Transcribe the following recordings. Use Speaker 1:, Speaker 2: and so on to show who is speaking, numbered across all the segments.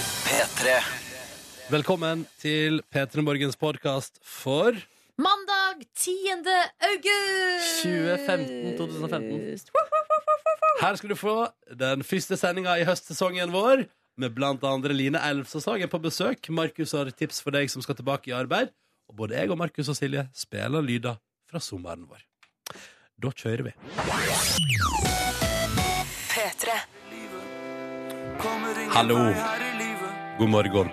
Speaker 1: P3
Speaker 2: Velkommen til P3 Morgens podkast for
Speaker 3: Mandag 10. august!
Speaker 4: 2015, 2015.
Speaker 2: Her skal du få den første sendinga i høstsesongen vår med blant andre Line Elvsåsag er på besøk. Markus har tips for deg som skal tilbake i arbeid. Og både jeg og Markus og Silje spiller lyder fra sommeren vår. Da kjører vi. Hallo. God morgen.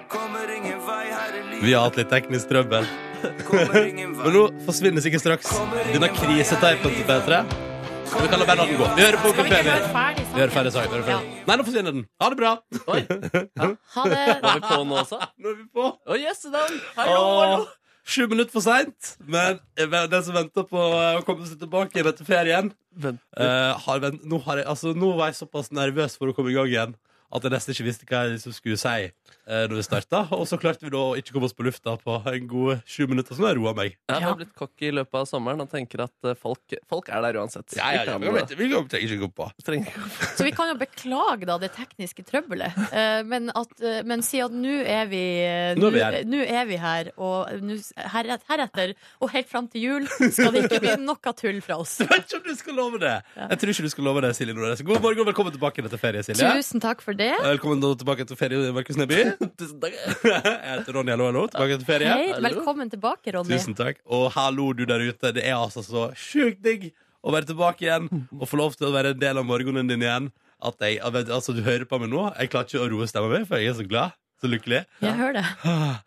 Speaker 2: Vi har hatt litt teknisk trøbbel. Men nå forsvinner sikkert straks denne kriseteipen til P3. Så Vi kan la bandet gå. Vi hører på Onkel
Speaker 3: Skal vi
Speaker 2: P.
Speaker 3: ikke være ferdig
Speaker 2: Vi hører ferdig sangen. vi hører ferdig. Nei, nå forsvinner den. Ha det bra.
Speaker 4: Oi,
Speaker 3: Ha det.
Speaker 4: er vi på nå også?
Speaker 2: Nå er vi på.
Speaker 4: Å, yes, det er den. Hallo, hallo.
Speaker 2: Åh, Sju minutter for seint, men den som venter på eh, å komme seg tilbake igjen etter ferien
Speaker 4: Vent.
Speaker 2: eh, har vent, nå, har jeg, altså, nå var jeg såpass nervøs for å komme i gang igjen at jeg nesten ikke visste hva jeg liksom skulle si uh, når vi starta. Og så klarte vi da å ikke komme oss på lufta på en god eh, sju minutter, så nå har jeg roa meg.
Speaker 4: Jeg har blitt kokk i løpet av sommeren og tenker at eh, folk, folk er der uansett.
Speaker 2: Ja, ja, ja, vi kan- vi kan- vi trenger ikke gå på.
Speaker 4: Trenger ikke å
Speaker 3: Så vi kan jo beklage da det tekniske trøbbelet, eh, men, at, eh, men si at nå er vi eh,
Speaker 2: Nå er vi her.
Speaker 3: Nå er vi her, og nå s- heret- heretter og helt fram til jul skal det ikke bli noe tull fra oss.
Speaker 2: Jeg vet ikke om du skal love det. Jeg tror ikke du skal love det, Silje Nordnes. God morgen, og velkommen tilbake etter ferie, Silje.
Speaker 3: Tusen takk for det.
Speaker 2: Velkommen da tilbake etter ferie, Markus Neby.
Speaker 4: Tusen takk.
Speaker 2: Jeg heter Ronny, hallo, hallo. Tilbake etter ferie.
Speaker 3: Hei,
Speaker 4: hallo.
Speaker 3: velkommen tilbake, Ronny.
Speaker 2: Tusen takk. Og hallo, du der ute. Det er altså så sjukt digg å være tilbake igjen og få lov til å være en del av morgenen din igjen. At jeg, jeg vet, altså Du hører på meg nå. Jeg klarer ikke å roe stemmen min, for jeg er så glad. Så lykkelig.
Speaker 3: Jeg hører det.
Speaker 2: Ah,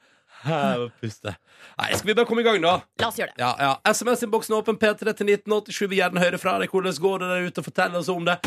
Speaker 2: Jeg må puste. Nei, skal vi bare komme i gang, da?
Speaker 3: La oss gjøre det.
Speaker 2: Ja, ja. SMS-innboksen er åpen. P3 til 1987. Vi vil gjerne høre fra deg. Hvordan går det der ute? Fortell oss om det.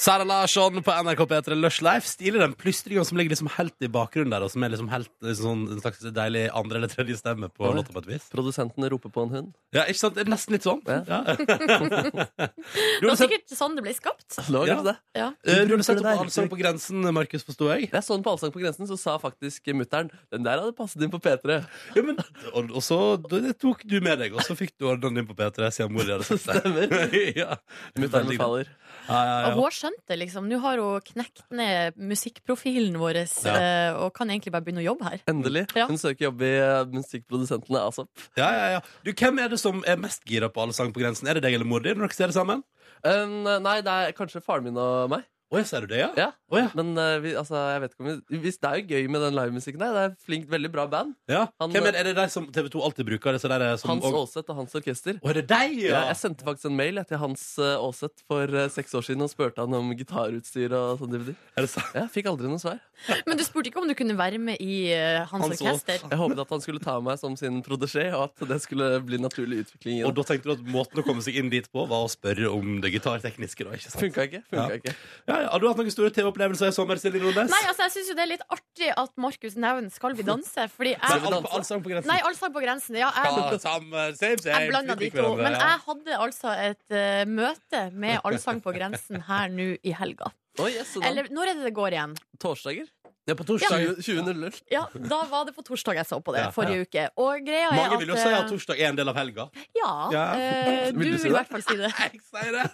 Speaker 2: Sara Larsson på NRK P3 Lush Life stiler den plystringa som ligger liksom helt i bakgrunnen der, og som er liksom helt liksom sånn, en slags deilig andre- eller tredje stemme på
Speaker 4: Oi.
Speaker 2: låta på et vis.
Speaker 4: Produsenten roper på en hund.
Speaker 2: Ja, ikke sant? Det er nesten litt sånn.
Speaker 4: Ja.
Speaker 2: Ja.
Speaker 3: Det var
Speaker 2: du sett-
Speaker 3: sikkert sånn det ble skapt.
Speaker 4: Lager
Speaker 2: Ja.
Speaker 4: du det?
Speaker 3: Ja.
Speaker 2: Eh, Du hadde sett
Speaker 4: Det
Speaker 2: opp
Speaker 4: der.
Speaker 2: Allsang på grensen, Markus, forsto jeg.
Speaker 4: Jeg så den på Allsang på grensen, så sa faktisk mutter'n den der hadde passet inn på P3.
Speaker 2: Ja, men, og, og så det tok du med deg, og så fikk du ordna den inn på P3 siden mor di hadde sett det. ja.
Speaker 4: Mutter'n
Speaker 2: Veldig
Speaker 4: befaler.
Speaker 2: Ja, ja,
Speaker 3: Og
Speaker 2: ja.
Speaker 3: hun har skjønt det, liksom. Nå har hun knekt ned musikkprofilen vår
Speaker 2: Ja.
Speaker 3: eh, og kan egentlig bare begynne å jobbe her.
Speaker 4: Endelig.
Speaker 3: Ja.
Speaker 4: Hun søker jobb i eh, musikkprodusentene altså. ASAP.
Speaker 2: Ja, ja, ja. Du, hvem er det som er mest gira på alle sang på grensen? Er det deg eller mor di når dere ser det sammen?
Speaker 4: Um, nei, det er kanskje faren min og meg.
Speaker 2: Å, ja, ser du det, ja?
Speaker 4: Ja.
Speaker 2: Å, ja.
Speaker 4: Men eh, vi, altså, jeg vet ikke om vi, hvis det er jo gøy med den livemusikken der. Det er flink, veldig bra band.
Speaker 2: ja.
Speaker 4: Han- eh,
Speaker 2: hvem er, det- er det deg som TV 2 alltid bruker? Det, så der, er som,
Speaker 4: Hans
Speaker 2: og,
Speaker 4: Aalseth og hans orkester.
Speaker 2: Å, er det deg, ja?
Speaker 4: Ja, jeg sendte faktisk en mail jeg, til Hans eh, Aaset for eh, seks år siden og spurte han om gitarutstyr og sånn. DVD.
Speaker 2: Er det sant?
Speaker 4: Jeg fikk aldri noe svar.
Speaker 3: Men du spurte ikke om du kunne være med i eh, hans,
Speaker 2: Hans
Speaker 3: orkester.
Speaker 4: Jeg håpet at han skulle ta meg som sin protégé, og at det skulle bli naturlig utvikling. i
Speaker 2: Og
Speaker 4: det.
Speaker 2: da tenkte du at måten å komme seg inn dit på, var å spørre om det gitartekniske, da? ikke sant?
Speaker 4: Funka ikke.
Speaker 2: Ja.
Speaker 4: Funka ikke.
Speaker 2: Ja, ja. Har du hatt noen store TV-opplevelser i sommer, Silje Nordnes?
Speaker 3: Nei, altså, jeg syns jo det er litt artig at Markus nevner 'Skal vi danse', fordi
Speaker 2: Nei,
Speaker 3: jeg
Speaker 2: alle, på- alle sang på grensen.
Speaker 3: altså, Nei, Allsang på grensen. Ja, jeg,
Speaker 2: Ja, sammen, same, same.
Speaker 3: jeg blanda de
Speaker 2: Vi liker
Speaker 3: to.
Speaker 2: hverandre,
Speaker 3: Men
Speaker 2: ja.
Speaker 3: jeg hadde altså et eh, møte med Allsang på grensen her nå i helga.
Speaker 4: Å, yes, så da-
Speaker 3: Eller når er det det går igjen?
Speaker 4: Torsdager?
Speaker 2: ja, på torsdag.
Speaker 4: 20 20.00.
Speaker 3: Ja, da var det på torsdag jeg så på det,
Speaker 2: Ja,
Speaker 3: forrige uke. Og greia er
Speaker 2: Mange vil jo si at
Speaker 3: at eh,
Speaker 2: torsdag er en del av helga.
Speaker 3: Ja,
Speaker 2: Ja.
Speaker 3: eh, du
Speaker 4: Vil du si
Speaker 3: vil i
Speaker 4: det?
Speaker 3: hvert fall si det.
Speaker 2: Jeg sier det.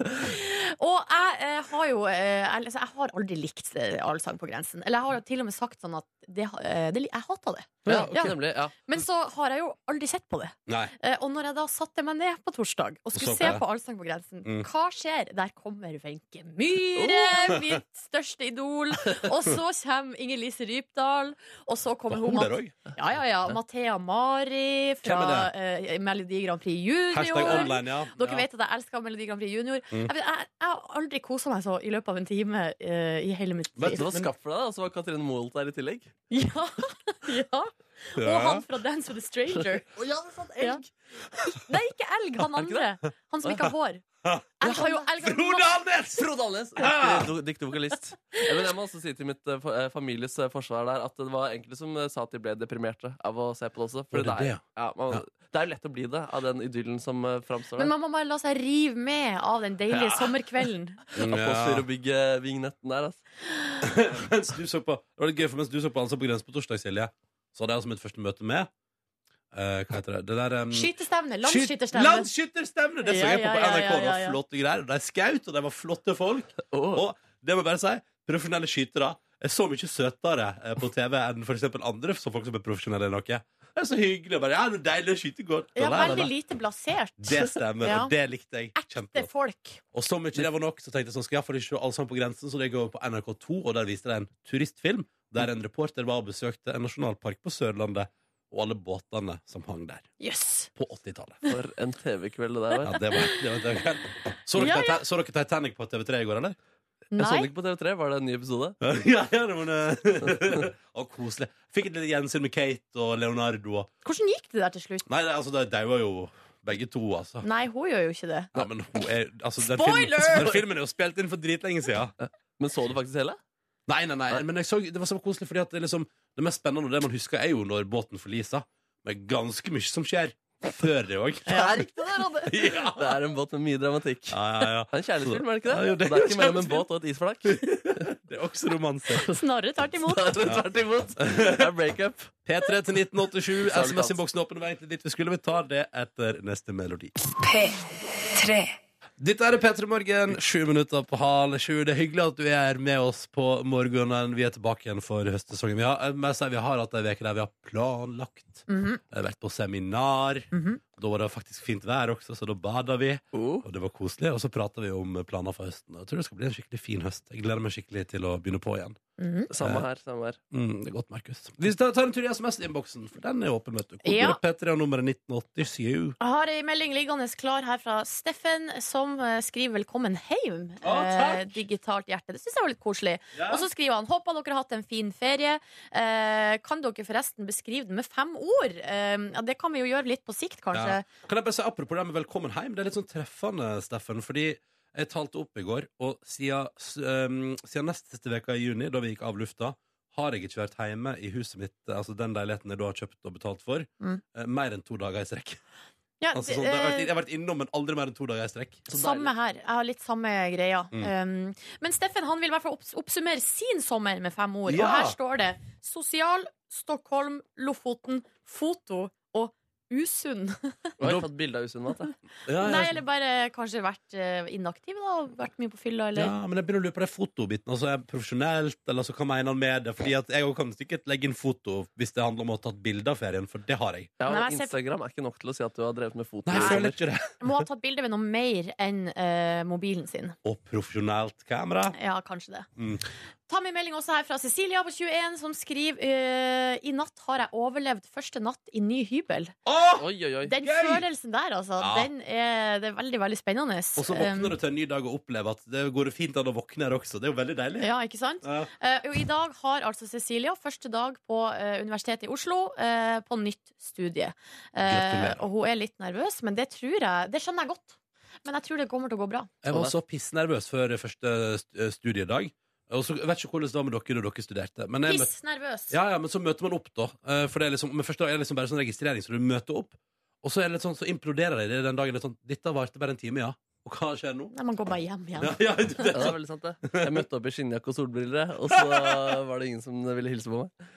Speaker 3: Og jeg eh, har jo eh, altså, Jeg har aldri likt eh, Allsang på grensen. Eller jeg har jo til og med sagt sånn at det, eh, det, jeg hata det.
Speaker 4: Ja,
Speaker 3: Ja.
Speaker 4: ok, nemlig. Ja.
Speaker 3: Men så har jeg jo aldri sett på det.
Speaker 2: Nei.
Speaker 3: Eh, og når jeg da satte meg ned på torsdag og
Speaker 2: så
Speaker 3: skulle
Speaker 2: på
Speaker 3: se
Speaker 2: det.
Speaker 3: på Allsang på grensen,
Speaker 2: Mm. Oh.
Speaker 3: hva skjer? Der kommer Wenche Myhre, mitt største idol. Og så kommer Inger-Lise Rypdal, og så
Speaker 2: Var
Speaker 3: kommer hun
Speaker 2: hun der
Speaker 3: Mat
Speaker 2: òg?
Speaker 3: ja, ja, ja, Mathea Mari fra eh, Melodi Grand Prix
Speaker 2: Hashtag
Speaker 3: Junior.
Speaker 2: online, ja.
Speaker 3: Dere
Speaker 2: ja.
Speaker 3: vet at jeg elsker Melodi Grand Prix Junior.
Speaker 2: Mm.
Speaker 3: Jeg, vet- jeg, jeg har aldri kosa meg så i løpet av en time eh, i hele mitt
Speaker 2: Vet
Speaker 3: liv.
Speaker 4: Du var skapt for deg, da, og så var Katrine Moholt der i tillegg.
Speaker 3: Ja, ja. Og
Speaker 2: Ja.
Speaker 3: han fra Dance with a Stranger. Ja. Nei, ikke elg, han
Speaker 4: Er det ikke
Speaker 3: andre. Han som ikke har hår. Jeg har jo elg av
Speaker 2: Frode Alnes!
Speaker 4: Frode Alnes! Riktig Dyktig vokalist. Ja, Men jeg må også si til mitt eh, fa- eh, families eh, forsvar der at det var enkelte som eh, sa at de ble deprimerte av å se på det også.
Speaker 2: Var
Speaker 4: For
Speaker 2: det
Speaker 4: det,
Speaker 2: det,
Speaker 4: er, ja, man,
Speaker 2: Ja.
Speaker 4: det er jo lett å bli det av den idyllen som eh, framstår
Speaker 3: Men
Speaker 4: der.
Speaker 3: man må bare la seg rive med av den deilige sommerkvelden.
Speaker 2: Mm. Ja.
Speaker 4: Apostyrobygge-vignetten der, altså.
Speaker 2: mens du så på Det var litt gøy, for mens du så på Ansa på grensen på torsdag, Silje, så hadde jeg altså mitt første møte med eh, Hva heter det? Det der um,
Speaker 3: Skytestevne.
Speaker 2: skyt-
Speaker 3: Landsskytterstevne.
Speaker 2: Landsskytterstevne! Det så
Speaker 3: Ja,
Speaker 2: jeg på
Speaker 3: ja,
Speaker 2: på
Speaker 3: ja,
Speaker 2: NRK.
Speaker 3: ja,
Speaker 2: Det
Speaker 3: ja,
Speaker 2: var
Speaker 3: ja.
Speaker 2: flotte greier. De skaut, og de var flotte folk.
Speaker 4: Åh.
Speaker 2: Og det må jeg bare si. Profesjonelle skytere er så mye søtere eh, på TV enn for eksempel andre som folk som er profesjonelle i noe. Det er så hyggelig. og Bare, ja, det er deilig å skyte godt.
Speaker 3: Ja,
Speaker 2: og la, la, la.
Speaker 3: veldig lite blasert.
Speaker 2: Det stemmer,
Speaker 3: Ja.
Speaker 2: og det likte jeg
Speaker 3: Ekte
Speaker 2: kjempegodt.
Speaker 3: folk.
Speaker 2: Og som ikke det var nok, så tenkte jeg sånn, skal jeg iallfall ikke se Allsang på grensen, så det går på NRK2, og der viste de en turistfilm der en reporter var og besøkte en nasjonalpark på Sørlandet, og alle båtene som hang der
Speaker 3: Jøss.
Speaker 2: på 80-tallet.
Speaker 4: For en TV-kveld det der
Speaker 2: Ja,
Speaker 4: var.
Speaker 2: det var, det var, det var. Så, dere
Speaker 3: Ja,
Speaker 2: Tita- så dere Titanic på TV3 i går, eller?
Speaker 4: Jeg så
Speaker 3: Nei.
Speaker 4: den ikke på TV3. Var det en ny episode?
Speaker 2: Ja, ja, det var det. Og koselig. Fikk et lite gjensyn med Kate og Leonardo. og-
Speaker 3: Hvordan gikk det der til slutt?
Speaker 2: Nei, det- altså, de daua jo begge to, altså.
Speaker 3: Nei, hun gjør jo ikke det.
Speaker 2: Ja, men hun er, altså, den
Speaker 3: Spoiler!
Speaker 2: Filmen, den filmen er jo spilt inn for dritlenge siden.
Speaker 4: Men så du faktisk hele?
Speaker 2: Nei, nei, nei, men jeg så, det var så koselig Fordi at det, liksom, det mest spennende og det man husker er jo når båten forliser Men ganske mye som skjer Før det også
Speaker 4: Det er riktig der, Anne.
Speaker 2: Ja,
Speaker 4: Det er en båt med mye dramatikk.
Speaker 2: ja, ja,
Speaker 4: Det er en kjærlighetsfilm, er det ikke det?
Speaker 2: Ja, jo,
Speaker 4: det,
Speaker 2: det er
Speaker 4: det
Speaker 2: jo
Speaker 4: er ikke mellom en
Speaker 2: kjærlighetsfilm.
Speaker 4: båt og et isflak.
Speaker 2: ja Det er også romanse
Speaker 3: Snarere tvert imot.
Speaker 4: Det er Tvert imot. Det er breakup.
Speaker 2: P3 til 1987
Speaker 4: Særlig
Speaker 2: SMS-inboksen åpen og vei til dit vi skulle Vi tar det etter neste melodi
Speaker 1: P3.
Speaker 2: Dette er P3 Morgen, sju minutter på halv sju. Det er hyggelig at du er med oss på morgenen. Vi er tilbake igjen for høstsesongen. Vi har, jeg må si, vi har hatt ei uke der vi har planlagt.
Speaker 3: Mhm.
Speaker 2: Jeg har vært på seminar.
Speaker 3: Mhm.
Speaker 2: Da var det faktisk fint vær også, så da bada vi.
Speaker 4: Oh.
Speaker 2: Og det var koselig. Og så prata vi om planer for høsten. Og Jeg tror det skal bli en skikkelig fin høst. Jeg gleder meg skikkelig til å begynne på igjen.
Speaker 3: Mhm.
Speaker 4: Samme her. samme her
Speaker 2: Mm, det er godt, Markus. Vi tar, tar en tur i SMS-innboksen, for den er åpen, vet du. Kodeordet
Speaker 3: Ja.
Speaker 2: P3 og nummeret 1987.
Speaker 3: Jeg har ei melding liggende klar her fra Steffen, som eh, skriver 'Velkommen heim'.
Speaker 2: Å, takk.
Speaker 3: eh, digitalt hjerte. Det syns jeg var litt koselig.
Speaker 2: Ja.
Speaker 3: Og så skriver han 'Håper dere har hatt en fin ferie'. Eh, kan dere forresten beskrive den med fem ord? Eh, ja, det kan vi jo gjøre litt på sikt, kanskje.
Speaker 2: Kan jeg bare si apropos det med velkommen hjem? Det er litt sånn treffende, Steffen, fordi jeg talte opp i går, og siden, s- ehm, siden nest siste veka i juni, da vi gikk av lufta, har jeg ikke vært hjemme i huset mitt, altså den leiligheten jeg da har kjøpt og betalt for,
Speaker 3: Mm.
Speaker 2: eh, mer enn to dager i strekk.
Speaker 3: Ja,
Speaker 2: Altså,
Speaker 3: det-
Speaker 2: sånn, det har vært,
Speaker 3: eh,
Speaker 2: jeg har vært innom, men aldri mer enn to dager i strekk.
Speaker 4: Så
Speaker 3: Samme
Speaker 4: deilig.
Speaker 3: her. Jeg har litt samme greia.
Speaker 2: Mm.
Speaker 3: Um, men Steffen han vil i hvert fall opps- oppsummere sin sommer med fem ord. Og
Speaker 2: Ja.
Speaker 3: her står det sosial, Stockholm, Lofoten, foto og usunn.
Speaker 4: Og jeg har tatt bilde av usunn mat. jeg.
Speaker 2: Ja,
Speaker 3: Nei,
Speaker 2: ja,
Speaker 3: eller bare kanskje vært eh, inaktiv, da. og Vært mye på fylla, eller
Speaker 2: ja, men jeg begynner å lure på det fotobiten. Altså, er jeg profesjonelt, eller så hva mener han med det? Fordi at jeg også kan sikkert legge inn foto hvis det handler om å ha tatt bilde av ferien, for det har jeg.
Speaker 4: Ja,
Speaker 3: Nei,
Speaker 4: og
Speaker 3: jeg ser-
Speaker 4: Instagram er ikke nok til å si at du har drevet med foto.
Speaker 2: Nei, jeg føler ikke det.
Speaker 3: Må ha tatt bilde med noe mer enn eh, mobilen sin.
Speaker 2: Og profesjonelt kamera.
Speaker 3: Ja, kanskje det.
Speaker 2: Mm.
Speaker 3: Ta med melding også her fra Cecilia på 21, som skriver eh, I natt har jeg overlevd første natt i ny hybel.
Speaker 2: Åh!
Speaker 4: Oi, oi, oi.
Speaker 3: Den
Speaker 2: Gøy!
Speaker 3: følelsen der, altså,
Speaker 2: Ja.
Speaker 3: den er, det er veldig, veldig spennende.
Speaker 2: Og så våkner du til en ny dag og opplever at det går fint an å våkne her også. Det er jo veldig deilig.
Speaker 3: Ja, ikke sant?
Speaker 2: Ja.
Speaker 3: Eh, og I dag har altså Cecilia første dag på eh, Universitetet i Oslo eh, på nytt studie. Eh,
Speaker 2: Gratulerer.
Speaker 3: og hun er litt nervøs, men det tror jeg Det skjønner jeg godt. Men jeg tror det kommer til å gå bra.
Speaker 2: Jeg var så pissnervøs før første st- eh, studiedag. Og så jeg vet ikke hvordan det var med dere da dere studerte. Men, jeg møtte,
Speaker 3: Piss nervøs.
Speaker 2: ja, ja, men så møter man opp, da. Eh, For det er liksom, men første dag er det liksom bare sånn registrering, så du møter opp. Og så, er det litt sånn, så imploderer jeg det den dagen. Litt sånn, Dette varte bare en time, ja. Og hva skjer nå?
Speaker 3: Nei, man går bare hjem igjen.
Speaker 2: Ja, ja, det
Speaker 4: Ja,
Speaker 2: er
Speaker 4: det er
Speaker 2: sånn.
Speaker 4: veldig sant, det. Jeg møtte opp i skinnjakke og solbriller, og så var det ingen som ville hilse på meg. Altså,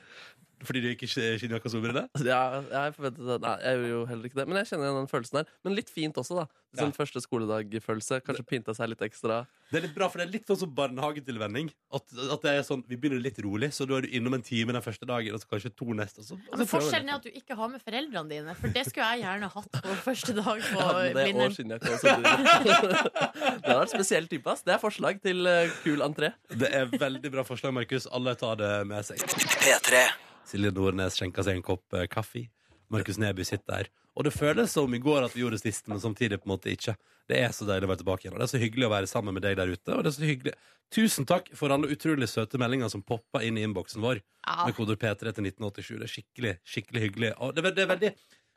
Speaker 2: Fordi du gikk i sk- skinnjakke og solbriller?
Speaker 4: Ja, jeg forventet at- Nei, jeg gjorde jo heller ikke det. Men jeg kjenner igjen den følelsen der. Men litt fint også, da. Sånn første skoledag-følelse. Kanskje pynta seg litt ekstra.
Speaker 2: Det er litt bra, for det er litt sånn som barnehagetilvenning. At, at det er sånn, Vi begynner litt rolig, så da er du innom en time den første dagen, og så kanskje to neste. Og så,
Speaker 3: Ja,
Speaker 2: og så
Speaker 3: men forskjellen er at du ikke har med foreldrene dine, for det skulle jeg gjerne hatt på første dag på
Speaker 4: Ja, men det og
Speaker 3: Blindern.
Speaker 4: skinnjakke og solbriller. Det var en spesiell type, ass. Det er forslag til eh, kul entré.
Speaker 2: Det er veldig bra forslag, Markus. Alle tar det med seg.
Speaker 1: P3.
Speaker 2: Silje Nordnes skjenka seg en kopp eh, kaffe. Markus Neby sitter her. Og det føles som i går at vi gjorde det sist, men samtidig på en måte ikke. Det er så deilig å være tilbake igjen, og det er så hyggelig å være sammen med deg der ute. Og det er så hyggelig. Tusen takk for alle utrolig søte meldinger som poppa inn i innboksen vår
Speaker 3: Ja.
Speaker 2: med koder P3 til 1987. Det er skikkelig, skikkelig hyggelig. Og det, er- det er veldig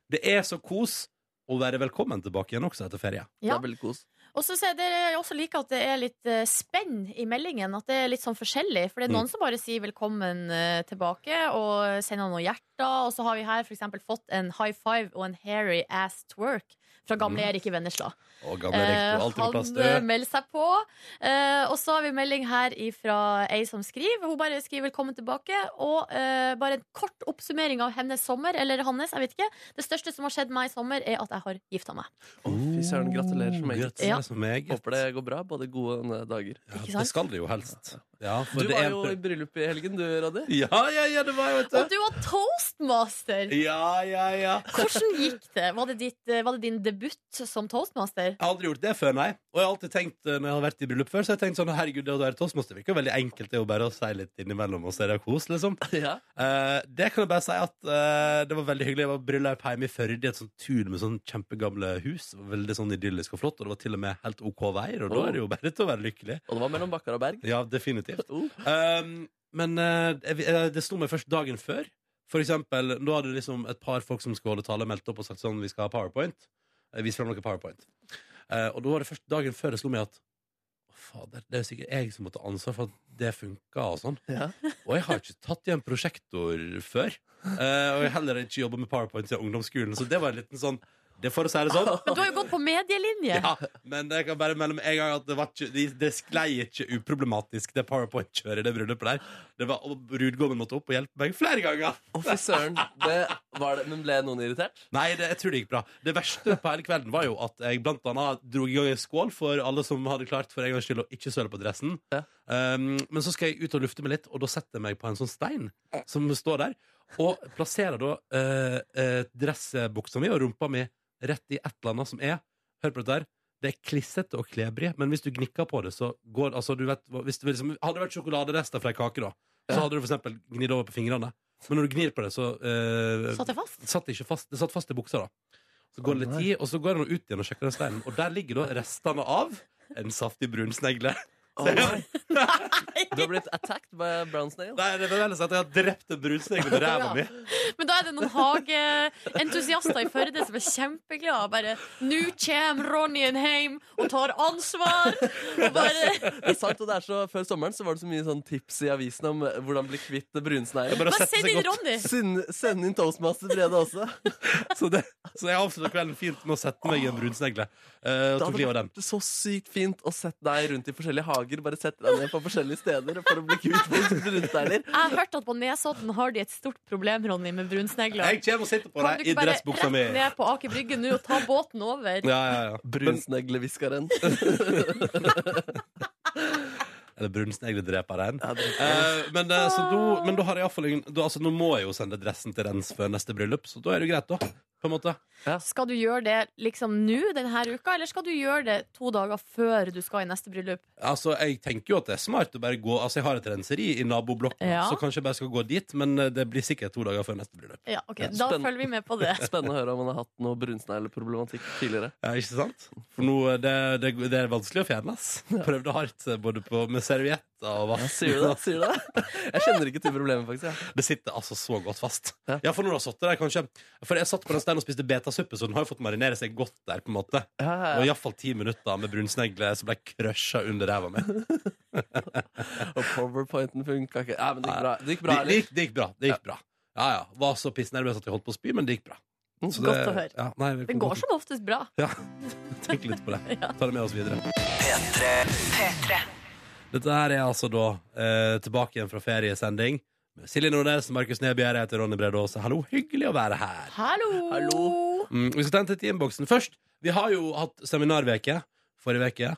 Speaker 2: Det er så kos å være velkommen tilbake igjen også etter ferie.
Speaker 4: Det
Speaker 3: Ja.
Speaker 4: er veldig kos.
Speaker 3: Og så ser dere jeg også like at det er litt eh, spenn i meldingen. At det er litt sånn forskjellig. For det er noen
Speaker 2: Mm.
Speaker 3: som bare sier velkommen eh, tilbake og sender noen hjerter. Og så har vi her f.eks. fått en high five og en hairy ass twerk fra gamle Erik i Vennesla.
Speaker 2: Å, Mm. gamle rektor, alltid på plass,
Speaker 3: han eh,
Speaker 2: du.
Speaker 3: melder seg på. Eh, og så har vi melding her fra ei som skriver. Hun bare skriver 'velkommen tilbake'. Og eh, bare en kort oppsummering av hennes sommer, eller hans, jeg vet ikke. Det største som har skjedd meg i sommer, er at jeg har gifta meg.
Speaker 4: Å, Fy søren, gratulerer så meget.
Speaker 2: Gratulerer
Speaker 3: Ja.
Speaker 2: så meget.
Speaker 4: Håper det går bra. Både gode og onde dager.
Speaker 2: Ja,
Speaker 3: Ikke sant?
Speaker 2: det skal det jo helst. Ja, for
Speaker 4: Du
Speaker 2: det
Speaker 4: var
Speaker 2: er
Speaker 4: jo i
Speaker 2: en...
Speaker 4: bryllup i helgen, du, Roddy.
Speaker 2: ja, ja, ja, det var jo vet
Speaker 3: Og
Speaker 2: du.
Speaker 3: du var toastmaster!
Speaker 2: Ja, ja, ja.
Speaker 3: Hvordan gikk det? Var det, ditt, eh, var det din debut som toastmaster?
Speaker 2: Jeg har aldri gjort det før, nei. Og jeg har alltid tenkt eh, når jeg har vært i bryllup før, så har jeg tenkt sånn herregud, det å være toastmaster virker jo veldig enkelt. Det er jo bare å si litt innimellom, og så er det kos, liksom.
Speaker 4: Ja.
Speaker 2: Eh, det kan jeg bare si at eh, det var veldig hyggelig. Jeg var bryllup hjemme i Førde i et sånt tun med sånn kjempegamle hus. Det var Veldig sånn idyllisk og flott, og det var til og med helt OK veier, og da
Speaker 4: Oh.
Speaker 2: er det jo bare til å være lykkelig.
Speaker 4: Og det var mellom Bakkar og Berg.
Speaker 2: Ja, definitivt.
Speaker 4: Oh.
Speaker 2: Um, men eh, jeg- jeg- det slo meg først dagen før. For eksempel, nå hadde liksom et par folk som skulle holde tale, meldt opp og sagt sånn Vi skal ha powerpoint. Eh, Vis fram noe powerpoint. Eh, og da var det først dagen før det slo meg at «Å, Fader, det er jo sikkert jeg som måtte ha ansvar for at det funka og sånn.
Speaker 4: Ja.
Speaker 2: Og jeg har ikke tatt igjen prosjektor før. Eh, og jeg har heller ikke jobba med powerpoint siden ungdomsskolen, så det var en liten sånn Det får å si det sånn.
Speaker 3: Men du har jo gått på medielinje!
Speaker 2: Ja, men jeg kan bare melde med en gang at det, var ikke, de- det sklei ikke uproblematisk, det powerpoint-kjøret i det bryllupet der. Det var, og brudgommen måtte opp og hjelpe meg flere ganger.
Speaker 4: Å, fy søren. Det var det, men ble noen irritert?
Speaker 2: Nei, det, jeg tror det gikk bra. Det verste på hele kvelden var jo at jeg blant annet dro i gang en skål for alle som hadde klart for en gangs skyld å ikke søle på dressen.
Speaker 4: Ja.
Speaker 2: Um, men så skal jeg ut og lufte meg litt, og da setter jeg meg på en sånn stein som står der, og plasserer da uh, dressbuksa mi og rumpa mi rett i et eller annet som er Hør på dette her. Det er klissete og klebrig, men hvis du gnikker på det, så går altså, du vet, hva- hvis det var liksom, Hadde det vært sjokoladerester fra ei kake, da, så hadde du for eksempel gnidd over på fingrene. Men når du gnir på det, så eh,
Speaker 3: Satt jeg fast?
Speaker 2: det satt ikke fast, det satt fast i buksa da Så går det litt tid, og så går han ut igjen og sjekker den steinen Og der ligger da restene av En saftig brun snegle
Speaker 4: Oh, du har blitt attacked by brown snail.
Speaker 2: Nei, det var vel sånn at jeg har drept en brun snegle med ræva mi
Speaker 3: Men da er det noen hageentusiaster i Førde som er kjempeglade. Bare 'Nå kjem Ronnyen heim og tar ansvar'. Og bare,
Speaker 4: Det er sant, og det er så, Før sommeren så var det så mye sånn tips i avisen om hvordan bli kvitt
Speaker 2: Det er
Speaker 4: brunsnegler.
Speaker 2: bare å
Speaker 3: bare
Speaker 2: sette
Speaker 3: send
Speaker 2: seg
Speaker 3: inn
Speaker 2: godt.
Speaker 3: Ronny!
Speaker 4: Send, send inn toastmaster Brede også.
Speaker 2: så, det, så jeg avslutter kvelden fint med å sette meg i en brun snegle eh, Og
Speaker 4: Det
Speaker 2: tok
Speaker 4: hadde
Speaker 2: livet av den
Speaker 4: vært så sykt fint å sette deg rundt i forskjellige hager. Bare sette deg ned på forskjellige steder for å bli kvitt brunsnegler.
Speaker 3: Jeg har hørt at på Nesodden har de et stort problem Ronny, med brunsnegler.
Speaker 2: Jeg kommer og sitter på
Speaker 3: Kan du
Speaker 2: deg
Speaker 3: ikke
Speaker 2: i
Speaker 3: bare
Speaker 2: dressbuksa
Speaker 3: rett
Speaker 2: mi Ja,
Speaker 3: ned på Aker Brygge nå og ta båten over?
Speaker 2: ja, ja Brun,
Speaker 4: Brunsneglehviskeren.
Speaker 2: Eller brun snegle dreper den
Speaker 4: Ja, det-
Speaker 2: Eh, men, eh, så
Speaker 3: Ah.
Speaker 2: da- men da har jeg i hvert fall ingen- da, altså, Nå må jeg jo sende dressen til rens før neste bryllup Så da er det jo greit da, på en måte
Speaker 3: Skal du gjøre det liksom nå denne uka, eller skal du gjøre det to dager før du skal i neste bryllup?
Speaker 2: Altså, Jeg tenker jo at det er smart å bare gå Altså, jeg har et renseri i naboblokken,
Speaker 3: Ja.
Speaker 2: så kanskje jeg bare skal gå dit. Men eh, det blir sikkert to dager før neste bryllup.
Speaker 3: Ja, ok, Da
Speaker 4: Spennende.
Speaker 3: følger vi med på det.
Speaker 4: Eh, Spennende å høre om han har hatt noe brunsnegleproblematikk tidligere.
Speaker 2: Ja, ikke sant? For nå, eh, det, det, det er vanskelig å fjerne, ass. Prøvde hardt eh, både på, med servietter og vask.
Speaker 4: Sier du det? Sier du det? Jeg kjenner ikke til problemet, faktisk. jeg.
Speaker 2: Det sitter altså så godt fast.
Speaker 4: Ja.
Speaker 2: Ja, for når du har sittet der, kanskje For jeg satt på den steinen og spiste betasuppe, så den har jo fått marinere seg godt der, på en måte.
Speaker 4: Ja, ja,
Speaker 2: Og
Speaker 4: ja.
Speaker 2: iallfall ti minutter med brunsnegle som ble crusha under ræva mi.
Speaker 4: Og powerpointen funka ikke. Ja, men det gikk bra. Det
Speaker 2: Det,
Speaker 4: gikk bra,
Speaker 2: det,
Speaker 4: eller?
Speaker 2: gikk- det gikk bra. Det gikk bra. Ja, ja. Var så pissnervøs at jeg holdt på å spy, men det gikk bra.
Speaker 4: Mm,
Speaker 2: Så
Speaker 3: Godt å høre.
Speaker 2: Ja, nei, vi
Speaker 3: Det
Speaker 2: kom
Speaker 3: går
Speaker 2: godt-
Speaker 3: som oftest bra.
Speaker 2: Ja, tenk litt på det. Ta det med oss videre. Dette her er altså da eh, tilbake igjen fra feriesending. Med Silje Nordnes, Markus Neby her, jeg heter Ronny Brede Aase. Hallo, hyggelig å være her.
Speaker 3: Hallo!
Speaker 4: Hallo.
Speaker 2: Mm, vi skal ta en titt i innboksen først. Vi har jo hatt seminarveke forrige veke,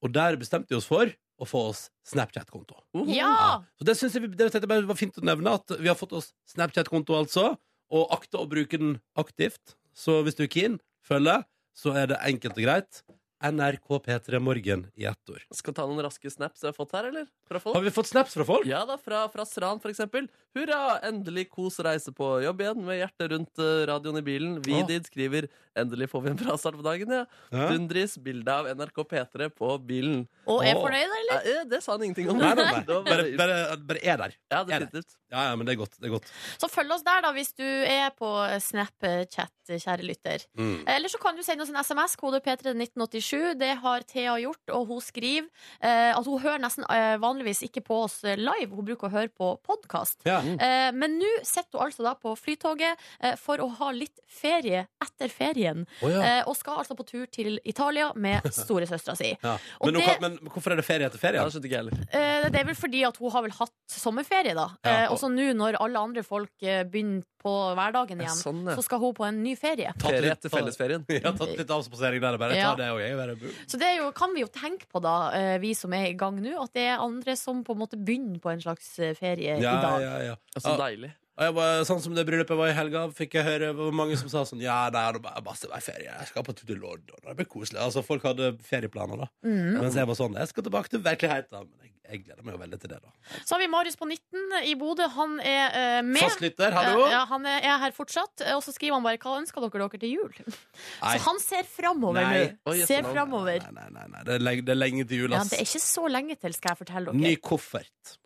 Speaker 2: og der bestemte vi oss for å få oss Snapchat-konto.
Speaker 3: Ja!
Speaker 2: Så det synes jeg, vi- det tenkte jeg bare var fint å nevne, at vi har fått oss Snapchat-konto, altså, og akta å bruke den aktivt. Så hvis du er keen, følge, så er det enkelt og greit. NRK P3 Morgen i ett ord.
Speaker 4: Skal ta noen raske snaps jeg har fått her, eller? Fra folk?
Speaker 2: Har vi fått snaps fra folk?
Speaker 4: Ja da, fra, fra Sran for eksempel. Hurra, endelig kos reise på jobb igjen med hjertet rundt eh, radioen i bilen.
Speaker 2: Åh.
Speaker 4: Vidid skriver endelig får vi en bra start på dagen, ja.
Speaker 2: Ja.
Speaker 4: Dundris bilde av NRK P3 på bilen.
Speaker 3: Og er
Speaker 2: Å.
Speaker 3: fornøyd, eller?
Speaker 4: Eh, det sa han ingenting om.
Speaker 2: Nei, nei, nei.
Speaker 4: Det var
Speaker 2: Bare,
Speaker 4: bare-
Speaker 2: bare, bare er der.
Speaker 4: Ja,
Speaker 2: er det.
Speaker 4: definitivt.
Speaker 2: Ja, ja, men det er godt. Det er godt.
Speaker 3: Så følg oss der, da, hvis du er på Snapchat, kjære lytter.
Speaker 2: Mm.
Speaker 3: Eller så kan du sende oss en SMS, kode P3 1987. Det har Thea gjort, og hun skriver eh, at hun hører nesten eh, vanligvis ikke på oss live, hun bruker å høre på podkast.
Speaker 2: Ja.
Speaker 3: Eh, men nå sitter hun altså da på flytoget eh, for å ha litt ferie etter ferien,
Speaker 2: Å, ja.
Speaker 3: eh, og skal altså på tur til Italia med storesøstera si.
Speaker 2: Ja.
Speaker 3: og
Speaker 2: Men, nå
Speaker 3: det-
Speaker 2: kan- men hvorfor er det ferie etter ferie?
Speaker 4: Ja, det skjønte ikke jeg heller.
Speaker 3: Eh, Det er vel fordi at hun har vel hatt sommerferie, da.
Speaker 2: Ja.
Speaker 3: Eh, Og så nå når alle andre folk eh, begynner på hverdagen
Speaker 4: Ja,
Speaker 3: igjen,
Speaker 4: sånn, ja.
Speaker 3: så skal hun på en ny ferie.
Speaker 2: Tatt
Speaker 4: Ferie
Speaker 2: litt-
Speaker 4: etter
Speaker 2: tatt-
Speaker 4: fellesferien.
Speaker 2: Jeg har tatt litt avspasering der. og Bare
Speaker 3: Ja.
Speaker 2: ta det og jeg. Bare,
Speaker 3: Så det er jo, kan vi jo tenke på, da, eh, vi som er i gang nå, at det er andre som på en måte begynner på en slags eh, ferie
Speaker 2: ja,
Speaker 3: i dag.
Speaker 2: ja, ja.
Speaker 4: Ja, Så deilig.
Speaker 2: Og jeg var, sånn som det bryllupet var i helga, fikk jeg høre hvor mange som sa sånn Ja, nei, det er bare- bare bare ferie. Jeg skal på tur til London. Det blir koselig. Altså, folk hadde ferieplaner, da.
Speaker 3: Mm.
Speaker 2: Mens jeg var sånn Jeg skal tilbake til virkeligheten. Men jeg, jeg gleder meg jo veldig til det, da.
Speaker 3: Så har vi Marius på 19 i Bodø. Han er eh, med.
Speaker 2: Fastlytter, hallo!
Speaker 3: Eh, Ja, han er er her fortsatt. Eh, Og så skriver han bare 'Hva ønsker dere dere til jul?'
Speaker 2: Nei.
Speaker 3: Så han ser framover nå.
Speaker 2: Nei.
Speaker 4: Oi,
Speaker 3: Ser
Speaker 4: jøssenavn.
Speaker 3: framover.
Speaker 2: Nei, nei, nei, nei. Det, er lenge, det er lenge til jul,
Speaker 3: Ja,
Speaker 2: ass.
Speaker 3: det er ikke så lenge til, skal jeg fortelle dere.
Speaker 2: Ny koffert.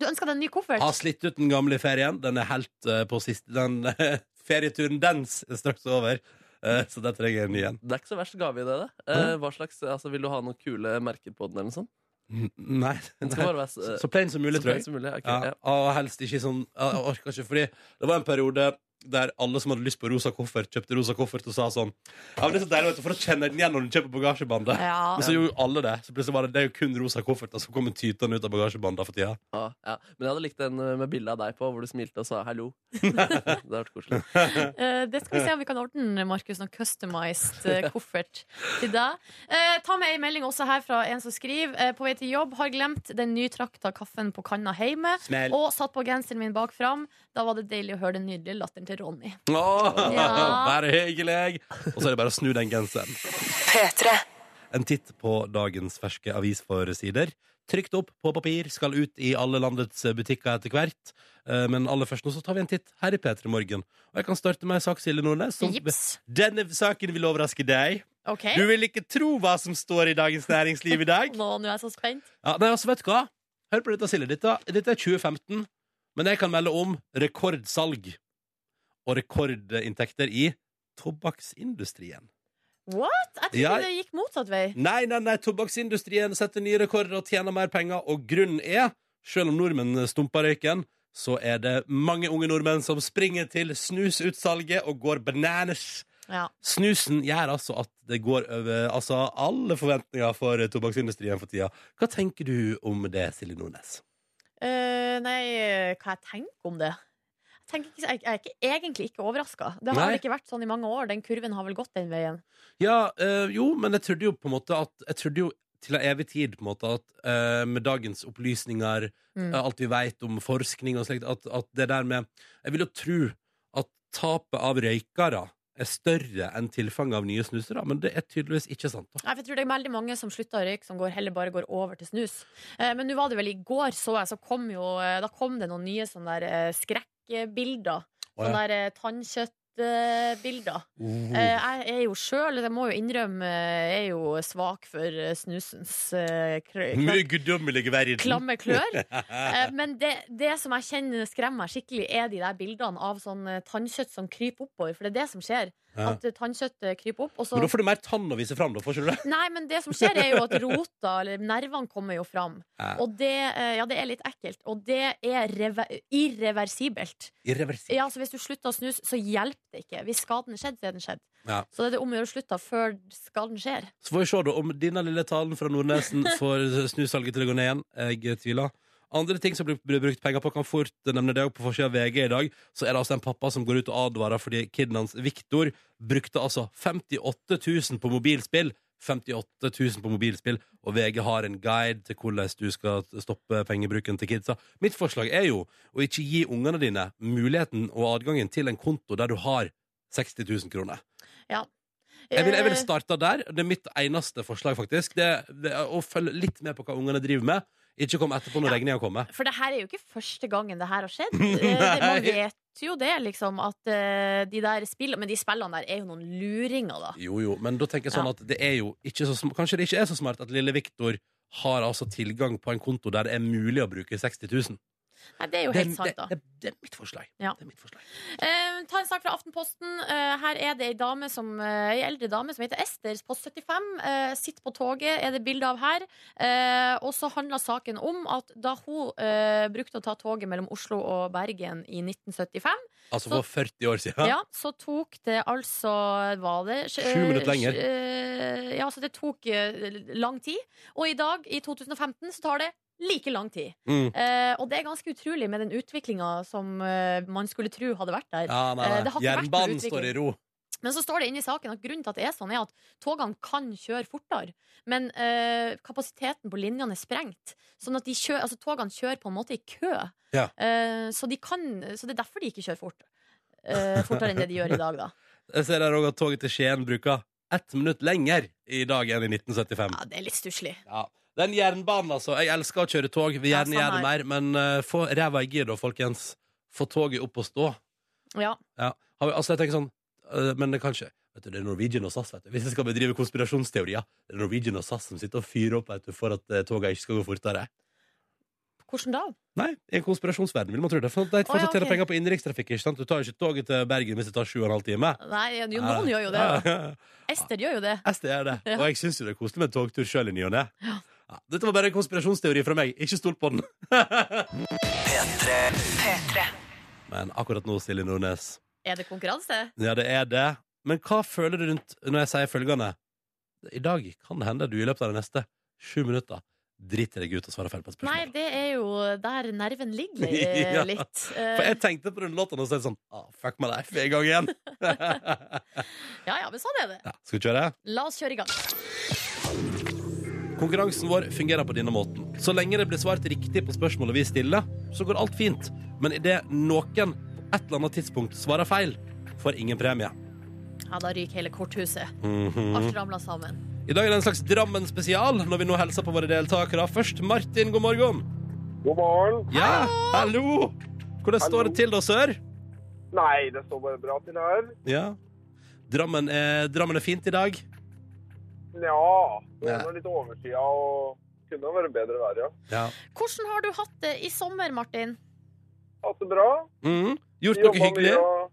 Speaker 3: Du ønsker deg en ny koffert?
Speaker 2: Har slitt ut den gamle i ferien. Den er helt eh, på siste Den ferieturen dens er straks over. Eh, så der trenger jeg en ny en.
Speaker 4: Det er ikke så verst gave i det. det. Eh, hva slags, altså, vil du ha noen kule merker på den? eller noe sånt?
Speaker 3: Mm.
Speaker 2: N- Nei.
Speaker 4: Den
Speaker 2: nei.
Speaker 4: skal bare være
Speaker 2: Så,
Speaker 4: så,
Speaker 2: så plain som mulig,
Speaker 4: så
Speaker 2: tror
Speaker 4: pen
Speaker 2: jeg.
Speaker 4: som mulig. Ok,
Speaker 2: Ja,
Speaker 4: ja.
Speaker 2: og helst ikke sånn Jeg jeg orker ikke, fordi det var en periode der alle som hadde lyst på rosa koffert, kjøpte rosa koffert og sa sånn Ja, men det er så deilig, vet du, for å kjenne den igjen når du kjøper bagasjebåndet.
Speaker 3: Ja.
Speaker 2: Men så gjorde jo alle det. Så plutselig var det, det er jo kun rosa kofferter som kommer tytende ut av bagasjebåndet for tida.
Speaker 4: Ja, Ah, ja. Men jeg hadde likt den eh, med bilde av deg på, hvor du smilte og sa hallo. det hadde vært koselig.
Speaker 3: Eh, det skal vi se om vi kan ordne, Markus. Noen customized eh, koffert til deg. Eh, ta med ei melding også her fra en som skriver eh, på vei til jobb. Har glemt den nytrakta kaffen på kanna hjemme.
Speaker 2: Smell.
Speaker 3: Og satt på genseren min bak fram. Da var det deilig å høre den nydelige latteren til Ronny.
Speaker 2: Åh,
Speaker 3: Ja.
Speaker 2: Bare hyggelig! Og så er det bare å snu den genseren.
Speaker 1: P3.
Speaker 2: En titt på dagens ferske avisforsider. Trykt opp på papir, skal ut i alle landets butikker etter hvert. Eh, Men aller først nå så tar vi en titt her i P3 Morgen. Og jeg kan starte med en sak, Silje Nordnes. som-
Speaker 3: Jips.
Speaker 2: Denne saken vil overraske deg.
Speaker 3: OK?
Speaker 2: Du vil ikke tro hva som står i Dagens Næringsliv i dag.
Speaker 3: Nå, nå er jeg så spent.
Speaker 2: Ja, nei, altså, vet du hva? Hør på dette, Silje. Dette, dette er 2015, men jeg kan melde om rekordsalg og rekordinntekter i tobakksindustrien.
Speaker 3: What? Jeg trodde
Speaker 2: Ja.
Speaker 3: det gikk motsatt vei.
Speaker 2: Nei, nei, nei, tobakksindustrien setter nye rekorder og tjener mer penger, og grunnen er, selv om nordmenn stumper røyken, så er det mange unge nordmenn som springer til snusutsalget og går bananas.
Speaker 3: Ja.
Speaker 2: Snusen gjør altså at det går over altså, alle forventninger for tobakksindustrien for tida. Hva tenker du om det, Silje Nordnes?
Speaker 3: Eh, nei, hva jeg tenker om det? Jeg, tenker ikke, jeg, jeg er ikke, egentlig ikke overraska. Det har
Speaker 2: Nei.
Speaker 3: ikke vært sånn i mange år. Den kurven har vel gått den veien.
Speaker 2: Ja, eh, jo, men jeg trodde jo på en måte at Jeg trodde jo til en evig tid på en måte at eh, med dagens opplysninger,
Speaker 3: Mm.
Speaker 2: eh, alt vi veit om forskning og slikt, at, at det der med Jeg vil jo tro at tapet av røykere er større enn tilfanget av nye snusere, men det er tydeligvis ikke sant. da
Speaker 3: Nei, for jeg tror det er veldig mange som slutter å røyke, som går, heller bare går over til snus. Eh, men nå var det vel i går, så jeg, så kom jo eh, Da kom det noen nye sånne der eh, skrekkbilder.
Speaker 2: Å,
Speaker 3: Sånne
Speaker 2: ja.
Speaker 3: der eh, tannkjøttbilder.
Speaker 2: Oh.
Speaker 3: Eh, jeg er jo sjøl, det må jo innrømme, eh, er jo svak for eh, snusens eh, krø-
Speaker 2: Mye guddommelige verden.
Speaker 3: klamme klør. Eh, Men det, det som jeg kjenner skremmer meg skikkelig, er de der bildene av sånn eh, tannkjøtt som kryper oppover. For det er det som skjer.
Speaker 2: Ja.
Speaker 3: At eh, tannkjøttet kryper opp. Og så
Speaker 2: Men da får du mer tann å vise fram, da, får ikke du det?
Speaker 3: Nei, men det som skjer er jo at rota, eller nervene, kommer jo fram.
Speaker 2: Ja.
Speaker 3: Og det, eh, ja, det er litt ekkelt. Og det er reve- irreversibelt.
Speaker 2: Irreversibelt.
Speaker 3: Ja, så Hvis du slutter å snuse, så hjelper det ikke. Hvis skaden er skjedd, så er den skjedd.
Speaker 2: Ja.
Speaker 3: Så det er det om å gjøre å slutte før skaden skjer.
Speaker 2: Så får vi se da om denne lille talen fra Nordnesen får snusalget til å gå ned igjen. Jeg tviler. Andre ting som blir blir brukt penger på, kan fort nevne det. Og På forsida av VG i dag så er det altså en pappa som går ut og advarer fordi kiden hans, Viktor, brukte altså 58 000 på mobilspill. 58 000 på mobilspill, og VG har en guide til hvordan du skal stoppe pengebruken til kidsa. Mitt forslag er jo å ikke gi ungene dine muligheten og adgangen til en konto der du har 60 000 kroner. Jeg ville vil
Speaker 3: Eh,
Speaker 2: starta der. Det er mitt eneste forslag, faktisk. Det, det er Å følge litt med på hva ungene driver med. Ikke kom etterpå når
Speaker 3: Ja.
Speaker 2: regninga kommer.
Speaker 3: For det her er jo ikke første gangen det her har skjedd. Eh, det- Man
Speaker 2: Nei.
Speaker 3: vet jo det, liksom, at eh, de der spillene Men de spillene der er jo noen luringer, da.
Speaker 2: Jo, jo, men da tenker jeg sånn
Speaker 3: Ja.
Speaker 2: at det er jo ikke så sm- Kanskje det ikke er så smart at lille Viktor har altså tilgang på en konto der det er mulig å bruke 60 000.
Speaker 3: Nei, det er jo
Speaker 2: Det,
Speaker 3: helt
Speaker 2: det,
Speaker 3: sant, da.
Speaker 2: det, det er mitt forslag.
Speaker 3: Ja.
Speaker 2: Det er mitt forslag.
Speaker 3: Eh, ta en sak fra Aftenposten. Eh, her er det ei, dame som, eh, ei eldre dame som heter Ester på 75. Eh, sitter på toget, er det bilde av her. Eh, og så handla saken om at da hun eh, brukte å ta toget mellom Oslo og Bergen i 1975,
Speaker 2: Altså
Speaker 3: Så-
Speaker 2: for 40 år
Speaker 3: ja.
Speaker 2: siden.
Speaker 3: så tok det altså Var det sj-
Speaker 2: Sju minutter lenger.
Speaker 3: eh, Ja, så det tok eh, lang tid. Og i dag, i 2015, så tar det like lang tid.
Speaker 2: Mm.
Speaker 3: Eh, og det er ganske utrolig med den utviklinga som eh, man skulle tro hadde vært der.
Speaker 2: Ja, nei,
Speaker 3: Eh, det
Speaker 2: nei.
Speaker 3: har ikke vært noe
Speaker 2: Jernbanen står i ro.
Speaker 3: Men så står det inne i saken at grunnen til at det er sånn, er at togene kan kjøre fortere, men eh, kapasiteten på linjene er sprengt. Sånn at de kjø- altså, togene kjører på en måte i kø.
Speaker 2: Ja.
Speaker 3: Eh, så, de kan, så det er derfor de ikke kjører fort. eh, fortere enn det de gjør i dag, da.
Speaker 2: Jeg ser her også at toget til Skien bruker ett minutt lenger i dag enn i 1975.
Speaker 3: Ja, det er litt stusslig.
Speaker 2: Ja. Den jernbanen, altså. Jeg elsker å kjøre tog. Vil
Speaker 3: Ja, sånn
Speaker 2: gjerne
Speaker 3: samme
Speaker 2: gjøre det mer, men eh, få ræva i gir, da, folkens. Få toget opp og stå.
Speaker 3: Ja.
Speaker 2: Ja. Har vi- Altså, jeg tenker sånn eh, Men det kan ikke Vet du, det er Norwegian og SAS, vet du. Hvis jeg skal bedrive konspirasjonsteorier, det er Norwegian og SAS som sitter og fyrer opp vet du, for at eh, toga ikke skal gå fortere.
Speaker 3: Hvordan da?
Speaker 2: Nei, i en konspirasjonsverden vil man tro det. For de
Speaker 3: Å, ja,
Speaker 2: fortsatt tjener
Speaker 3: ok.
Speaker 2: penger på innenrikstrafikk. ikke sant? Du tar jo ikke toget til Bergen hvis det tar sju og en halv time.
Speaker 3: Nei, jo, noen gjør jo det.
Speaker 2: Ja,
Speaker 3: da.
Speaker 2: ja, ja.
Speaker 3: Ester gjør jo det.
Speaker 2: Jeg ser det.
Speaker 3: Ja.
Speaker 2: Og jeg syns jo det er koselig med togtur sjøl i ny og ne.
Speaker 3: Ja.
Speaker 2: Ja, Dette var bare en konspirasjonsteori fra meg. Ikke stol på den. Men akkurat nå, Silje Nordnes,
Speaker 3: Er det konkurranse?
Speaker 2: ja, det er det. Men hva føler du rundt når jeg sier følgende? I dag kan det hende du i løpet av de neste sju minutter driter deg ut og svarer feil på et
Speaker 3: Nei,
Speaker 2: spørsmål.
Speaker 3: det er jo der nerven ligger eh,
Speaker 2: Ja.
Speaker 3: litt.
Speaker 2: For
Speaker 3: Eh,
Speaker 2: jeg tenkte på den låta og så er det sånn ah, Fuck my life, vi er i gang igjen. ja,
Speaker 3: ja, ja, men sånn er det.
Speaker 2: skal vi kjøre?
Speaker 3: La oss kjøre i gang.
Speaker 2: Konkurransen vår fungerer på denne måten. Så lenge det blir svart riktig på spørsmålet vi stiller, så går alt fint. Men idet noen på et eller annet tidspunkt svarer feil, får ingen premie.
Speaker 3: Ja, da ryker hele korthuset.
Speaker 2: Mhm.
Speaker 3: Alt ramler sammen.
Speaker 2: I dag er det en slags Drammen-spesial, når vi nå hilser på våre deltakere. Først Martin, god morgen.
Speaker 5: God morgen.
Speaker 2: Ja, hallo! Hvordan står det til da, sør?
Speaker 5: Nei, det står bare bra til her.
Speaker 2: Ja. Drammen er, Drammen er fint i dag.
Speaker 5: Ja, det
Speaker 2: Ja.
Speaker 5: er noe litt overskya og kunne ha vært bedre vær, ja.
Speaker 2: Ja.
Speaker 3: Hvordan har du hatt det i sommer, Martin?
Speaker 5: Hatt det bra.
Speaker 2: Mhm. Gjort noe
Speaker 5: Jobba mye
Speaker 2: hyggelig?
Speaker 5: og-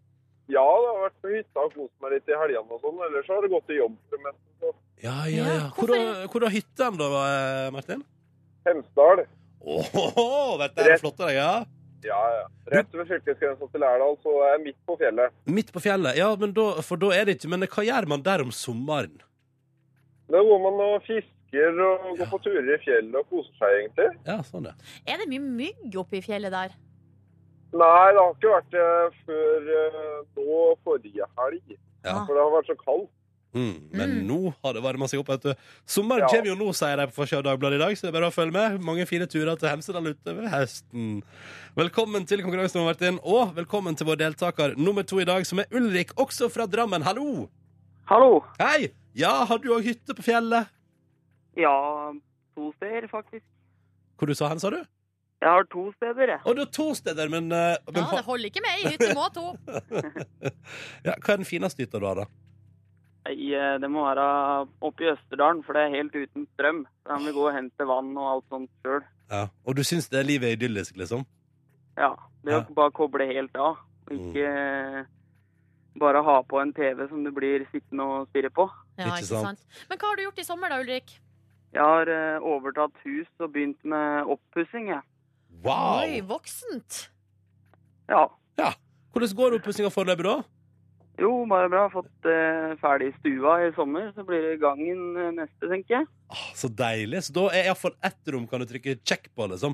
Speaker 5: Ja, det har vært på hytta og kost meg litt i helgene og sånn. Ellers så har det gått til jobb for det meste. Så
Speaker 2: Ja, ja, ja.
Speaker 3: Ja,
Speaker 2: Hvor har- Hvor har hytta hen da, eh, Martin?
Speaker 5: Hemsedal.
Speaker 2: Åhåhå, dette er flott av deg, ja.
Speaker 5: Ja, ja. Rett ved fylkesgrensa til Lærdal, så er jeg midt på fjellet.
Speaker 2: Midt på fjellet, ja, men da, for da er det ikke Men hva gjør man der om sommeren?
Speaker 5: Der går man og fisker og går
Speaker 2: Ja.
Speaker 5: på turer i fjellet og koser seg, egentlig.
Speaker 2: Ja, sånn det
Speaker 3: Er det mye mygg oppe i fjellet der?
Speaker 5: Nei, det har ikke vært det før eh, nå forrige helg.
Speaker 2: Ja.
Speaker 5: For det har vært så kaldt.
Speaker 2: mm, Men
Speaker 3: Mm.
Speaker 2: nå har det varma seg opp vet du. Sommeren
Speaker 5: Ja.
Speaker 2: kommer jo nå, sier de på Forsida av Dagbladet i dag Så det er bare å følge med Mange fine turer til Hemsedal utover høsten Velkommen til konkurransen, Martin Og velkommen til vår deltaker nummer to i dag Som er Ulrik, også fra Drammen, hallo
Speaker 6: Hallo.
Speaker 2: Hei, ja, har du også hytte på fjellet?
Speaker 6: Ja, to steder faktisk.
Speaker 2: Hvor du sa han, sa du?
Speaker 6: Jeg har to steder, jeg.
Speaker 2: Å, du har to steder, men, eh, men
Speaker 3: Ja, det holder ikke med. i Hytte må ha to.
Speaker 2: ja, Hva er den fineste hytta du har da?
Speaker 6: Nei, eh, Det må være oppe i Østerdalen, for det er helt uten strøm. Så Da må vi gå og hente vann og alt sånt sjøl.
Speaker 2: Ja. Og du synes det livet er idyllisk, liksom?
Speaker 6: Ja. Det er
Speaker 2: Ja.
Speaker 6: å bare koble helt av. Og ikke eh, bare ha på en TV som du blir sittende og stirre på.
Speaker 3: Ja,
Speaker 2: Ikke
Speaker 3: ikke sant. Men hva har du gjort i sommer da, Ulrik?
Speaker 6: Jeg har eh, overtatt hus og begynt med oppussing, jeg.
Speaker 2: Wow!
Speaker 3: Oi, voksent.
Speaker 6: Ja.
Speaker 2: Hvordan går oppussinga foreløpig, da?
Speaker 6: Jo, bare bra. Fått eh, ferdig stua i sommer, så blir det gangen eh, neste, tenker jeg.
Speaker 2: Ah, så deilig. Så da er iallfall ett rom kan du trykke check på, liksom.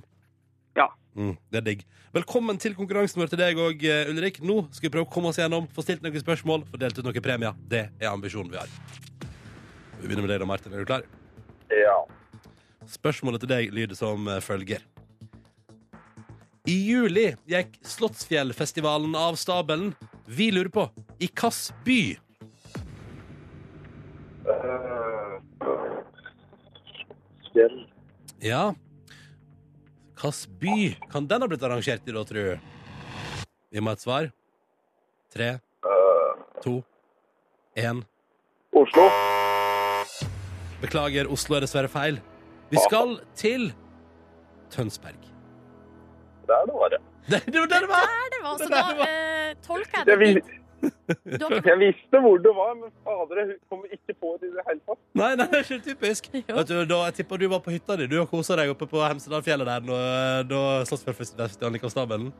Speaker 6: Ja.
Speaker 2: Mm, det er digg. Velkommen til konkurransen vår til deg òg, Ulrik. Nå skal vi prøve å komme oss gjennom, få stilt noen spørsmål, få delt ut noen premier. Det er ambisjonen vi har. Vi begynner med deg da, Martin. Er du klar?
Speaker 5: Ja.
Speaker 2: Spørsmålet til deg lyder som eh, følger. I juli gikk Slottsfjellfestivalen av stabelen. Vi lurer på i hvilken by?
Speaker 5: Fjell.
Speaker 2: Ja. Hvilken by kan den ha blitt arrangert i, da, tru? Vi må ha et svar. Tre, to, én.
Speaker 5: Oslo.
Speaker 2: Beklager, Oslo er dessverre feil. Vi skal til Tønsberg.
Speaker 5: Der det var det.
Speaker 2: Det, det var der det var!
Speaker 3: Der det var, så
Speaker 2: Det der det
Speaker 3: da
Speaker 2: var.
Speaker 3: eh, tolker jeg
Speaker 5: Jeg,
Speaker 3: det
Speaker 5: vis,
Speaker 3: dit. Du har ikke
Speaker 5: jeg visste hvor det var, men fader, jeg kom ikke på det i det hele tatt.
Speaker 2: Nei, nei, det er ikke typisk.
Speaker 3: Jo.
Speaker 2: Vet du, da, jeg tipper du var på hytta di. Du har kosa deg oppe på Hemsedalfjellet der når, da Slottsfjellfestivalen gikk av stabelen.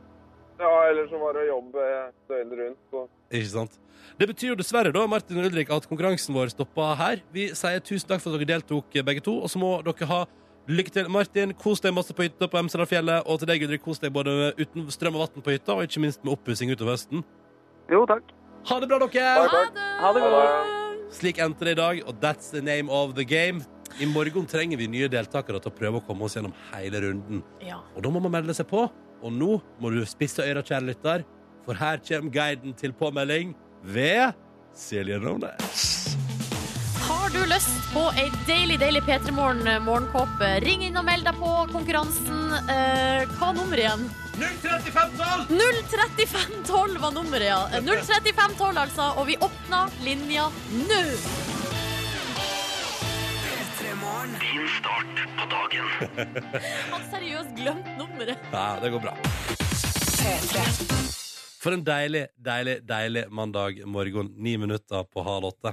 Speaker 5: Ja, eller så var det jobb eh, døgnet rundt. Så.
Speaker 2: Ikke sant? Det betyr jo dessverre da, Martin og Ulrik, at konkurransen vår stoppa her. Vi sier tusen takk for at dere deltok, eh, begge to. Og så må dere ha lykke til. Martin, kos deg masse på hytta på Hemsedalfjellet. Og til deg, Ulrik, kos deg både uten strøm og vann på hytta, og ikke minst med oppussing utover høsten.
Speaker 6: Jo, takk.
Speaker 2: Ha det bra, dere!
Speaker 5: Bye, bye.
Speaker 3: Ha det!
Speaker 6: Ha det
Speaker 5: godt.
Speaker 2: Slik endte det i dag, og that's the name of the game. I morgen trenger vi nye deltakere til å prøve å komme oss gjennom hele runden.
Speaker 3: Ja.
Speaker 2: Og da må man melde seg på. Og nå må du spisse øra, kjære lytter, for her kommer guiden til påmelding ved Silje Rovne.
Speaker 3: Har du lyst på ei deilig, deilig P3morgen morgenkåpe, ring inn og meld deg på konkurransen. Eh, hva nummer igjen? 03512 var nummeret, ja. Eh, 03512, altså. Og vi åpna linja nå. Han seriøst glemt nummeret.
Speaker 2: Ja, det går bra. For en deilig, deilig, deilig mandag morgen. Ni minutter på halv åtte.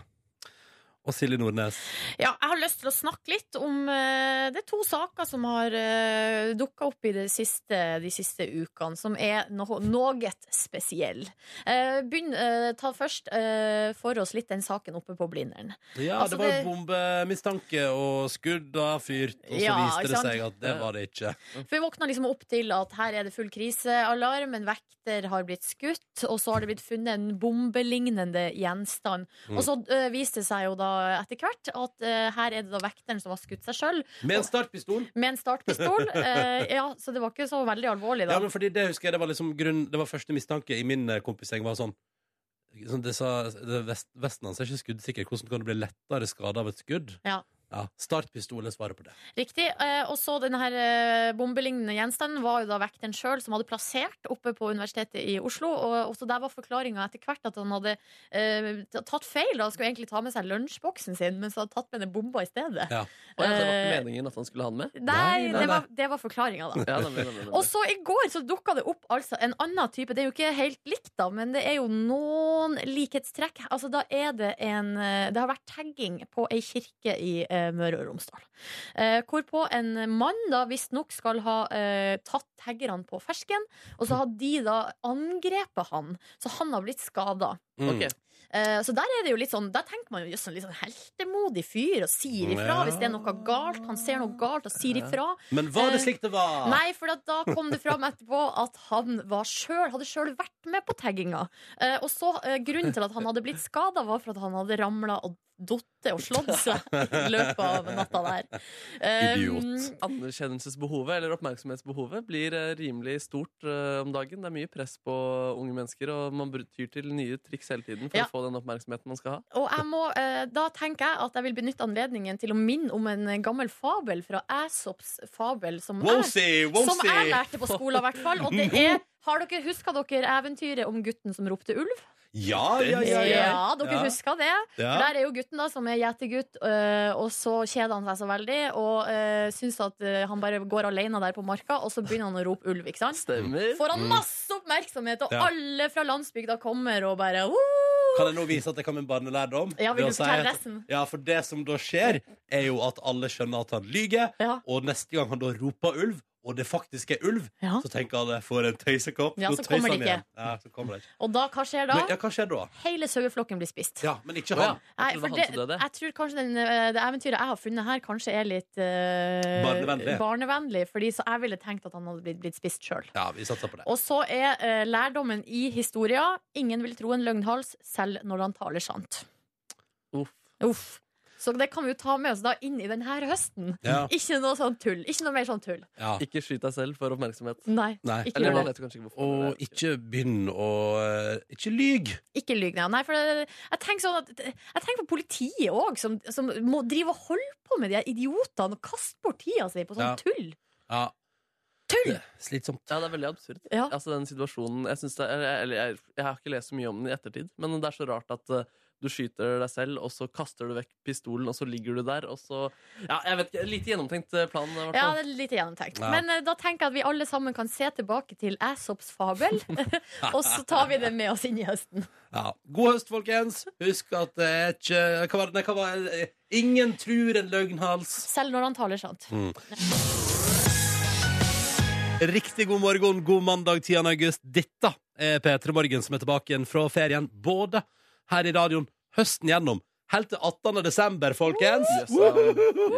Speaker 2: Og Silje Nordnes.
Speaker 3: Ja, jeg har lyst til å snakke litt om eh, Det er to saker som har uh, dukka opp i det siste, de siste ukene, som er noe noe spesiell. Eh, begynn, eh, ta først eh, for oss litt den saken oppe på Blindern.
Speaker 2: Ja,
Speaker 3: Altså,
Speaker 2: det var
Speaker 3: det-
Speaker 2: jo bombemistanke og skudd av fyrt, og så
Speaker 3: Ja,
Speaker 2: viste
Speaker 3: ikke
Speaker 2: det
Speaker 3: sant?
Speaker 2: seg at det var det ikke.
Speaker 3: For vi våkna liksom opp til at her er det full krisealarm, en vekter har blitt skutt, og så har det blitt funnet en bombelignende gjenstand.
Speaker 2: Mm.
Speaker 3: Og så eh, viste det seg jo da etter hvert at eh, her er det da vekteren som har skutt seg sjøl
Speaker 2: Med en startpistol.
Speaker 3: med en startpistol. Eh, ja, så det var ikke så veldig alvorlig, da.
Speaker 2: Ja, men fordi det husker jeg, det var liksom grunn, det var første mistanke i min eh, kompisgjeng var sånn sånn, det sa, det vest, Vesten hans er ikke skuddsikker. Hvordan kan du bli lettere skada av et skudd?
Speaker 3: Ja.
Speaker 2: Ja, Startpistol er svaret på det.
Speaker 3: Riktig. eh, Og så denne her eh, bombelignende gjenstanden var jo da vekteren sjøl som hadde plassert oppe på Universitetet i Oslo. Og også der var forklaringa etter hvert at han hadde eh, tatt feil. da. Han skulle egentlig ta med seg lunsjboksen sin, men så hadde han tatt med den bomba i stedet.
Speaker 2: Ja.
Speaker 4: Og jeg, det var
Speaker 3: Eh,
Speaker 4: ikke meningen at han skulle ha den med.
Speaker 3: Nei,
Speaker 2: Nei, nei,
Speaker 3: det
Speaker 2: nei.
Speaker 3: var, det var forklaringa, da.
Speaker 4: Ja, nemlig, nemlig, nemlig.
Speaker 3: Og så i går så dukka det opp altså en annen type. Det er jo ikke helt likt, da, men det er jo noen likhetstrekk. Altså da er Det en eh, Det har vært tagging på ei kirke i eh, Møre og Romsdal. Eh, hvorpå en mann da visstnok skal ha eh, tatt taggerne på fersken, og så har de da angrepet han. Så han har blitt skada.
Speaker 2: Mm.
Speaker 4: Ok.
Speaker 3: Eh, Så der er det jo litt sånn Der tenker man jo jøss, en litt sånn heltemodig fyr og sier ifra
Speaker 2: Ja.
Speaker 3: hvis det er noe galt. Han ser noe galt og sier ifra.
Speaker 2: Men var
Speaker 3: Eh,
Speaker 2: det slik det var?
Speaker 3: Nei, for at da kom det fram etterpå at han var selv, hadde sjøl vært med på tagginga. Eh, og så eh, Grunnen til at han hadde blitt skada, var for at han hadde ramla og datt og slått seg i løpet av natta der. Eh,
Speaker 2: Idiot.
Speaker 4: Anerkjennelsesbehovet eller oppmerksomhetsbehovet blir eh, rimelig stort eh, om dagen. Det er mye press på unge mennesker, og man br- tyr til nye triks hele tiden for
Speaker 3: Ja.
Speaker 4: å få den oppmerksomheten man skal ha.
Speaker 3: Og jeg må, eh, da tenker jeg at jeg vil benytte anledningen til å minne om en gammel fabel fra Æsops fabel, som jeg
Speaker 2: Wosey,
Speaker 3: Som jeg
Speaker 2: wosey!
Speaker 3: lærte på skolen, i hvert fall. Og det er har dere, Husker dere eventyret om gutten som ropte ulv?
Speaker 2: Ja, ja, ja, ja.
Speaker 3: Ja, dere
Speaker 2: Ja.
Speaker 3: husker det.
Speaker 2: Ja.
Speaker 3: For Der er jo gutten da som er gjetergutt, øh, og så kjeder han seg så veldig og øh, syns at øh, han bare går alene der på marka, og så begynner han å rope ulv, ikke sant?
Speaker 4: Stemmer.
Speaker 3: Får han masse oppmerksomhet, og
Speaker 2: Mm. Ja.
Speaker 3: alle fra landsbygda kommer og bare «Woo!»
Speaker 2: Kan jeg nå vise at jeg kan min barnelærdom?
Speaker 3: Ja, vil
Speaker 2: Ved å
Speaker 3: du fortelle
Speaker 2: at-
Speaker 3: resten?
Speaker 2: Ja, for det som da skjer, er jo at alle skjønner at han lyger,
Speaker 3: Ja.
Speaker 2: og neste gang han da roper ulv, og det faktisk er ulv,
Speaker 3: Ja.
Speaker 2: så tenker alle for en tøysekopp.
Speaker 3: Ja,
Speaker 2: Nå
Speaker 3: så
Speaker 2: tøyser
Speaker 3: kommer
Speaker 2: han
Speaker 3: de ikke.
Speaker 2: igjen. Ja, så kommer det ikke.
Speaker 3: Og da, hva skjer da?
Speaker 2: Men, ja, hva skjer da?
Speaker 3: Hele saueflokken blir spist.
Speaker 2: Ja, men ikke
Speaker 4: Å, ja.
Speaker 2: han.
Speaker 3: Nei,
Speaker 4: Jeg trodde
Speaker 3: for
Speaker 4: det var
Speaker 3: det,
Speaker 4: han som døde.
Speaker 3: jeg tror kanskje den, øh, det eventyret jeg har funnet her, kanskje er litt øh,
Speaker 2: Barnevennlig.
Speaker 3: barnevennlig, fordi så jeg ville tenkt at han hadde blitt, blitt spist sjøl.
Speaker 2: Ja, vi satser på det.
Speaker 3: Og så er eh, lærdommen i historia ingen vil tro en løgnhals selv når han taler sant.
Speaker 4: Uff.
Speaker 3: Uff. Så det kan vi jo ta med oss da inn i denne høsten.
Speaker 2: Ja.
Speaker 3: Ikke noe sånn tull. Ikke noe mer sånn tull.
Speaker 2: Ja.
Speaker 4: Ikke skyt deg selv for oppmerksomhet.
Speaker 3: Nei,
Speaker 2: Nei.
Speaker 3: ikke
Speaker 4: Eller
Speaker 3: gjør
Speaker 4: man
Speaker 3: det.
Speaker 4: vet jo kanskje ikke hvorfor. men
Speaker 2: Og
Speaker 4: det er-
Speaker 2: ikke begynn å eh, Ikke lyg!
Speaker 3: Ikke lyg, nei. nei for det, jeg tenker sånn at Jeg tenker på politiet òg, som, som må drive og holde på med de her idiotene og kaste bort tida si på
Speaker 2: Ja.
Speaker 3: sånn tull.
Speaker 2: Ja,
Speaker 3: Tull!
Speaker 2: slitsomt.
Speaker 4: Ja, det er veldig absurd.
Speaker 3: Ja.
Speaker 4: Altså, den situasjonen, jeg, synes det er, eller, jeg, jeg har ikke lest så mye om den i ettertid, men det er så rart at eh, Du skyter deg selv, og så kaster du vekk pistolen, og så ligger du der, og så Ja, jeg vet ikke. Lite gjennomtenkt eh, plan, i hvert
Speaker 3: Ja,
Speaker 4: fall.
Speaker 3: det er lite gjennomtenkt.
Speaker 2: Ja.
Speaker 3: Men eh, da tenker jeg at vi alle sammen kan se tilbake til Aesops fabel, og så tar vi det med oss inn i høsten.
Speaker 2: Ja. God høst, folkens. Husk at det er ikke hva var det, nei, hva var det? Ingen tror en løgnhals.
Speaker 3: Selv når han taler sant.
Speaker 2: Riktig god morgen, god mandag 10. august. Dette er P3 Morgen som er tilbake igjen fra ferien, både her i radioen høsten gjennom, helt til 18. desember, folkens.
Speaker 4: Yes, ja.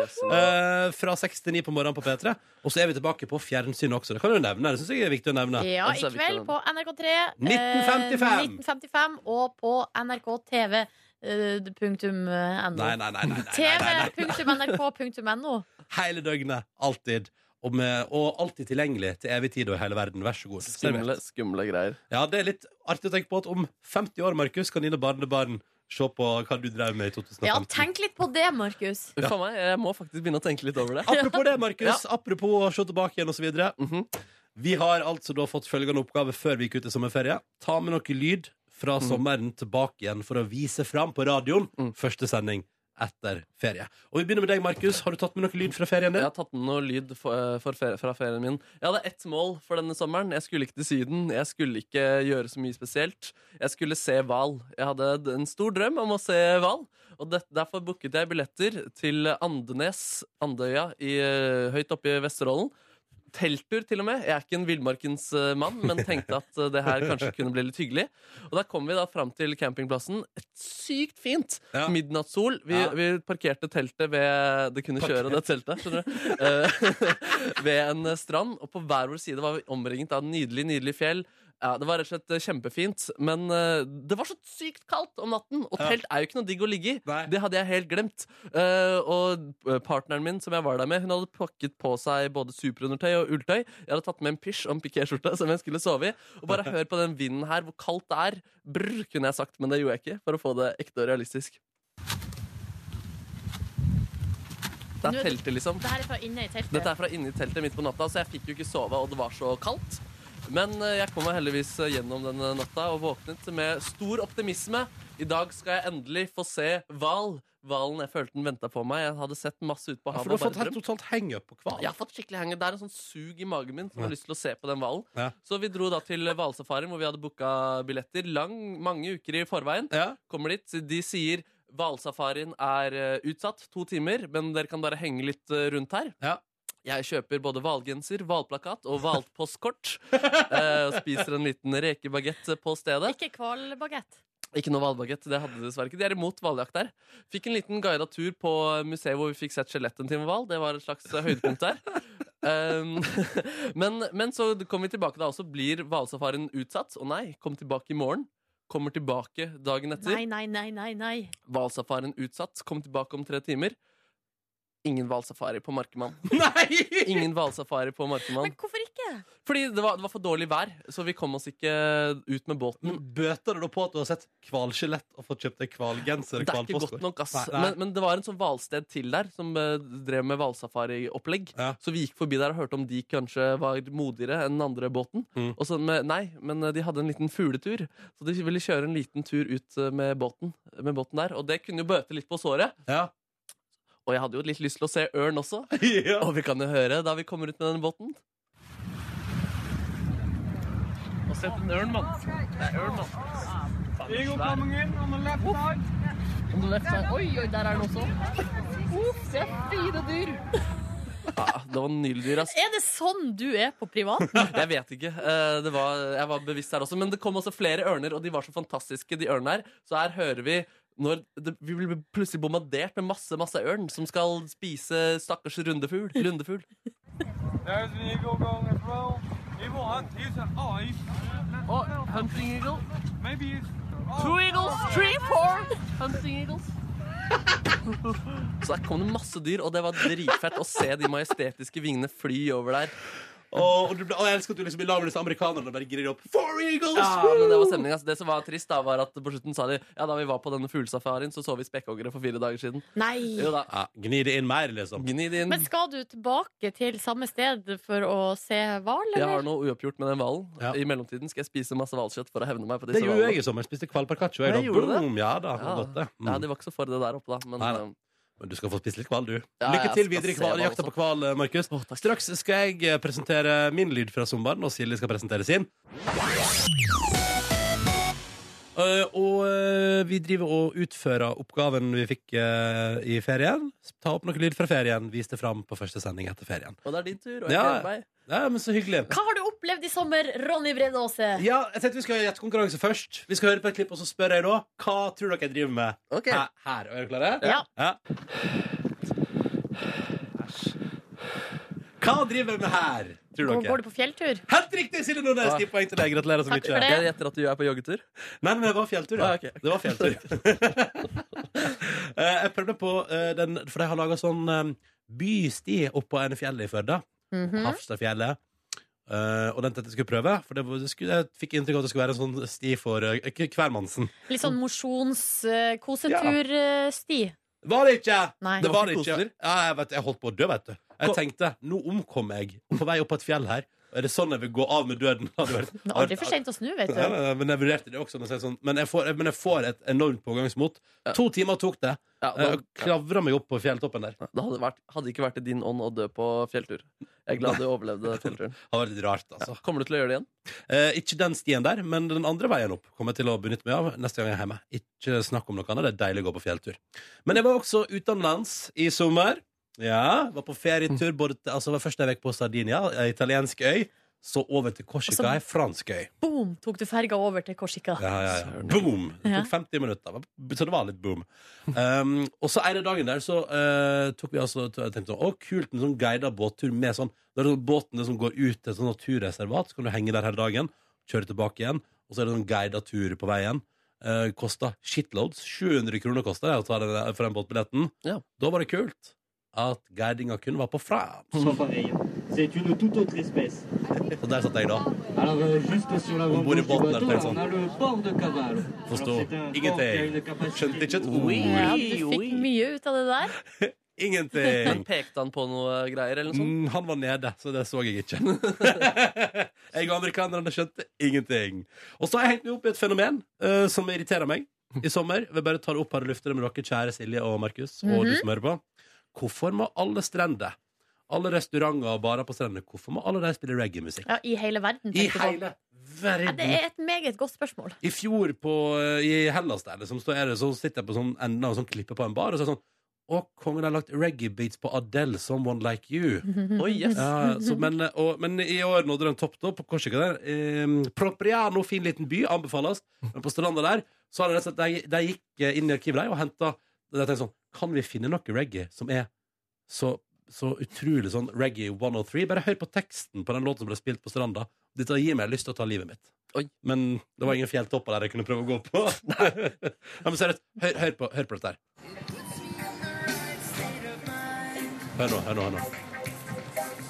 Speaker 4: Yes, ja.
Speaker 2: Eh, fra 6 til 9 på morgenen på P3. Og så er vi tilbake på fjernsyn også. Det kan du nevne. Det synes jeg er viktig å nevne.
Speaker 3: Ja, i
Speaker 4: Altså, vi
Speaker 3: kveld
Speaker 4: kan-
Speaker 3: på NRK3. eh,
Speaker 2: 1955.
Speaker 3: 1955 og på eh, nrktv.no.
Speaker 2: Nei, nei, nei. nei, nei, nei, nei, nei.
Speaker 3: TV.nrk.no.
Speaker 2: Hele døgnet. Alltid. Og, med, og alltid tilgjengelig til evig tid og i hele verden. Vær så god.
Speaker 4: Skumle, skumle greier.
Speaker 2: Ja, det er litt artig å tenke på at om 50 år, Markus, kan dine barnebarn se på hva du drev med i 2015.
Speaker 3: Ja, tenk litt på det, Markus.
Speaker 4: Uff a meg, jeg må faktisk begynne å tenke litt over det. Mhm.
Speaker 2: Apropos det, Markus. Apropos å se tilbake igjen og så videre Vi har altså da fått følgende oppgave før vi gikk ut i sommerferie. Ta med noe lyd fra sommeren tilbake igjen for å vise fram på radioen.
Speaker 4: Mm.
Speaker 2: Første sending etter ferie. Og vi begynner med deg, Markus. Har du tatt med noe lyd fra ferien
Speaker 4: Jeg
Speaker 2: din?
Speaker 4: har tatt med noe lyd for, eh, for ferie, fra ferien min. Jeg hadde ett mål for denne sommeren. Jeg skulle ikke til Syden. Jeg skulle ikke gjøre så mye spesielt. Jeg skulle se hval. Jeg hadde d- en stor drøm om å se hval. Og det, derfor booket jeg billetter til Andenes, Andøya, i, eh, høyt oppe i Vesterålen. Telttur, til og med. Jeg er ikke en villmarkens eh, mann, men tenkte at eh, det her kanskje kunne bli litt hyggelig. Og da kom vi da fram til campingplassen. Et sykt fint
Speaker 2: Ja.
Speaker 4: midnattssol. Vi,
Speaker 2: Ja.
Speaker 4: vi parkerte teltet ved Det kunne kjøre det teltet, skjønner du. Eh, ved en strand. Og på hver vår side var vi omringet av nydelig, nydelig fjell. Ja, Det var rett og slett eh, kjempefint, men eh, det var så sykt kaldt om natten. Og
Speaker 2: Ja.
Speaker 4: telt er jo ikke noe digg å ligge i.
Speaker 2: Nei.
Speaker 4: Det hadde jeg helt glemt. Eh, og eh, partneren min som jeg var der med, hun hadde pakket på seg både superundertøy og ulltøy. Jeg hadde tatt med en pysj og en pikéskjorte som jeg skulle sove i. Og bare hør på den vinden her, hvor kaldt det er. Brr, kunne jeg sagt, men det gjorde jeg ikke. For å få det ekte og realistisk. Det
Speaker 3: Nå er
Speaker 4: er
Speaker 3: det-
Speaker 4: teltet, liksom.
Speaker 3: Det her er fra inne i teltet.
Speaker 4: Dette er fra inni teltet midt på natta, så jeg fikk jo ikke sove, og det var så kaldt. Men eh, jeg kom meg heldigvis eh, gjennom denne natta og våknet med stor optimisme. I dag skal jeg endelig få se hval. Hvalen jeg følte den venta på meg. Jeg hadde sett masse ut på
Speaker 2: For
Speaker 4: havet.
Speaker 2: du har
Speaker 4: og bare
Speaker 2: fått helt
Speaker 4: drømt.
Speaker 2: totalt hang-up på hval.
Speaker 4: Jeg har fått skikkelig henge. Det er en sånn sug i magen min som har
Speaker 2: Ja.
Speaker 4: lyst til å se på den hvalen.
Speaker 2: Ja.
Speaker 4: Så vi dro da til hvalsafarien, hvor vi hadde booka billetter lang, mange uker i forveien
Speaker 2: Ja.
Speaker 4: kommer dit. De sier hvalsafarien er eh, utsatt to timer, men dere kan bare henge litt eh, rundt her.
Speaker 2: Ja.
Speaker 4: Jeg kjøper både hvalgenser, hvalplakat og hvalpostkort. eh, og spiser en liten rekebagett på stedet.
Speaker 3: Ikke hvalbagett.
Speaker 4: Ikke noe hvalbagett, det hadde de dessverre ikke. De er imot hvaljakt der. Fikk en liten guida tur på museet hvor vi fikk sett skjeletten til en hval. Det var et slags eh, høydepunkt der. Um, men, men så kom vi tilbake da, og så blir hvalsafarien utsatt. Å nei, kom tilbake i morgen. Kommer tilbake dagen etter.
Speaker 3: Nei, nei, nei, nei. nei.
Speaker 4: Hvalsafaren utsatt. Kom tilbake om tre timer. Ingen hvalsafari på Markemann.
Speaker 2: Nei!
Speaker 4: Ingen hvalsafari på Markemann.
Speaker 3: Men hvorfor ikke?
Speaker 4: Fordi det var, det var for dårlig vær, så vi kom oss ikke ut med båten.
Speaker 2: Men Bøter det da på at du har sett hvalskjelett og fått kjøpt deg hvalgenser og
Speaker 4: Det er ikke
Speaker 2: hvalpostkort?
Speaker 4: godt nok, ass.
Speaker 2: Nei, nei.
Speaker 4: Men, men det var en sånn hvalsted til der, som eh, drev med hvalsafariopplegg.
Speaker 2: Ja.
Speaker 4: Så vi gikk forbi der og hørte om de kanskje var modigere enn den andre båten.
Speaker 2: Mm.
Speaker 4: Og så, med, nei, men eh, de hadde en liten fugletur, så de ville kjøre en liten tur ut eh, med båten, med båten der. Og det kunne jo bøte litt på såret.
Speaker 2: Ja.
Speaker 4: Og jeg hadde jo litt lyst til å se ørn også.
Speaker 2: ja.
Speaker 4: Og vi kan jo høre da vi kommer ut med denne båten. Og sett en ørn, mann. Det er ørn, mann. On the left side. Oi, oi, der er den også.
Speaker 7: Se fine dyr!
Speaker 4: Ja, det var nyledyr, ass.
Speaker 3: Er det sånn du er på privaten?
Speaker 4: Jeg vet ikke. Eh, Det var, jeg var bevisst her også. Men det kom også flere ørner, og de var så fantastiske, de ørnene her. Så her hører vi når det, vi blir plutselig bombardert med masse masse ørn som skal spise stakkars rundefugl. rundefugl. Og hunting eagle.
Speaker 7: Two eagles, three, four hunting eagles.
Speaker 4: Så der kom det masse dyr, og det var dritfett å se de majestetiske vingene fly over der.
Speaker 2: Og, og, du, ble- og jeg elsker at du liksom i lag med disse amerikanerne og bare grir opp. Four Eagles!
Speaker 4: Ja, men Det var stemningen, ass. Det som var trist, da, var at på slutten sa de Ja, da vi var på denne fuglesafarien, så så vi spekkhoggere for fire dager siden.
Speaker 3: Nei.
Speaker 4: Jo da.
Speaker 2: Ja, gni det inn mer, liksom.
Speaker 4: Gni det inn.
Speaker 3: Men skal du tilbake til samme sted for å se hval,
Speaker 4: Jeg har
Speaker 3: eller?
Speaker 4: noe uoppgjort med den hvalen.
Speaker 2: Ja.
Speaker 4: I mellomtiden skal jeg spise masse hvalkjøtt for å hevne meg. på disse
Speaker 2: Det gjorde jeg
Speaker 4: hvalene.
Speaker 2: i sommer. Spiste kvalparkaccio. jeg
Speaker 4: Ja,
Speaker 2: da.
Speaker 4: gjorde du det?
Speaker 2: Boom, Ja da. det var
Speaker 4: Ja.
Speaker 2: Godt, det. Mm.
Speaker 4: Ja, De var ikke så for det der oppe, da. Men,
Speaker 2: Nei, nei.
Speaker 4: eh,
Speaker 2: Men du skal få spise litt hval, du.
Speaker 4: Ja,
Speaker 2: Lykke
Speaker 4: jeg
Speaker 2: til
Speaker 4: skal
Speaker 2: videre i
Speaker 4: se
Speaker 2: kval,
Speaker 4: hva
Speaker 2: jakta
Speaker 4: som-
Speaker 2: på hval, Markus.
Speaker 4: Å, takk.
Speaker 2: Straks skal jeg eh, presentere min lyd fra sommeren, og Silje skal presentere sin. Eh, og eh, vi driver og utfører oppgaven vi fikk eh, i ferien. Ta opp noe lyd fra ferien. Vis det fram på første sending etter ferien.
Speaker 4: og det er din tur, og jeg
Speaker 2: Ja.
Speaker 4: gleder meg.
Speaker 2: Ja, men så hyggelig.
Speaker 3: Hva har du opplevd i sommer, Ronny Bredåse?
Speaker 2: Ja, jeg tenkte Vi skal ha gjettekonkurranse først. Vi skal høre på et klipp, og så spør jeg da hva tror dere jeg driver med.
Speaker 4: Ok.
Speaker 2: Her, her. Er dere klare?
Speaker 3: Ja.
Speaker 2: Hva driver jeg med her, tror
Speaker 3: Går,
Speaker 2: dere?
Speaker 3: går du på fjelltur?
Speaker 2: Helt riktig, Silje Nordnes!
Speaker 4: Ah.
Speaker 2: Ti poeng til deg. Gratulerer så mye.
Speaker 3: Takk for det.
Speaker 4: Jeg gjetter at du er på joggetur.
Speaker 2: Nei, men det var fjelltur. Ja.
Speaker 4: Ah, ok.
Speaker 2: Det var fjelltur. Eh, jeg prøvde på eh, den, for de har laga sånn eh, bysti oppå en fjell i Førda.
Speaker 3: Mhm.
Speaker 2: Hafstadfjellet. Eh, og den tenkte jeg skulle prøve, for det, var- det skulle, jeg fikk inntrykk av at det skulle være en sånn sti for eh, k- hvermannsen.
Speaker 3: Litt sånn mosjons-kosetursti.
Speaker 2: Var det ikke!
Speaker 3: Nei.
Speaker 2: Det
Speaker 4: Det
Speaker 2: var
Speaker 4: var
Speaker 2: det
Speaker 4: ikke
Speaker 2: ikke.
Speaker 4: koselig.
Speaker 2: Ja, jeg, vet, jeg holdt på å dø, vet du. Jeg tenkte nå omkom jeg på vei opp på et fjell her. Er det sånn jeg vil gå av med døden? Hadde vært,
Speaker 3: Det er aldri for sent å snu, vet
Speaker 2: Nei,
Speaker 3: du.
Speaker 2: nei, nei, men jeg vurderte det også. Men, så er det sånn, men, jeg, får, men jeg får et enormt pågangsmot. To timer tok det.
Speaker 4: Ja, da,
Speaker 2: Jeg klavra meg opp på fjelltoppen der.
Speaker 4: det hadde, vært, hadde ikke vært i din ånd å dø på fjelltur. Jeg er glad du overlevde fjellturen.
Speaker 2: Det var litt rart, altså.
Speaker 4: Kommer du til å gjøre det igjen?
Speaker 2: Eh, ikke den stien der, men den andre veien opp kommer jeg til å benytte meg av neste gang jeg er hjemme. Ikke snakk om noe annet. Det er deilig å gå på fjelltur. Men jeg var også utenlands i sommer. Ja, var på ferietur. Både til, altså, var først en uke på Sardinia, ei italiensk øy. Så over til Korsika,
Speaker 3: Altså-
Speaker 2: ei fransk øy.
Speaker 3: Boom, tok du ferga over til Korsika.
Speaker 2: Ja, ja, ja.
Speaker 4: Søren.
Speaker 2: Boom! Det
Speaker 3: Ja.
Speaker 2: tok 50 minutter, så det var litt boom. Um, og så en av dagen der så eh, tok vi altså t- tenkte sånn, å kult med sånn guidet båttur med sånn, det er sånn båtene som går ut til et sånn naturreservat, så kan du henge der hele dagen, kjøre tilbake igjen, og så er det sånn guidet tur på veien. Uh, kosta shitloads, 700 kroner kosta det å ta den der- for den båtbilletten.
Speaker 4: Ja.
Speaker 2: Da var det kult at guidinga kun var på fra.
Speaker 8: sont pareils. C'est une toute autre espèce.
Speaker 2: Og der satt jeg da,
Speaker 8: Alors, euh, juste sur la
Speaker 2: bout
Speaker 8: voie
Speaker 2: du
Speaker 8: du
Speaker 2: bord de la
Speaker 8: bateau,
Speaker 2: personne.
Speaker 8: on a le port de Caval.
Speaker 2: forstå
Speaker 8: Alors, c'est un port qui a une
Speaker 2: ingenting.
Speaker 8: capacité
Speaker 2: Skjønte ikke et
Speaker 8: de-
Speaker 2: ord.
Speaker 3: Ja, du fikk mye ut av det der.
Speaker 2: Ingenting.
Speaker 4: Men pekte han på noe greier, eller sånn? noe sånt?
Speaker 2: Mm, han var nede, så det så jeg ikke. jeg og amerikanerne skjønte ingenting. Og så har jeg hengt meg opp i et fenomen eh, som irriterer meg i sommer. Jeg vil bare ta det opp her og lufte det med dere, kjære Silje og Markus, og
Speaker 3: Mhm.
Speaker 2: du som hører på. Hvorfor må alle strender, alle restauranter og barer på strendene, hvorfor må alle de spille reggae-musikk?
Speaker 3: Ja, I hele verden,
Speaker 2: I
Speaker 3: tenker du på.
Speaker 2: hele
Speaker 3: Ja,
Speaker 2: verden!
Speaker 3: det er et meget godt spørsmål.
Speaker 2: I fjor på, eh, i Hellas der, liksom, så, er det, så sitter jeg på sånn enden av en sånn klippe på en bar, og så er det sånn Å, kongen har lagt reggae-beats på Adele, 'Someone Like You'.
Speaker 4: Oi, yes.
Speaker 2: Ja, så, men, eh, og, men i år nådde den topp da på Korsika der. Eh, Propriano, fin liten by, anbefales. Men på Stranda der så hadde de, rett og slett- de, de gikk eh, inn i arkivet der og henta De tenkte sånn Kan vi finne noe reggae som er så, så utrolig sånn reggae 103? Bare hør på teksten på den låten som ble spilt på Stranda. Dette gir meg lyst til å ta livet mitt.
Speaker 4: Oi.
Speaker 2: Men det var ingen fjelltopper der jeg kunne prøve å gå på. Nei, men seriøst, hør, hør, på, hør på dette her. Hør nå, hør nå. Hør nå.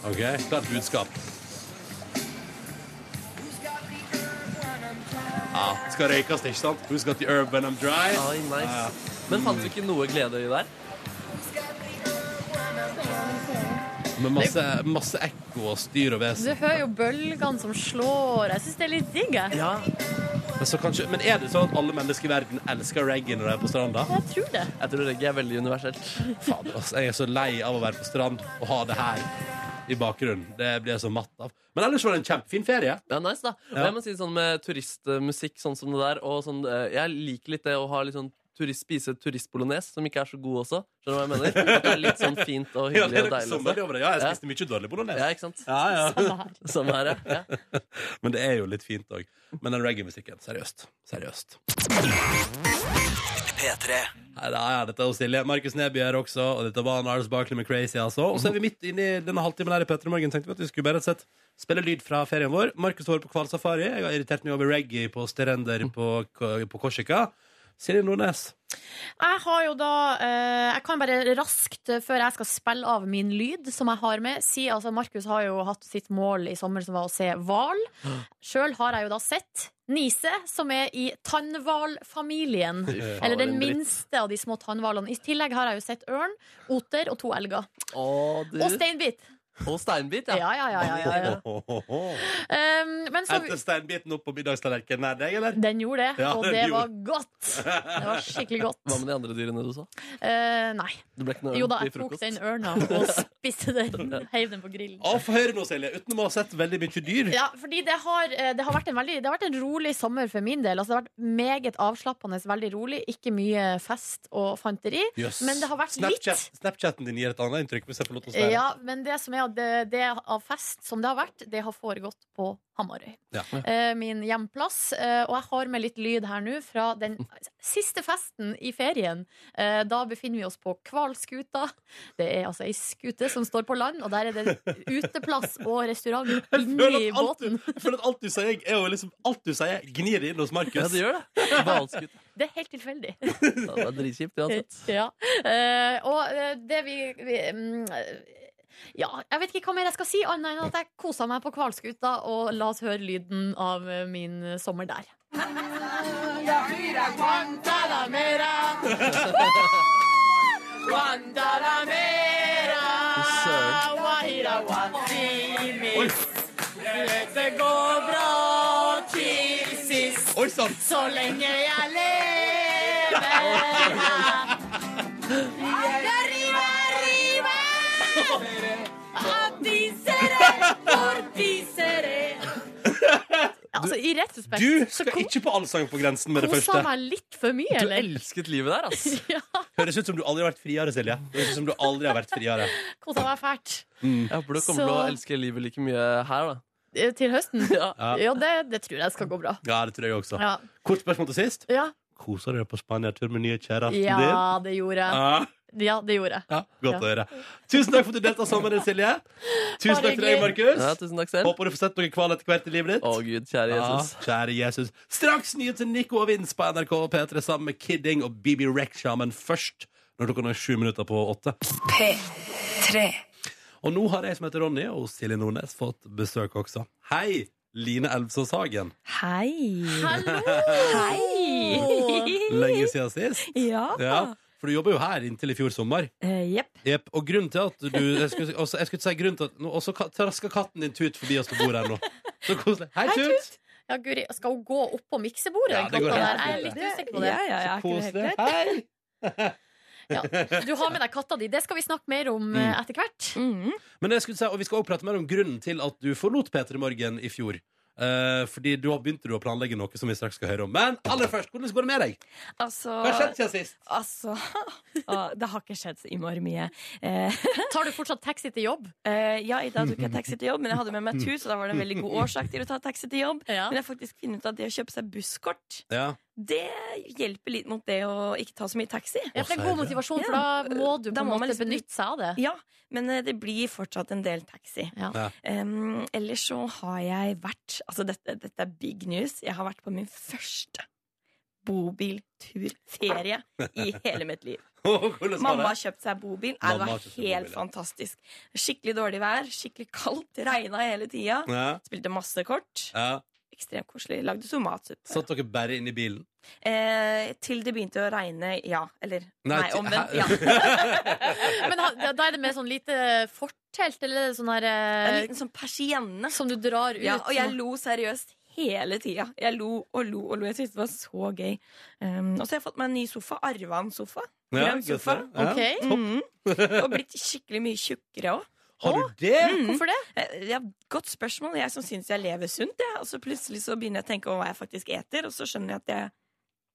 Speaker 2: Ok, klart budskap. Ja, skal røykes, ikke sant? Who's got the herb when I'm dry?
Speaker 4: Oi, nice. Men fant du ikke noe glede i der?
Speaker 2: Med masse, masse ekko og styr og
Speaker 3: Du
Speaker 2: vesen.
Speaker 3: hører jo bølgene som slår. Jeg syns det er litt digg, jeg.
Speaker 4: Ja.
Speaker 2: Men, så kanskje, men er det sånn at alle mennesker i verden elsker reggae når de er på stranda?
Speaker 3: Jeg tror det.
Speaker 4: Jeg tror reggae er veldig universelt.
Speaker 2: Fader, ass, jeg er så lei av å være på strand og ha det her i bakgrunnen. Det blir jeg så matt av. Men ellers var det en kjempefin ferie.
Speaker 4: Det er nice, da. Og
Speaker 2: Ja.
Speaker 4: jeg må si sånn med turistmusikk sånn som det der, og sånn eh, Jeg liker litt det å ha litt sånn turist, spise turistbolognese, som ikke er så god også. Skjønner du hva jeg mener? At det er litt sånn fint og
Speaker 2: Ja, det
Speaker 4: hyggelig
Speaker 2: er
Speaker 4: og
Speaker 2: noe
Speaker 4: deilig.
Speaker 2: sommer
Speaker 4: Også.
Speaker 2: over det. Ja, jeg spiste mye dårlig bolognese.
Speaker 4: Ja, ikke sant?
Speaker 2: Ja, ja.
Speaker 3: Samme her.
Speaker 4: Samme her, ja. ja.
Speaker 2: Men det er jo litt fint òg. Men den reggae-musikken, seriøst. Seriøst.
Speaker 1: P3.
Speaker 2: Nei, da er dette hos Silje. Markus Neby er også, og dette var Nars Barkley med Crazy, altså. Og så er vi midt inne i denne halvtimen her i Petter i morgen. Tenkte vi at vi skulle bare rett og slett spille lyd fra ferien vår. Markus var på Kvalsafari. Jeg har irritert meg over reggae på Sterender på, på Korsika. Silje Nordnes.
Speaker 3: Jeg har jo da eh, Jeg kan bare raskt, eh, før jeg skal spille av min lyd, som jeg har med, si altså Markus har jo hatt sitt mål i sommer, som var å se hval. Sjøl har jeg jo da sett Nise, som er i tannhvalfamilien.
Speaker 4: Fy faen,
Speaker 3: Eller den
Speaker 4: en dritt.
Speaker 3: minste av de små tannhvalene. I tillegg har jeg jo sett ørn, oter og to elger.
Speaker 4: Å, du.
Speaker 3: Og steinbit.
Speaker 4: Og steinbit,
Speaker 3: Ja,
Speaker 4: ja.
Speaker 3: ja, ja. ja, ja, ja. Um, men så
Speaker 2: Endte steinbiten opp på middagstallerkenen nær deg, eller?
Speaker 3: Den gjorde det,
Speaker 2: Ja,
Speaker 3: og
Speaker 2: den
Speaker 3: det
Speaker 2: gjorde-
Speaker 3: var godt. Det var skikkelig
Speaker 4: Hva
Speaker 3: godt.
Speaker 4: med de andre dyrene du sa?
Speaker 3: Eh, nei.
Speaker 4: Det ble ikke noe
Speaker 3: Jo da,
Speaker 4: ordentlig
Speaker 3: jeg tok
Speaker 4: frokost.
Speaker 3: den ørna og spiste den. Heiv den på grillen.
Speaker 2: Å, Få høre nå, Silje. Uten å ha sett veldig mye dyr.
Speaker 3: Ja, fordi det har, eh, det har vært en veldig Det har vært en rolig sommer for min del. Altså, det har vært meget avslappende, veldig rolig. Ikke mye fest og fanteri.
Speaker 2: Jøss.
Speaker 3: Men det har vært
Speaker 2: Snapchat,
Speaker 3: litt.
Speaker 2: Snapchaten din gir et annet inntrykk. Hvis jeg får lov til å svære.
Speaker 3: Ja, men det som er at det, det av fest som det har vært, det har foregått på Hamarøy.
Speaker 2: Ja.
Speaker 3: Eh, min hjemplass. Eh, og jeg har med litt lyd her nå fra den siste festen i ferien. Eh, da befinner vi oss på Hvalskuta. Det er altså ei skute som står på land, og der er det uteplass og restaurant inni
Speaker 2: føler at alt
Speaker 3: båten.
Speaker 2: Jeg føler at alt du sier, er jo liksom Alt du sier, gnir det inn hos Markus.
Speaker 4: Ja, det gjør det. Hvalskutt.
Speaker 3: Det er helt tilfeldig.
Speaker 4: Ja, Det er dritkjipt uansett.
Speaker 3: Ja. Eh, og eh, det vi, vi mm, eh, Ja, jeg vet ikke hva mer jeg skal si, annet enn at jeg kosa meg på Hvalskuta, og la oss høre lyden av eh, min sommer der.
Speaker 4: Fy Søren.
Speaker 2: Oi. Oi sann!
Speaker 3: Så lenge jeg lever Arriva, arriva Adisere, fortisere Altså, i rett respekt
Speaker 2: Du
Speaker 3: så
Speaker 2: skal
Speaker 3: ko-
Speaker 2: ikke på Allsang på grensen med det
Speaker 3: kosa
Speaker 2: første.
Speaker 3: meg litt for mye,
Speaker 4: Du
Speaker 3: eller?
Speaker 4: elsket livet der, altså. ass.
Speaker 3: Ja,
Speaker 2: Høres ut som du aldri har vært friere, Silje. Det Høres ut som du aldri har vært friere.
Speaker 3: kosa meg fælt
Speaker 4: Jeg håper du kommer til å
Speaker 3: Så-
Speaker 4: elske livet like mye her, da.
Speaker 3: Eh, Til høsten
Speaker 4: Ja.
Speaker 2: Ja.
Speaker 3: Ja, det, det tror jeg skal gå bra
Speaker 2: Ja, det tror jeg også.
Speaker 3: Ja,
Speaker 2: Kort spørsmål til sist.
Speaker 3: ja.
Speaker 2: Koser du deg på Spania-tur med nye kjæresten din?
Speaker 3: ja det gjorde jeg
Speaker 2: Ja.
Speaker 3: Ja, det gjorde jeg
Speaker 2: Ja, godt
Speaker 3: Ja.
Speaker 2: å høre. Tusen takk for at du deltok sammen, Silje. Tusen takk til deg,
Speaker 4: ja,
Speaker 2: Markus.
Speaker 4: tusen takk selv.
Speaker 2: Håper du får sett noen hval etter hvert i livet ditt.
Speaker 4: Å gud, kjære
Speaker 2: Ja,
Speaker 4: Jesus.
Speaker 2: kjære Jesus. Straks nye til Nico og Vince på NRK og P3 sammen med Kidding og BB Rexha, men først når klokka er sju minutter på åtte.
Speaker 1: P3.
Speaker 2: Og nå har jeg som heter Ronny og Silje Nordnes fått besøk også. Hei! Line Elvsås Hagen.
Speaker 9: Hei.
Speaker 3: Hallo!
Speaker 2: Lenge siden sist.
Speaker 9: Ja.
Speaker 2: Ja, for du jobber jo her inntil i fjor sommer.
Speaker 9: Eh, Jepp.
Speaker 2: Jep, og grunnen til at du Jeg skulle, også, jeg skulle si grunnen til at nå- Og så ka- trasker katten din Tut forbi oss på bordet her nå. Så koselig. Hei,
Speaker 3: Hei,
Speaker 2: Tut!
Speaker 3: Ja, Guri, skal hun gå opp på miksebordet?
Speaker 2: Ja,
Speaker 3: den
Speaker 2: det går
Speaker 3: katta
Speaker 2: helt
Speaker 3: der? Jeg er litt usikker på det.
Speaker 9: Ja, ja, ja, er ikke det helt
Speaker 2: Koselig.
Speaker 9: greit?
Speaker 2: Hei!
Speaker 3: Du har med deg katta di. Det skal vi snakke mer om eh, etter hvert.
Speaker 9: Mm.
Speaker 2: Men jeg skulle si, og vi skal også prate mer om grunnen til at du forlot P3 Morgen i fjor. Eh, fordi da begynte du å planlegge noe som vi straks skal høre om. Men aller først, hvordan går det med deg?
Speaker 9: Altså,
Speaker 2: Hva har skjedd siden sist?
Speaker 9: altså å, Det har ikke skjedd så innmari mye. Eh,
Speaker 3: Tar du fortsatt taxi til jobb?
Speaker 9: eh, ja, i dag tok jeg taxi til jobb, men jeg hadde med meg tur, så da var det en veldig god årsak til å ta taxi til jobb.
Speaker 3: Ja.
Speaker 9: Men jeg har faktisk funnet ut at det å kjøpe seg busskort,
Speaker 2: Ja.
Speaker 9: det hjelper litt mot det å ikke ta så mye taxi.
Speaker 3: Ja, for det er god motivasjon, for da må du på
Speaker 9: Da
Speaker 3: en
Speaker 9: må man
Speaker 3: måte
Speaker 9: liksom-
Speaker 3: benytte seg av det.
Speaker 9: Ja, men eh, det blir fortsatt en del taxi.
Speaker 3: Ja.
Speaker 2: Ja.
Speaker 9: Um, ellers så har jeg vært Altså, dette, dette er big news. Jeg har vært på min første bobilturferie i hele mitt liv.
Speaker 2: Hvordan var
Speaker 9: Mamma
Speaker 2: det?
Speaker 9: har kjøpt seg bobil. Nei, det
Speaker 2: Mamma har
Speaker 9: var
Speaker 2: kjøpt seg
Speaker 9: helt
Speaker 2: bobil, ja.
Speaker 9: fantastisk. Skikkelig dårlig vær, skikkelig kaldt, regna hele tida.
Speaker 2: Ja.
Speaker 9: Spilte masse kort.
Speaker 2: ja.
Speaker 9: Ekstremt koselig. Lagde tomatsuppe.
Speaker 2: Satt dere bare inne i bilen?
Speaker 9: Eh, til det begynte å regne, ja. Eller
Speaker 2: Nei,
Speaker 9: nei,
Speaker 2: til-
Speaker 9: omvendt.
Speaker 2: hæ?
Speaker 9: Ja.
Speaker 3: Men ha- da da er det med sånn lite fortelt, eller sånn her
Speaker 9: En
Speaker 3: eh,
Speaker 9: liten sånn persienne.
Speaker 3: Som du drar ut.
Speaker 9: Ja, og jeg lo seriøst hele tida. Jeg lo og lo og lo. Jeg syntes det var så gøy. Um, og så har jeg fått meg en ny sofa. Arva en sofa.
Speaker 2: Ja,
Speaker 9: Grønn
Speaker 2: godt
Speaker 9: sofa.
Speaker 2: det. Ja.
Speaker 3: Ok.
Speaker 9: Mhm. Og blitt skikkelig mye tjukkere òg.
Speaker 2: Har du det?
Speaker 3: Hvorfor det?
Speaker 9: Godt spørsmål. Jeg som syns jeg lever sunt, jeg. Og så plutselig så begynner jeg å tenke over hva jeg faktisk eter, og så skjønner jeg at jeg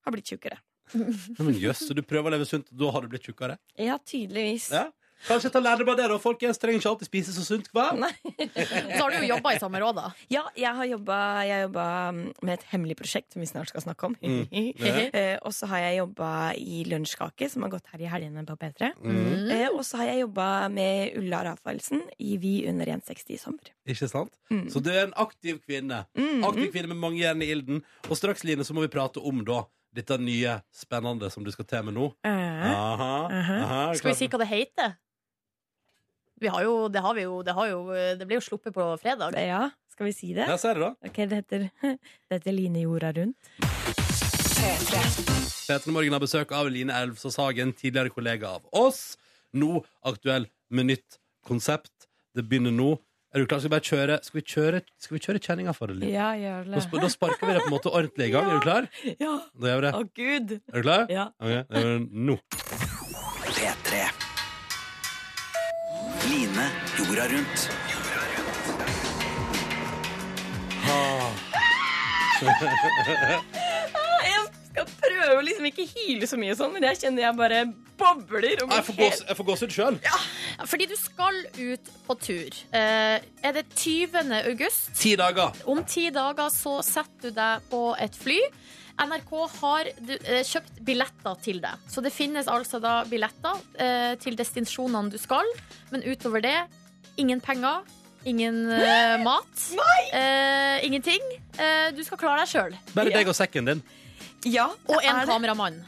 Speaker 9: har blitt tjukkere.
Speaker 2: Nei, Men Jøss, så du prøver å leve sunt, og da har du blitt tjukkere?
Speaker 9: Ja, tydeligvis.
Speaker 2: Ja. Kanskje ta lærdom av det, da. Folkens trenger ikke alltid spise så sunt, hva?
Speaker 9: Nei.
Speaker 3: Så har du jo jobba i samme råd, da.
Speaker 9: Ja, jeg har jobba, jeg jobba mm, med et hemmelig prosjekt som vi snart skal snakke om.
Speaker 2: Mm. Ja.
Speaker 9: Eh, og så har jeg jobba i Lunsjkake, som har gått her i helgene på P3.
Speaker 2: Mm.
Speaker 9: Eh, og så har jeg jobba med Ulla Rafaelsen i Vi under 160 i sommer.
Speaker 2: Ikke sant?
Speaker 9: Mm.
Speaker 2: Så du er en aktiv kvinne.
Speaker 9: Mm.
Speaker 2: Aktiv kvinne med mange jern i ilden. Og straks, Line, så må vi prate om da dette nye spennende som du skal til med nå.
Speaker 9: Eh,
Speaker 2: Aha,
Speaker 9: Mhm.
Speaker 2: aha,
Speaker 3: Skal vi
Speaker 2: klart.
Speaker 3: si hva det heter? Vi har jo, det har vi jo, det har jo Det blir jo sluppet på fredag.
Speaker 9: Ja, skal vi si det?
Speaker 2: Ja, ser du da.
Speaker 9: Ok, det heter, det heter Line jorda rundt.
Speaker 2: Petra Morgen har besøk av Line Elvsås Hagen, tidligere kollega av oss. Nå aktuell med nytt konsept. Det begynner nå. Er du klar? Skal vi bare kjøre Skal vi kjøre, skal vi kjøre kjenninga for det, Line?
Speaker 9: Ja, gjør
Speaker 2: Da, sp- da sparker vi det på en måte ordentlig i gang. Er du klar?
Speaker 9: Ja.
Speaker 2: Da gjør vi det.
Speaker 9: Å, gud!
Speaker 2: Er du klar?
Speaker 9: Ja.
Speaker 2: Ok, det gjør vi nå.
Speaker 10: P3. Line jorda rundt.
Speaker 9: Jeg skal prøve å liksom ikke hyle så mye og sånn, men jeg kjenner jeg bare bobler. Og Eh,
Speaker 2: Jeg får gås- jeg får gåsehud sjøl.
Speaker 3: Fordi du skal ut på tur. Eh, er det 20. august?
Speaker 2: Ti dager.
Speaker 3: Om ti dager så setter du deg på et fly. NRK har du- eh, kjøpt billetter til deg. Så det finnes altså da billetter eh, til destinasjonene du skal. Men utover det, ingen penger, ingen eh, mat. Eh, ingenting. Eh, du skal klare deg sjøl.
Speaker 2: Bare
Speaker 9: Ja.
Speaker 2: deg og sekken din.
Speaker 9: Ja, det
Speaker 3: Og en
Speaker 9: er det.
Speaker 3: kameramann.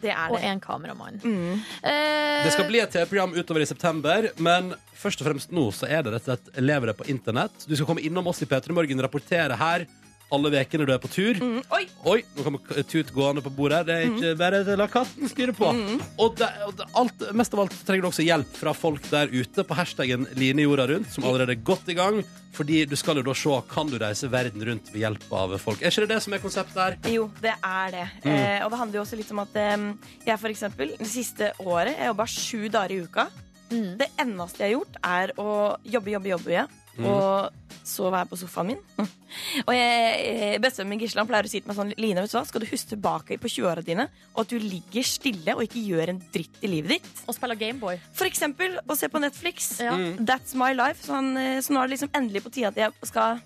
Speaker 9: Det er
Speaker 3: Og
Speaker 9: det.
Speaker 3: en kameramann.
Speaker 9: Mm.
Speaker 3: Eh,
Speaker 2: Det skal bli et TV-program utover i september, men først og fremst nå så er det rett og slett elevere på internett. Du skal komme innom oss i P3 Morgen, rapportere her alle ukene du er på tur.
Speaker 9: Mm. Oi! Mm.
Speaker 2: Oi, nå kommer k- tut gående på bordet. her. Det er ikke bare å la katten styre på. Og, det, og det, alt, mest av alt så trenger du også hjelp fra folk der ute på hashtagen Line jorda rundt, som allerede er godt i gang. Fordi du skal jo da se kan du reise verden rundt ved hjelp av folk. Er ikke det det som er konseptet her?
Speaker 9: Jo, det er det.
Speaker 2: Mm.
Speaker 9: Eh, og det handler jo også litt om at eh, jeg for eksempel, det siste året, jeg jobba sju dager i uka.
Speaker 3: Mm.
Speaker 9: Det eneste jeg har gjort, er å jobbe, jobbe, jobbe. Ja.
Speaker 2: Mm.
Speaker 9: Og så være på sofaen min. og jeg- eh, bestevennen min Gisland pleier å si til meg sånn Line, vet du hva, skal du huske tilbake på 20-åra dine, og at du ligger stille og ikke gjør en dritt i livet ditt?
Speaker 3: Og spiller Gameboy.
Speaker 9: For eksempel å se på Netflix.
Speaker 3: Ja.
Speaker 9: That's my life. Så, han, eh, så nå er det liksom endelig på tide at jeg skal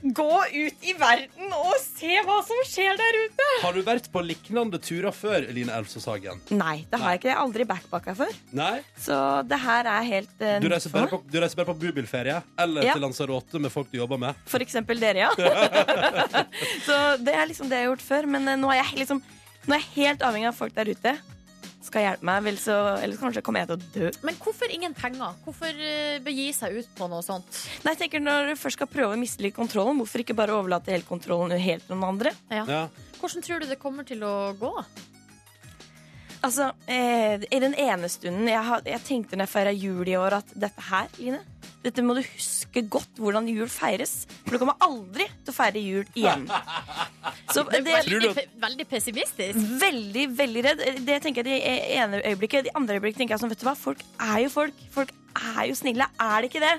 Speaker 9: gå ut i verden og se hva som skjer der ute.
Speaker 2: Har du vært på lignende turer før, Line Elfsås Hagen?
Speaker 9: Nei, det har jeg ikke. Jeg har aldri backpacka før.
Speaker 2: Nei?
Speaker 9: Så det her er helt eh,
Speaker 2: Du
Speaker 9: nytt
Speaker 2: reiser
Speaker 9: for
Speaker 2: bare
Speaker 9: meg.
Speaker 2: på, du reiser bare på bubilferie eller
Speaker 9: Ja.
Speaker 2: til Lanzarote med folk du jobber med.
Speaker 9: For eksempel dere, ja. så det er liksom det jeg har gjort før. Men eh, nå er jeg liksom Nå er jeg helt avhengig av folk der ute. Skal hjelpe meg, vel så, ellers kanskje kommer jeg til å dø.
Speaker 3: Men hvorfor ingen penger? Hvorfor eh, begi seg ut på noe sånt?
Speaker 9: Nei, jeg tenker Når du først skal prøve å mislike kontrollen, hvorfor ikke bare overlate hele kontrollen helt til noen andre?
Speaker 2: Ja.
Speaker 3: Hvordan tror du det kommer til å gå?
Speaker 9: Altså, eh, I den ene stunden jeg, har, jeg tenkte når jeg feira jul i år, at dette her, Line dette må du huske godt hvordan jul feires. For du kommer aldri til å feire jul igjen. Så
Speaker 3: Det er
Speaker 2: Tror
Speaker 3: veldig,
Speaker 2: du at-
Speaker 3: pe- veldig pessimistisk.
Speaker 9: veldig, veldig redd. Eh, Det tenker jeg det ene øyeblikket. Det andre øyeblikket tenker jeg sånn, vet du hva, folk er jo folk. Folk er jo snille. Er det ikke det?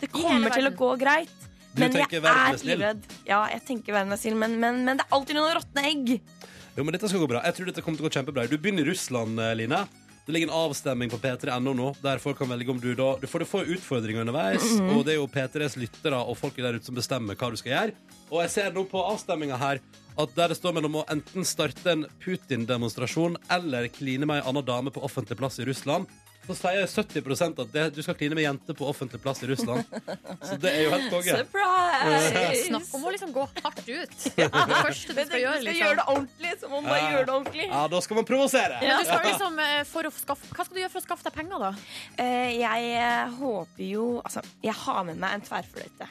Speaker 9: Det
Speaker 3: hele
Speaker 9: kommer til å
Speaker 3: verden.
Speaker 9: gå greit.
Speaker 2: Du
Speaker 9: Men jeg
Speaker 2: tenker verden er
Speaker 9: er
Speaker 2: snill.
Speaker 9: livredd. Ja, jeg tenker verden er snill, men, men, men det er alltid noen råtne egg.
Speaker 2: Jo, men dette skal gå bra. Jeg tror dette kommer til å gå kjempebra. Du begynner i Russland, eh, Line. Det ligger en avstemning på p3.no nå, der folk kan velge om du da Du får, du får utfordringer underveis, og det er jo P3s lyttere og folk der ute som bestemmer hva du skal gjøre. Og jeg ser nå på avstemminga her at der det står mellom å enten starte en Putin-demonstrasjon eller kline med ei anna dame på offentlig plass i Russland, så sier 70 at det, du skal kline med jenter på offentlig plass i Russland. Så det er jo helt konge.
Speaker 3: Snakk
Speaker 9: Surprise!
Speaker 3: om å liksom gå hardt ut. Det er det første du
Speaker 9: Men
Speaker 3: skal gjøre.
Speaker 9: gjøre
Speaker 3: Liksom.
Speaker 9: det ordentlig, så må
Speaker 2: Ja.
Speaker 9: man bare gjøre det ordentlig.
Speaker 2: Ja, da skal man provosere.
Speaker 3: Men du skal liksom, eh, for å skaffe, hva skal du gjøre for å skaffe deg penger, da?
Speaker 9: Eh, jeg eh, håper jo Altså, jeg har med meg en tverrfløyte.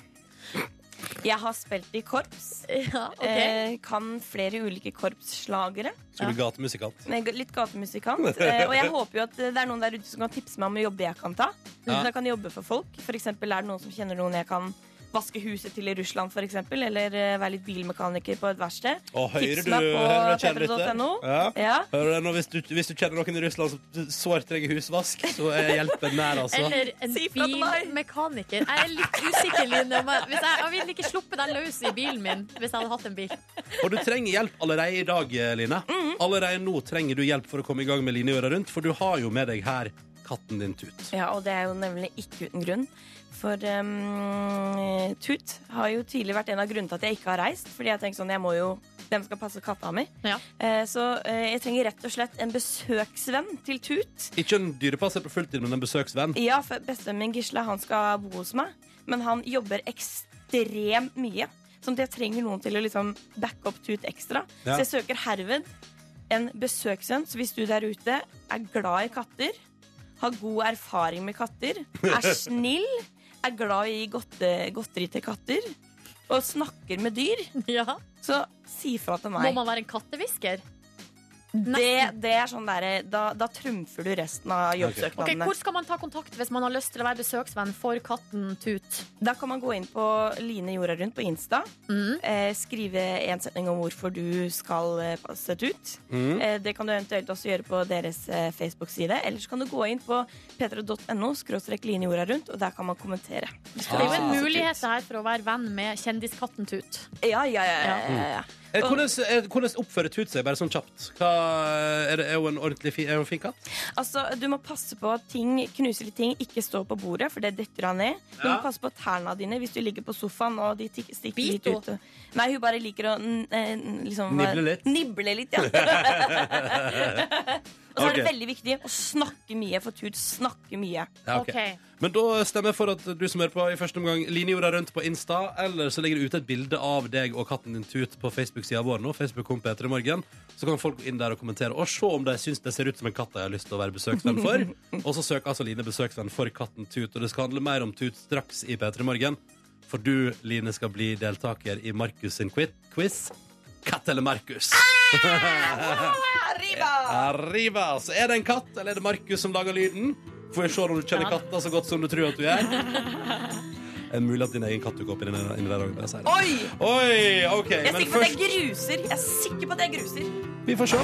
Speaker 9: Jeg har spilt i korps.
Speaker 3: Ja,
Speaker 9: Eh, kan flere ulike korpsslagere.
Speaker 2: Skal du gatemusikant?
Speaker 9: Med g- litt gatemusikant. Eh, og jeg håper jo at det er noen der ute som kan tipse meg om jobber jeg kan ta.
Speaker 2: Ja.
Speaker 9: Som jeg kan jobbe for folk. For eksempel er det noen som kjenner noen jeg kan vaske huset til i Russland, for eksempel. Eller eh, være litt bilmekaniker på et verksted.
Speaker 2: Og hører
Speaker 9: Tips
Speaker 2: du,
Speaker 9: meg på
Speaker 2: hører du kjenner
Speaker 9: p3.no.
Speaker 2: Ja.
Speaker 9: Ja.
Speaker 2: Hører du nå, hvis, du, hvis du kjenner noen i Russland som sårt trenger husvask, så er hjelpen nær, altså.
Speaker 3: Eller en
Speaker 9: Si fra til meg.
Speaker 3: bilmekaniker. Jeg er litt usikker, Line. men Hvis jeg, jeg ville ikke sluppet deg løs i bilen min hvis jeg hadde hatt en bil.
Speaker 2: Og du trenger hjelp allerede i dag, Line. Allerede nå trenger du hjelp for å komme i gang med Line Øra rundt, for du har jo med deg her katten din Tut.
Speaker 9: ja, og det er jo nemlig ikke uten grunn. For ehm, Tut har jo tidlig vært en av grunnene til at jeg ikke har reist. Fordi jeg tenker sånn, jeg må jo Hvem skal passe katta mi?
Speaker 3: Ja.
Speaker 9: Eh, så eh, jeg trenger rett og slett en besøksvenn til Tut.
Speaker 2: Ikke en dyrepasser på fulltid, men en besøksvenn.
Speaker 9: Ja, for bestevennen min Gisle han skal bo hos meg, men han jobber ekstremt mye. Sånn at jeg trenger noen til å liksom backe opp Tut ekstra.
Speaker 11: Ja.
Speaker 9: Så jeg søker herved en besøksvenn. Så hvis du der ute er glad i katter, har god erfaring med katter, er snill, er glad i godte, godteri til katter og snakker med dyr, så si fra til meg.
Speaker 3: Må man være en kattehvisker?
Speaker 9: Det, det er sånn der, da, da trumfer du resten av
Speaker 3: Ok,
Speaker 9: jobbsøknadene.
Speaker 3: hvor skal man ta kontakt hvis man har lyst til å være besøksvenn for katten Tut?
Speaker 9: Da kan man gå inn på Line Jorda Rundt på Insta. Eh, skrive en setning om hvorfor du skal eh, passe ut.
Speaker 11: Mhm.
Speaker 9: Eh, det kan du eventuelt også gjøre på deres eh, Facebook-side. Eller så kan du gå inn på p3.no skråstrek Line Jorda Rundt, og der kan man kommentere.
Speaker 3: Det er jo en mulighet her for å være venn med kjendiskatten Tut.
Speaker 9: Ja, ja, ja, ja, ja, ja.
Speaker 2: Eh, Hvordan, eh, hvordan oppfører Tut seg, bare sånn kjapt? Hva, er, det, er hun en ordentlig fin, er hun en fin katt?
Speaker 9: Altså, du må passe på at ting, knuselige ting ikke står på bordet, for det detter han ned. Du må
Speaker 2: Ja.
Speaker 9: passe på tærne dine hvis du ligger på sofaen og de tikk- stikker litt
Speaker 3: Bito.
Speaker 9: ut. Nei, hun bare liker å mm, eh, liksom,
Speaker 11: Nibble litt.
Speaker 9: Nible litt, ja. og så er det
Speaker 2: Ok.
Speaker 9: veldig viktig å snakke mye, for Tut snakker mye.
Speaker 2: Ja, ok. Men da stemmer jeg for at du som hører på i første omgang linjorda rundt på Insta, eller så legger du ut et bilde av deg og katten din Tut på Facebook-sida vår nå, Facebook-kom Peter i morgen. Så kan folk gå inn der og kommentere og se om de syns det ser ut som en katt de har lyst til å være besøksvenn for. Og så søker altså Line besøksvenn for katten Tut, og det skal handle mer om Tut straks i Peter i morgen. For du, Line, skal bli deltaker i Markus sin quit- quiz. Katt eller Markus? Arriba! Så er det en katt, eller er det Markus som lager lyden? Får vi se om du kjenner katta så godt som du tror at du gjør. Det er mulig at din egen katt dukker opp inni der inni der også, bare sier det.
Speaker 9: Oi!
Speaker 2: Oi! OK,
Speaker 9: Jeg er
Speaker 2: men
Speaker 9: sikker på at
Speaker 2: først
Speaker 9: jeg gruser. Jeg er sikker på at jeg gruser.
Speaker 2: Vi får se.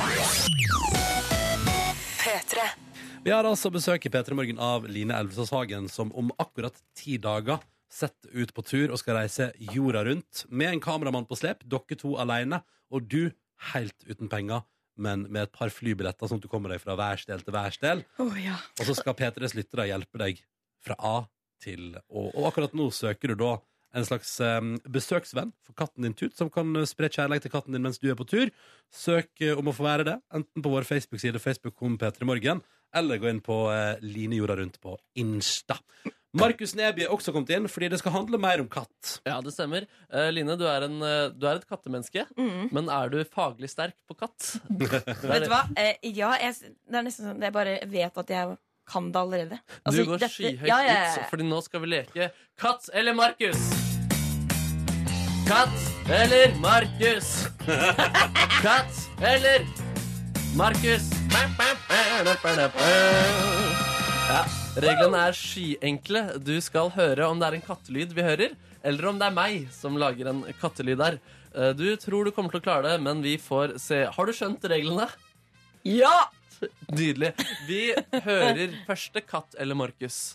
Speaker 2: Vi har altså besøk i P3 Morgen av Line Elvesås Hagen, som om akkurat ti dager setter ut på tur og skal reise jorda rundt med en kameramann på slep, dere to alene, og du helt uten penger, men med et par flybilletter, sånn at du kommer deg fra værsdel til værsdel.
Speaker 9: Å, ja.
Speaker 2: Og så skal P3s lyttere hjelpe deg fra A til Å. Og akkurat nå søker du da en slags eh, besøksvenn for katten din Tut, som kan eh, spre kjærlighet til katten din mens du er på tur. Søk eh, om å få være det, enten på vår Facebook-side Facebook kom P3 Morgen, eller gå inn på eh, Line jorda rundt på Insta. Markus Neby er også kommet inn, fordi det skal handle mer om katt.
Speaker 4: Ja, det stemmer. Eh, Line, du er, en, eh, du er et kattemenneske,
Speaker 3: Mm.
Speaker 9: Mhm.
Speaker 4: men er du faglig sterk på katt?
Speaker 9: Vet du hva? Eh, ja, jeg, s- det er nesten sånn at jeg bare vet at jeg kan det allerede. Altså,
Speaker 4: du går
Speaker 9: dette-
Speaker 4: skyhøyt
Speaker 9: ja, ja, ja.
Speaker 4: ut, fordi nå skal vi leke Katt eller Markus? Katt eller Markus? Katt eller Markus? Ja, reglene er skyenkle. Du skal høre om det er en kattelyd vi hører, eller om det er meg som lager en kattelyd der. Eh, Du tror du kommer til å klare det, men vi får se. Har du skjønt reglene?
Speaker 9: Ja!
Speaker 4: Nydelig. Vi hører første katt eller Markus.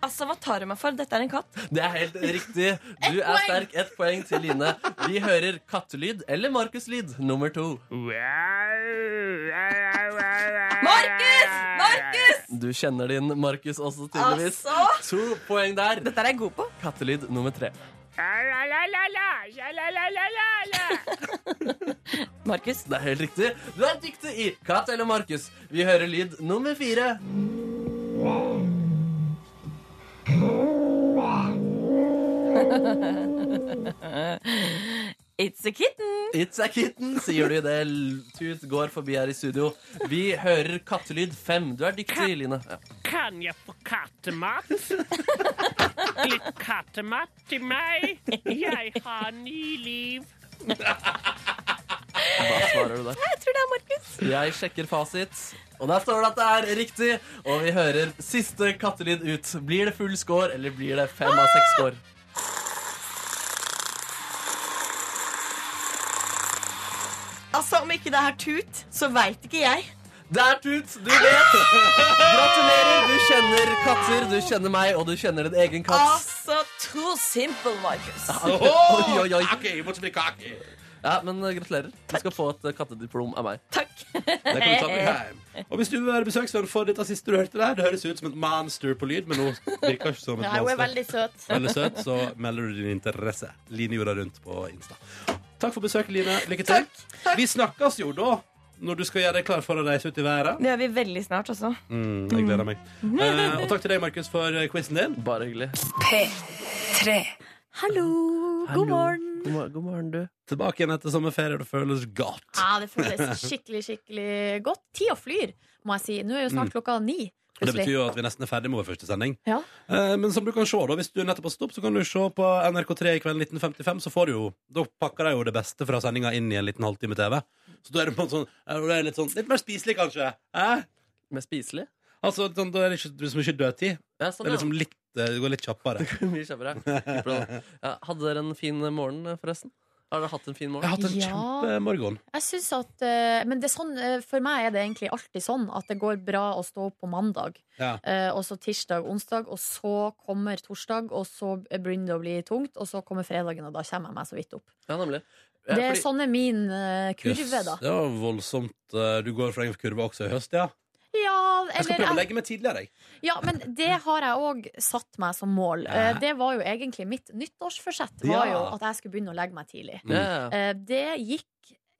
Speaker 9: Altså, hva tar du meg for? Dette er en katt.
Speaker 4: Det er helt riktig. Du
Speaker 9: Ett
Speaker 4: er
Speaker 9: poeng.
Speaker 4: sterk. Ett poeng til Line. Vi hører kattelyd eller Markus-lyd nummer to.
Speaker 9: Markus! Markus!
Speaker 4: Du kjenner din Markus også, tydeligvis.
Speaker 9: Altså!
Speaker 4: To poeng der.
Speaker 9: Dette er jeg god på.
Speaker 4: Kattelyd nummer tre.
Speaker 9: Markus.
Speaker 4: Det er helt riktig. Du er dyktig i Katt eller Markus. Vi hører lyd nummer fire.
Speaker 9: It's a kitten.
Speaker 4: It's a kitten, sier du idet Tut går forbi her i studio. Vi hører kattelyd fem. Du er dyktig, Line. Ja.
Speaker 7: Kan jeg få kattemat? Litt kattemat til meg? Jeg har ny liv.
Speaker 4: Hva svarer du der?
Speaker 9: Jeg tror det er Markus.
Speaker 4: Jeg sjekker fasit, og der står det at det er riktig. Og vi hører siste kattelyd ut. Blir det full score, eller blir det fem av seks score?
Speaker 9: Altså, om ikke det er tut, så veit ikke jeg.
Speaker 4: Det er tut! Du vet! Gratulerer! Du kjenner katter, du kjenner meg, og du kjenner din egen katt.
Speaker 9: Altså, too simple, Markus.
Speaker 3: Ah.
Speaker 4: Oi, oi, oi.
Speaker 2: måtte bli kake.
Speaker 4: Ja, men eh, gratulerer. Du skal få et eh, kattediplom av meg.
Speaker 2: Det kan du ta med hjem. Og hvis du vil være besøksvenn for dette siste du hørte der, det høres ut som et monster på lyd, men nå virker det ikke som et
Speaker 3: Ja, hun er
Speaker 2: monster.
Speaker 3: veldig søt.
Speaker 2: Veldig søt, så melder du din interesse. Line jorda rundt på Insta. Takk for besøket, Line. Lykke til. Vi snakkes jo da når du skal gjøre deg klar for å reise ut i været.
Speaker 9: Det gjør vi veldig snart også.
Speaker 2: Mm, jeg gleder meg. Eh, og takk til deg, Markus, for eh, quizen din.
Speaker 4: Bare hyggelig.
Speaker 1: P3.
Speaker 2: Hallo.
Speaker 3: Hallo. God morgen.
Speaker 4: God, mor- god morgen, du.
Speaker 2: Tilbake igjen etter sommerferie, det føles godt.
Speaker 3: Ja, det føles skikkelig, skikkelig godt. Tida flyr, må jeg si. Nå er jo snart klokka ni.
Speaker 2: Og Mm. Det betyr
Speaker 3: Plutselig.
Speaker 2: jo at vi nesten er ferdig med vår første sending.
Speaker 3: Ja.
Speaker 2: Eh, Men som du kan se da, hvis du nettopp har stoppet, så kan du se på NRK3 i kveld 1955, så får du jo, da pakker de jo det beste fra sendinga inn i en liten halvtime TV. Så da er det på en sånn, eh, det er litt sånn, litt mer spiselig kanskje. Eh?
Speaker 4: Med spiselig?
Speaker 2: Altså, sånn, da er det ikke liksom ikke dødtid.
Speaker 4: Ja,
Speaker 2: Det
Speaker 4: sånn,
Speaker 2: er
Speaker 4: ja.
Speaker 2: liksom litt, eh, det går litt kjappere.
Speaker 4: Mye kjappere. Ja, hadde dere en fin eh, morgen, forresten? Har dere hatt en fin morgen?
Speaker 2: Jeg har hatt en eh,
Speaker 3: Ja.
Speaker 2: kjempemorgen.
Speaker 3: Jeg synes at eh, Men det er sånn, eh, for meg er det egentlig alltid sånn at det går bra å stå opp på mandag,
Speaker 2: Ja.
Speaker 3: eh, og så tirsdag, onsdag, og så kommer torsdag, og så begynner det å bli tungt, og så kommer fredagen, og da kommer jeg meg så vidt opp.
Speaker 4: Ja, nemlig. Ja,
Speaker 3: Det er
Speaker 4: fordi-
Speaker 3: sånn er min eh, kurve,
Speaker 2: Jøss,
Speaker 3: da.
Speaker 2: Det var voldsomt. eh, Du går fra en kurve også i høst, ja.
Speaker 3: Ja,
Speaker 2: Jeg skal
Speaker 3: eller
Speaker 2: prøve å
Speaker 3: jeg-
Speaker 2: legge meg tidligere, jeg.
Speaker 3: Ja, men det har jeg òg satt meg som mål. Eh, Det var jo egentlig mitt nyttårsforsett. Var jo
Speaker 2: Ja.
Speaker 3: at jeg skulle begynne å legge meg tidlig.
Speaker 4: Ja, ja.
Speaker 3: Eh, Det gikk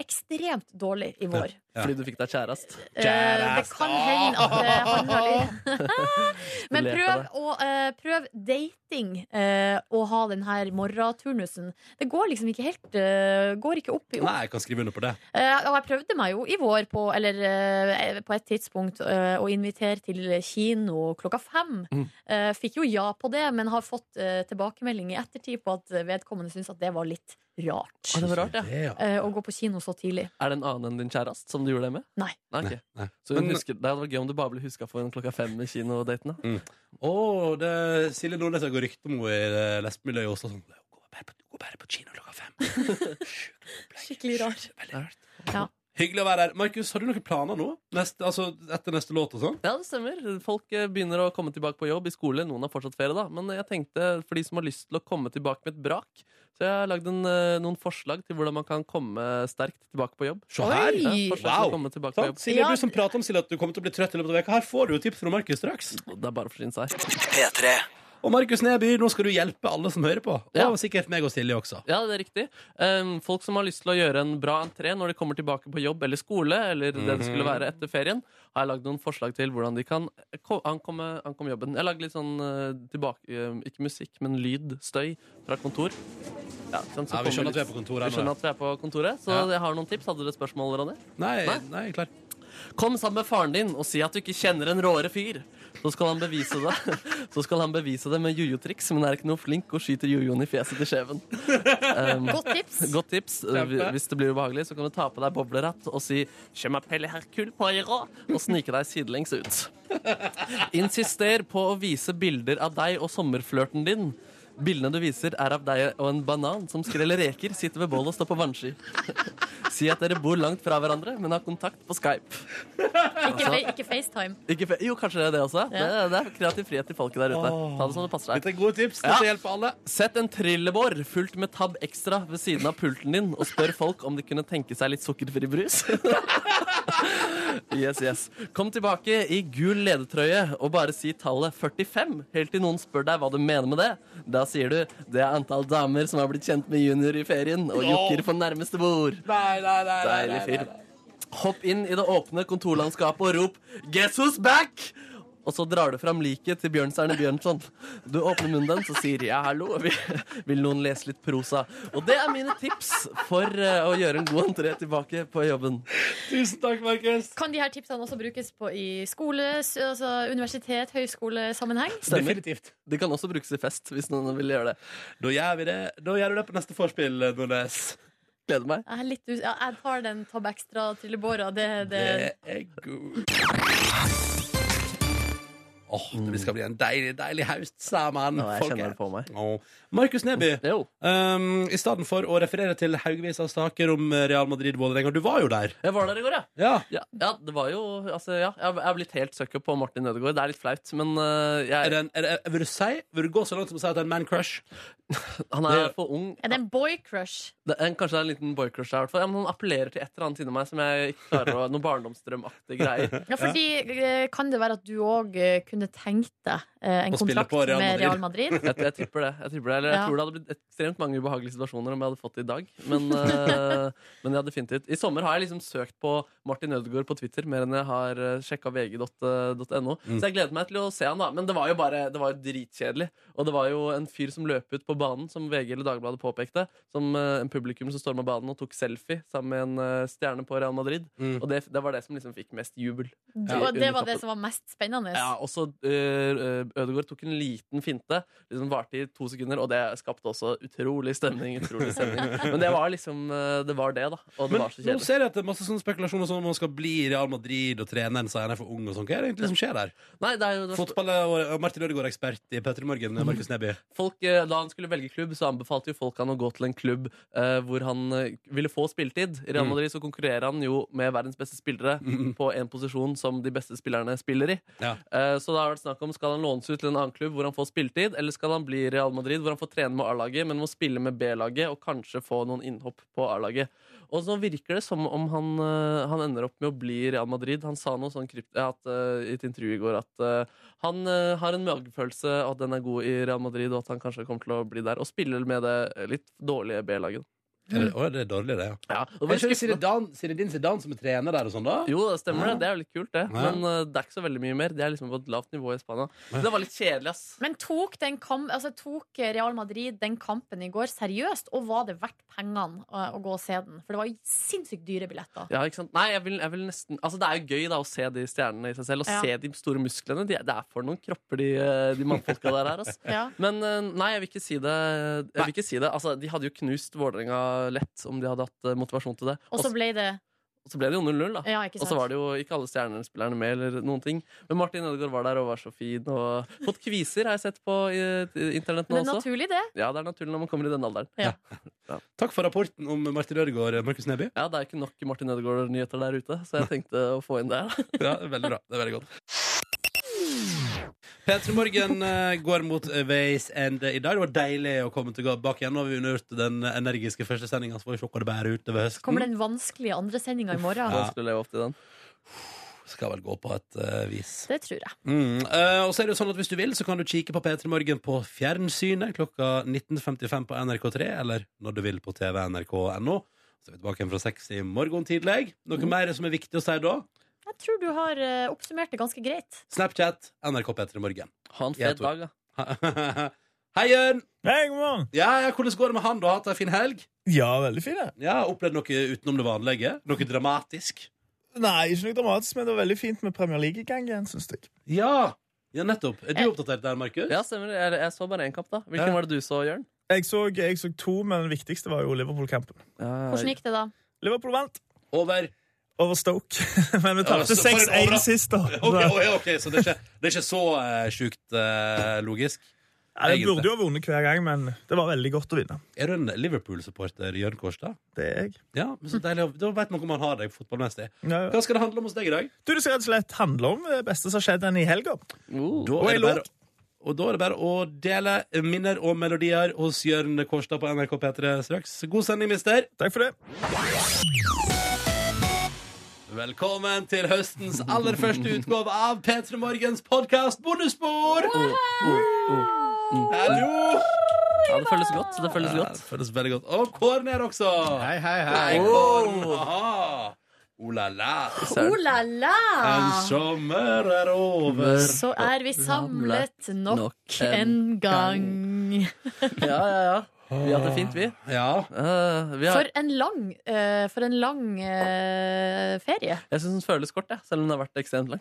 Speaker 3: ekstremt dårlig i vår.
Speaker 2: Ja.
Speaker 4: Fordi du fikk deg kjærest?
Speaker 3: Eh, Det kan hende at eh, det handler litt Men
Speaker 4: Lek av
Speaker 3: prøv, å, eh, prøv dating eh, og ha den her morgenturnusen. Det går liksom ikke helt eh, Går ikke opp i opp.
Speaker 2: Nei, jeg kan skrive under på det.
Speaker 3: Eh, og jeg prøvde meg jo i vår på, eller, eh, på et tidspunkt eh, å invitere til kino klokka fem.
Speaker 4: Mm.
Speaker 3: Eh, fikk jo ja på det, men har fått eh, tilbakemelding i ettertid på at eh, vedkommende syntes at det var litt rart.
Speaker 4: Å, det var rart, ja.
Speaker 2: Det, ja.
Speaker 3: eh, å gå på kino så tidlig.
Speaker 4: Er det en annen enn din kjærest som du gjorde det med?
Speaker 3: Nei.
Speaker 4: Nei, ok.
Speaker 2: Nei.
Speaker 4: Så hun
Speaker 2: Men-
Speaker 4: husker, Det hadde vært gøy om du bare ble huska for en klokka fem i kinodaten. da.
Speaker 2: Å, det Silje Nordnes har gått rykte om henne i det lesbemiljøet i Oslo. Sånn, hun går bare på, går bare på kino klokka fem.
Speaker 3: Skikkelig rart.
Speaker 2: Veldig rart.
Speaker 3: Ja.
Speaker 2: Hyggelig å være her. Markus, har du noen planer nå? Neste, altså, etter neste låt og sånn?
Speaker 4: Ja, det stemmer. Folk eh, begynner å komme tilbake på jobb i skole. Noen har fortsatt ferie, da. Men jeg tenkte for de som har lyst til å komme tilbake med et brak, så jeg har lagd en, eh, noen forslag til hvordan man kan komme sterkt tilbake på jobb.
Speaker 2: Se her!
Speaker 3: Oi!
Speaker 4: Ja, forslag til å
Speaker 2: Wow.
Speaker 4: komme tilbake på
Speaker 2: Sant?
Speaker 4: jobb.
Speaker 2: Silje,
Speaker 3: Ja.
Speaker 2: du som prater om Silje at du kommer til å bli trøtt i løpet av veka. Her får du jo tips fra Markus straks.
Speaker 4: Det er bare å forsyne seg.
Speaker 10: P3.
Speaker 2: Og Markus Neby, nå skal du hjelpe alle som hører på. Og
Speaker 4: Ja.
Speaker 2: sikkert meg og Silje også.
Speaker 4: Ja, det er riktig. Ehm, folk som har lyst til å gjøre en bra entré når de kommer tilbake på jobb eller skole, eller det det
Speaker 2: Mhm.
Speaker 4: skulle være etter ferien, har jeg lagd noen forslag til hvordan de kan ko- ankomme, ankomme jobben. Jeg lagde litt sånn eh, tilbake, eh, ikke musikk, men lyd, støy fra kontor. Ja, ikke sant, så
Speaker 2: Ja, vi
Speaker 4: kommer
Speaker 2: skjønner at vi
Speaker 4: litt-
Speaker 2: er på kontoret
Speaker 4: Vi
Speaker 2: her nå, ja.
Speaker 4: skjønner at vi er på kontoret, så
Speaker 2: Ja.
Speaker 4: jeg har noen tips. Hadde dere spørsmål, Ronny?
Speaker 2: Nei,
Speaker 4: Nei.
Speaker 2: nei, klar.
Speaker 4: Kom sammen med faren din og si at du ikke kjenner en råere fyr. Så skal han bevise det Så skal han bevise det med jojo-triks, men er ikke noe flink og skyter jojoen i fjeset til skjeven. Um,
Speaker 3: Godt tips.
Speaker 4: Godt tips.
Speaker 2: Kjempe.
Speaker 4: Hvis det blir ubehagelig, så kan du ta på deg bobleratt og si «Je m'appelle Hercule Poirot» og snike deg sidelengs ut. Insister på å vise bilder av deg og sommerflørten din. Bildene du viser, er av deg og en banan som skreller reker, sitter ved bål og står på vannski. Si at dere bor langt fra hverandre, men har kontakt på Skype.
Speaker 3: Ikke, fe- ikke FaceTime.
Speaker 4: Ikke fe jo, kanskje det er det også. Det, det er kreativ frihet til folket der ute. Ta det som det passer deg.
Speaker 2: Dette er gode tips.
Speaker 4: Ja.
Speaker 2: Dette hjelper alle.
Speaker 4: Sett en trillebår fullt med Tab Extra ved siden av pulten din og spør folk om de kunne tenke seg litt sukkerfri brus. yes, yes. Kom tilbake i gul ledetrøye og bare si tallet 45 helt til noen spør deg hva du mener med det. Da sier du det er antall damer som har blitt kjent med junior i ferien og jokker på nærmeste bord.
Speaker 2: Nei, nei, nei. nei,
Speaker 4: Deilig
Speaker 2: nei, nei.
Speaker 4: fyr. Hopp inn i det åpne kontorlandskapet og rop 'Guess who's back?' Og så drar du fram liket til Bjørnstjerne Bjørnson. Du åpner munnen din, så sier 'ja, hallo'. Vil, vil noen lese litt prosa? Og det er mine tips for eh, å gjøre en god entré tilbake på jobben.
Speaker 2: Tusen takk, Markus.
Speaker 3: Kan de her tipsene også brukes på i skole, s- altså universitet, høyskolesammenheng?
Speaker 4: Stemmer.
Speaker 2: Definitivt.
Speaker 4: De kan også brukes i fest, hvis noen vil gjøre det.
Speaker 2: Da gjør vi det. Da gjør du det på neste vorspiel, Nordnes.
Speaker 4: Gleder meg.
Speaker 3: Jeg, er litt us ja, jeg tar den Tab Extra til Båra. Det, det,
Speaker 2: Det er god. Åh, det skal bli en deilig, deilig haust sammen.
Speaker 4: Nå, jeg
Speaker 2: Folk er-
Speaker 4: kjenner det på meg.
Speaker 2: Åh. Markus Neby,
Speaker 4: Jo.
Speaker 2: um, i stedet for å referere til Haugevis av saker om Real Madrid-Vålerenga, du var jo der.
Speaker 4: Jeg var der i går, ja.
Speaker 2: Ja.
Speaker 4: Ja, ja, det var jo altså, ja, Jeg jeg har blitt helt sucker på Martin Ødegaard. Det er litt flaut, men eh,
Speaker 2: Er
Speaker 4: jeg,
Speaker 2: det en, er det, vil, du si, vil du gå så langt som å si at det er en man crush?
Speaker 4: han er for ung.
Speaker 3: er det en boycrush?
Speaker 4: Det er, en- kanskje det er en liten boycrush der. i hvert fall. Ja, men han appellerer til et eller annet inni meg som jeg ikke klarer å Noen barndomsdrømaktige greier.
Speaker 3: Ja, fordi eh, kan det være at du òg kunne kunne tenkt deg eh, en
Speaker 4: Å spille
Speaker 3: kontrakt
Speaker 4: på Real
Speaker 3: med Real Madrid?
Speaker 4: Madrid. Jeg, jeg tipper det. Jeg, tipper det. Eller,
Speaker 3: Ja.
Speaker 4: jeg tror det hadde blitt ekstremt mange ubehagelige situasjoner om jeg hadde fått det i dag. Men, eh, men ja, definitivt. I sommer har jeg liksom søkt på Martin Ødegaard på Twitter mer enn jeg har eh, sjekka vg.no. Så jeg gleder meg til å se han, da. Men det var jo bare det var jo dritkjedelig. Og det var jo en fyr som løp ut på banen, som VG eller Dagbladet påpekte. Som eh, en publikum som storma banen og tok selfie sammen med en eh, stjerne på Real Madrid. Og det, det var det som liksom fikk mest jubel.
Speaker 3: Det var- det var det som var mest spennende.
Speaker 4: Ja, og så eh, Ødegaard tok en liten finte. Liksom Varte i to sekunder, og det skapte også utrolig stemning. Utrolig stemning. Men det var liksom eh, det, var det da. Og det
Speaker 2: Men
Speaker 4: var så
Speaker 2: nå
Speaker 4: kjedelig.
Speaker 2: ser jeg at det er masse sånne spekulasjoner som om han skal bli i Real Madrid og treneren sier han er for ung og sånn. Hva er det egentlig som skjer der?
Speaker 4: Nei, det er jo, det er-
Speaker 2: Fotball og Martin Ødegaard ekspert i Petter
Speaker 4: Mm.
Speaker 2: Morgen, Markus Neby.
Speaker 4: folk, eh, da han skulle velge klubb, så anbefalte jo folk han å gå til en klubb eh, hvor han eh, ville få spilletid. I Real
Speaker 2: Mm.
Speaker 4: Madrid så konkurrerer han jo med verdens beste spillere
Speaker 2: Mm.
Speaker 4: på en posisjon som de beste spillerne spiller i.
Speaker 2: Ja.
Speaker 4: Eh, så det har vært snakk om skal han lånes ut til en annen klubb hvor han får spilletid, eller skal han bli i Real Madrid hvor han får trene med A-laget, men må spille med B-laget og kanskje få noen innhopp på A-laget. Og så virker det som om han, eh, han ender opp med å bli i Real Madrid. Han sa noe sånn krypt, eh, at, eh, i et intervju i går at eh, han eh, har en magefølelse og at den er god i Real Madrid, og at han kanskje kommer til å bli der og spiller med det litt dårlige B-laget.
Speaker 2: Er det- Å, det er dårlig, det,
Speaker 4: ja.
Speaker 2: Er ikke det Zidane- Zinedine Zidane som er trener der og sånn, da?
Speaker 4: Jo, det stemmer det. Det er jo litt kult, det.
Speaker 2: Ja.
Speaker 4: Men eh, det er ikke så veldig mye mer. Det er liksom på et lavt nivå i Spania. Så det var litt kjedelig, ass.
Speaker 3: Men tok, den kamp, altså, tok Real Madrid den kampen i går seriøst, og var det verdt pengene eh, å, å gå og se den? For det var jo sinnssykt dyre billetter.
Speaker 4: Ja, ikke sant? Nei, jeg vil, jeg vil nesten Altså, det er jo gøy da å se de stjernene i seg selv, og
Speaker 3: Ja.
Speaker 4: se de store musklene. De, det er for noen kropper, de, eh, de mannfolka der er. ass.
Speaker 3: Ja.
Speaker 4: Men eh, nei, jeg vil ikke si det. Jeg vil ikke si det. Altså, de hadde jo knust Vålerenga lett om de hadde hatt eh, motivasjon til det.
Speaker 3: Og så ble det
Speaker 4: Og så ble det jo 0-0, da.
Speaker 3: Ja, ikke
Speaker 4: og
Speaker 3: sant.
Speaker 4: så var det jo ikke alle stjernespillerne med, eller noen ting. Men Martin Ødegaard var der og var så fin, og fått kviser, har jeg sett på eh, internett nå
Speaker 3: Men det er
Speaker 4: også.
Speaker 3: naturlig, det.
Speaker 4: Ja, det er naturlig når man kommer i den alderen.
Speaker 3: Ja.
Speaker 2: Takk for rapporten om Martin Ødegaard, Markus Neby.
Speaker 4: Ja, det er ikke nok Martin Ødegaard-nyheter der ute, så jeg tenkte å få inn det.
Speaker 2: Ja, veldig bra. Det er veldig godt. P3 Morgen eh, går mot eh, veis ende i dag. Det var deilig å komme tilbake igjen. Nå har vi undergjort den energiske første sendinga, så får vi se hva det bærer utover høsten.
Speaker 3: Kommer den vanskelige andre sendinga i morgen?
Speaker 2: Mm. Ja.
Speaker 4: Vanskelig å leve opp til den.
Speaker 2: Skal vel gå på et eh, vis.
Speaker 3: Det tror jeg.
Speaker 2: Mm. eh, og så er det jo sånn at Hvis du vil, så kan du kikke på P3 Morgen på fjernsynet klokka 19.55 på NRK3, eller når du vil på TV nrk.no. Så er vi tilbake igjen fra seks i morgen tidlig. Noe mer som er viktig å si da?
Speaker 3: Jeg tror du har eh, oppsummert det ganske greit.
Speaker 2: Snapchat NRK P3 Morgen.
Speaker 4: Ha en
Speaker 2: fet
Speaker 4: dag,
Speaker 2: da. Hei, Jørn!
Speaker 11: Hei, god morgen.
Speaker 2: Ja, ja, Hvordan går det med han? Du har hatt ei en fin helg?
Speaker 11: Ja, veldig fin. jeg.
Speaker 2: Ja, Opplevd noe utenom det vanlige? Noe dramatisk?
Speaker 11: Nei, ikke noe dramatisk, men det var veldig fint med Premier League i gang igjen, syns jeg.
Speaker 2: Ja, ja nettopp. Er du oppdatert der, Markus?
Speaker 4: Ja, stemmer. Jeg, jeg så bare én kamp, da. Hvilken var det du så, Jørn?
Speaker 11: Jeg så, jeg så to, men den viktigste var jo Liverpool-kampen.
Speaker 3: Hvordan gikk det, da?
Speaker 11: Liverpool vant.
Speaker 2: Over.
Speaker 11: Over Stoke. men vi
Speaker 2: Ja,
Speaker 11: tapte
Speaker 2: så for en
Speaker 11: 6-1
Speaker 2: overras-
Speaker 11: sist, da.
Speaker 2: Ok, ok, ok, Så det er ikke, det er ikke så eh, sjukt eh, logisk?
Speaker 11: Ja, de burde
Speaker 2: egentlig.
Speaker 11: jo ha vunnet hver gang, men det var veldig godt å vinne.
Speaker 2: Er du en Liverpool-supporter, Jørn Kårstad?
Speaker 11: Det er jeg.
Speaker 2: Ja, men så deilig. å- Da vet man hvor man har deg fotballmessig.
Speaker 11: Ja, ja.
Speaker 2: Hva skal det handle om hos deg i dag?
Speaker 11: Du, Det skal rett og slett handle om det beste som skjedde i helga.
Speaker 2: Da
Speaker 11: Og
Speaker 2: er
Speaker 11: en
Speaker 2: det bare,
Speaker 11: låt.
Speaker 2: og da er det bare å dele minner og melodier hos Jørn Kårstad på NRK P3 straks. God sending, mister.
Speaker 11: Takk for det.
Speaker 2: Velkommen til høstens aller første utgave av P3 Morgens Oh, podkast Bonusspor! oh, Hallo!
Speaker 4: Ja, det føles godt. Det føles
Speaker 2: Ja,
Speaker 4: godt.
Speaker 2: det føles veldig godt. Og Kåren er også. Hei, hei, hei. Kåren, aha. Oh la la.
Speaker 3: Oh la la! Ah.
Speaker 2: En sommer er over.
Speaker 3: Så er vi samlet nok en gang.
Speaker 4: Ja, ja, ja. Vi hadde det fint, vi.
Speaker 2: Ja.
Speaker 4: vi har,
Speaker 3: For en lang, eh, for en lang eh, ferie.
Speaker 4: jeg syns den føles kort, jeg, selv om den har vært ekstremt lang.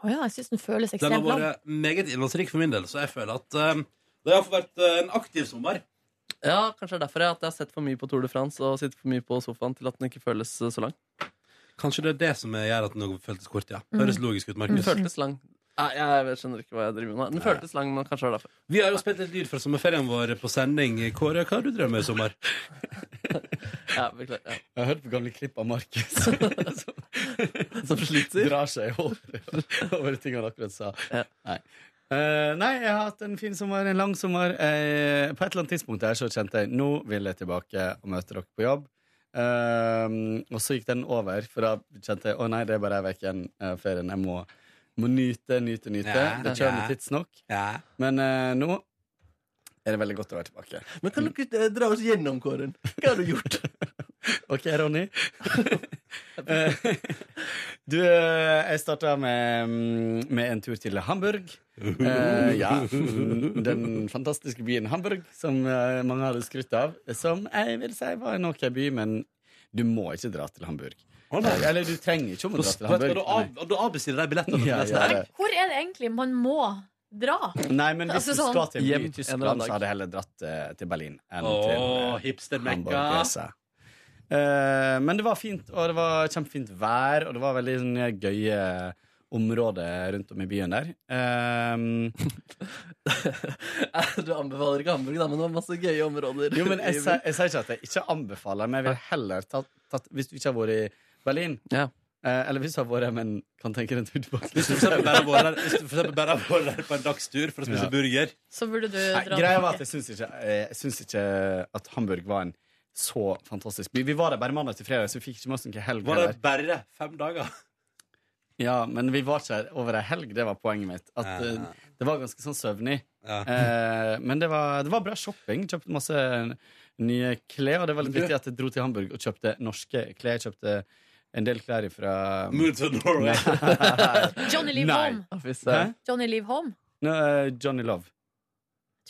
Speaker 3: Å ja, jeg syns den føles
Speaker 2: Den har
Speaker 3: ekstremt lang.
Speaker 2: vært meget innholdsrik for min del, så jeg føler at eh, det har iallfall vært eh, en aktiv sommer.
Speaker 4: Ja, Kanskje det er derfor jeg, at jeg har sett for mye på Tour de France og sittet for mye på sofaen til at den ikke føles eh, så lang.
Speaker 2: Kanskje det er det som gjør at den føltes kort, ja. Høres logisk ut,
Speaker 4: Den
Speaker 12: Mm.
Speaker 2: Markus.
Speaker 4: føltes lang. Nei, jeg vet- skjønner ikke hva jeg driver med. Den føltes lang, men kanskje det er derfor.
Speaker 2: Vi har jo spilt litt lyd fra sommerferien vår på sending. Kåre, hva har du drømt om i sommer?
Speaker 4: Ja, beklager. Ja.
Speaker 12: Jeg har hørt på gamle klipp av Markus som,
Speaker 4: som sliter.
Speaker 12: Drar seg over, over ting han akkurat sa. Nei. Eh, nei, jeg har hatt en fin sommer, en lang sommer. Eh, på et eller annet tidspunkt her så kjente jeg nå vil jeg tilbake og møte dere på jobb. Eh, og så gikk den over, for da kjente jeg å nei, det er bare ei uke igjen eh, ferien. Jeg må Må nyte, nyte, nyte.
Speaker 4: Ja,
Speaker 12: det kommer
Speaker 4: ja.
Speaker 12: tidsnok. Men eh, nå er det veldig godt å være tilbake.
Speaker 4: Men kan dere eh, dra oss gjennom, Kåren? Hva har du gjort?
Speaker 12: OK, Ronny. Eh, du, eh, jeg starta med, mm, med en tur til Hamburg. Eh, ja, mm, Den fantastiske byen Hamburg, som eh, mange hadde skrytt av. Som jeg vil si var en OK by, men du må ikke dra til Hamburg. Eh, Eller du trenger ikke om å dra til Hamburg.
Speaker 2: Og da avbestiller de billettene
Speaker 12: Ja,
Speaker 2: til
Speaker 12: ja,
Speaker 2: neste
Speaker 12: det.
Speaker 2: helg.
Speaker 3: Hvor er det egentlig man må dra?
Speaker 12: Nei, men hvis
Speaker 3: Altså sånn-
Speaker 12: du skal til en by
Speaker 4: Hjem en
Speaker 12: i
Speaker 4: eller annen
Speaker 12: Tyskland,
Speaker 4: dag.
Speaker 12: så hadde jeg heller dratt eh, til Berlin enn
Speaker 2: Åh,
Speaker 12: til eh,
Speaker 2: hipstermekka.
Speaker 12: Hamburg, vil jeg si. Eh, men det var fint, og det var kjempefint vær, og det var veldig sånn, gøye områder rundt om i byen der. Eh,
Speaker 4: Du anbefaler ikke Hamburg, da, men det var masse gøye områder.
Speaker 12: jo, men jeg,
Speaker 4: i
Speaker 12: sier-
Speaker 4: byen.
Speaker 12: jeg sier ikke at jeg ikke anbefaler, men jeg vil heller tatt, tatt Hvis du ikke har vært i Berlin, eh, eller hvis du har vært, men kan tenke deg en tur tilbake
Speaker 2: Hvis du for eksempel bare har vært der- hvis du for eksempel bare har vært der på en dagstur for å spise
Speaker 12: Ja.
Speaker 2: burger
Speaker 3: Så burde du
Speaker 12: Nei,
Speaker 3: dra
Speaker 12: greia var at jeg syns ikke, eh, jeg syns ikke at Hamburg var en så fantastisk by. Vi var der bare mandag til fredag, så vi fikk ikke med oss noen helg.
Speaker 2: Var det
Speaker 12: heller.
Speaker 2: bare fem dager?
Speaker 12: Ja, men vi var ikke der over ei helg, det var poenget mitt. At eh, Det var ganske sånn søvnig. Eh, men det var, det var bra shopping. Kjøpte masse nye klær. Og det var
Speaker 2: Men
Speaker 12: litt
Speaker 2: du-
Speaker 12: viktig at jeg dro til Hamburg og kjøpte norske klær. Jeg Kjøpte en del klær fra
Speaker 2: Moods of Norway.
Speaker 3: Johnny Leave Home.
Speaker 12: Hæ?
Speaker 3: Johnny Leave Home.
Speaker 12: Nå, eh, Johnny Love.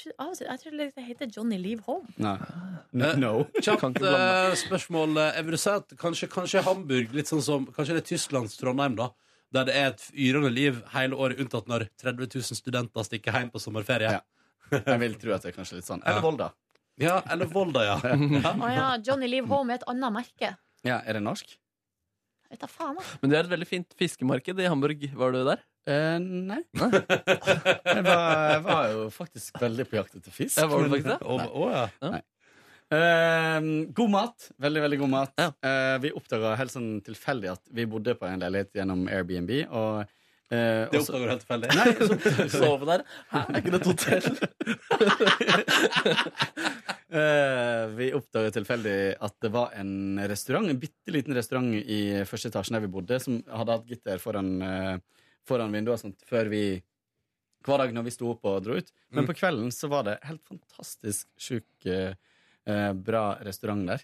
Speaker 3: Jeg tror- Jeg tror det heter Johnny Leave Home.
Speaker 12: Nei. No.
Speaker 2: Kjapt eh, spørsmål. eh, Jeg vil si at kanskje, kanskje Hamburg, litt sånn som Kanskje det er Tysklands Trondheim, da. Der det er et yrende liv hele året, unntatt når 30 000 studenter stikker hjem på sommerferie.
Speaker 12: Jeg vil tro at det er kanskje litt sånn. Eller Volda.
Speaker 2: Ja, eller Volda, ja.
Speaker 3: Å ja, Johnny Leave Home er et annet merke.
Speaker 12: Ja, Er det norsk?
Speaker 3: Vet da faen, altså. da.
Speaker 4: Men det er et veldig fint fiskemarked i Hamburg. Var du der?
Speaker 12: nei. Jeg var, jeg var jo faktisk veldig på jakt etter fisk.
Speaker 4: Ja, var du faktisk det?
Speaker 12: Nei.
Speaker 2: Å, ja.
Speaker 12: Nei. Eh, god mat. Veldig, veldig god mat. Eh, vi oppdaga helt sånn tilfeldig at vi bodde på en leilighet gjennom Airbnb. Og, eh,
Speaker 2: Det oppdager du helt tilfeldig?
Speaker 12: Nei,
Speaker 4: Sove der? Hæ, er ikke det et hotell?
Speaker 12: Eh, vi oppdaget tilfeldig at det var en restaurant, en bitte liten restaurant i første etasjen der vi bodde, som hadde hatt gitter foran, eh, foran vinduet og sånt før vi hver dag når vi sto opp og dro ut. Men
Speaker 4: Mm.
Speaker 12: på kvelden så var det helt fantastisk sjuk eh, eh, bra restaurant der.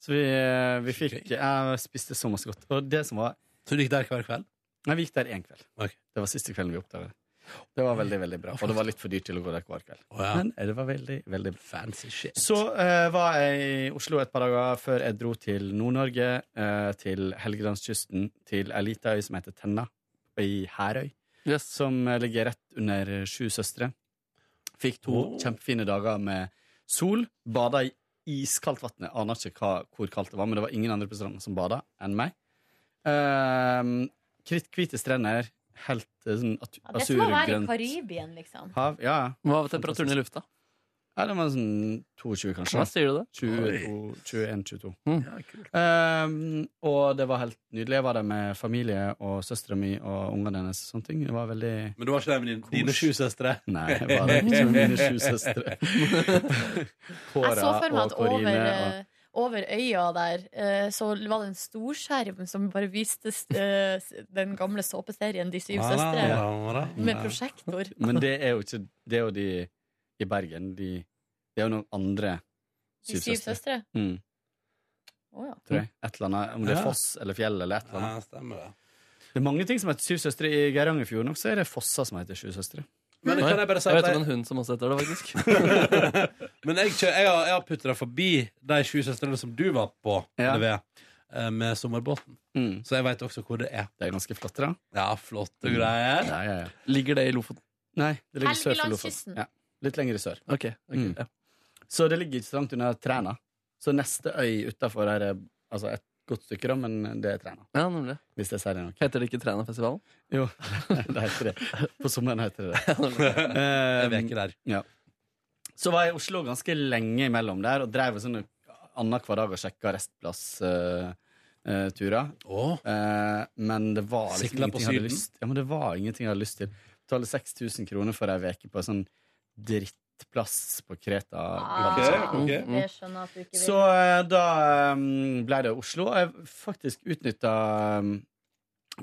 Speaker 12: Så vi, eh, vi fikk Jeg spiste så masse godt. Og det som var
Speaker 2: Så du gikk der hver kveld?
Speaker 12: Nei, vi gikk der én kveld. Det var siste kvelden vi oppdaga det. Det var veldig, veldig bra. Og det var litt for dyrt til å gå der hver kveld. Men eh, det var veldig, veldig
Speaker 2: fancy shit.
Speaker 12: Så eh, var jeg i Oslo et par dager før jeg dro til Nord-Norge, eh, til Helgelandskysten, til ei lita øy som heter Tenna, i Herøy, som eh, ligger rett under Sju søstre. Fikk to
Speaker 2: Oh.
Speaker 12: kjempefine dager med sol, bada i iskaldt vann. Jeg aner ikke hva, hvor kaldt det var, men det var ingen andre på stranda som bada enn meg. Uh, Hvite strender, helt eh, sånn at-
Speaker 3: Ja, det er som å være i
Speaker 12: asurgrønt
Speaker 3: Karibien, liksom.
Speaker 12: hav. Ja, ja.
Speaker 4: Hva var temperaturen i lufta?
Speaker 12: Ja, det var sånn 22, kanskje.
Speaker 4: Hva sier du det?
Speaker 12: 21-22. Ehm, og det var helt nydelig. Jeg var der med familie og søstera mi og ungene hennes. og sånne ting. Det var veldig
Speaker 2: Men du var ikke der med din, dine sju søstre?
Speaker 12: Nei, jeg var der ikke med mine sju søstre.
Speaker 3: Jeg så for meg at over,
Speaker 12: og-
Speaker 3: eh, over øya der eh, så var det en storskjerm som bare viste eh, s- den gamle såpeserien De syv søstre, med prosjektor.
Speaker 12: Ah. Men det er jo ikke Det er jo de i Bergen. De, det er jo noen andre
Speaker 3: De syv søstre?
Speaker 12: Mm,
Speaker 3: Å ja.
Speaker 12: tror jeg. Et eller annet. Om det
Speaker 2: Ja.
Speaker 12: er Foss eller Fjell eller et eller
Speaker 2: Ja,
Speaker 12: annet.
Speaker 2: stemmer det.
Speaker 12: Det er mange ting som heter Syv søstre i Geirangerfjorden også. Er det Fossa som heter Sju søstre?
Speaker 2: Men kan jeg bare si
Speaker 4: Jeg
Speaker 2: at
Speaker 4: vet
Speaker 2: jeg-
Speaker 4: om en hund som også heter det, faktisk.
Speaker 2: Men jeg, kjø- jeg har, jeg har putta deg forbi de sju søstrene som du var på
Speaker 12: Ja. Mm.
Speaker 2: LV, eh, med sommerbåten. Så jeg veit også hvor det er.
Speaker 12: Det er ganske flott, da.
Speaker 2: Ja, flotte greier.
Speaker 4: Ligger det i Lofoten?
Speaker 12: Nei, det ligger sør for
Speaker 4: Helgelandskysten.
Speaker 12: Lofoten. Ja, litt lenger sør.
Speaker 4: Ok, ok,
Speaker 12: Mm. Så det ligger ikke så langt unna Træna. Så neste øy utafor er eh, altså et godt stykke, da, men det er Træna.
Speaker 4: Ja, nemlig.
Speaker 12: Hvis jeg sier det nok.
Speaker 4: Heter det ikke Trænafestivalen?
Speaker 12: Jo, det heter det. På sommeren heter det det.
Speaker 2: En
Speaker 12: Eh,
Speaker 2: veke der.
Speaker 12: ja. Så var jeg i Oslo ganske lenge imellom der, og drev sånn annenhver dag og eh, sjekka restplassturer. Eh, men det var liksom
Speaker 2: Sikla på
Speaker 12: ingenting jeg hadde
Speaker 2: Syden?
Speaker 12: lyst Ja, men det var ingenting jeg hadde lyst til. Betale 6000 kroner for ei uke på en sånn drittplass på Kreta.
Speaker 4: Mm,
Speaker 3: Det skjønner jeg at du ikke vil.
Speaker 12: Så eh, da um, ble det Oslo. Og jeg faktisk utnytta um,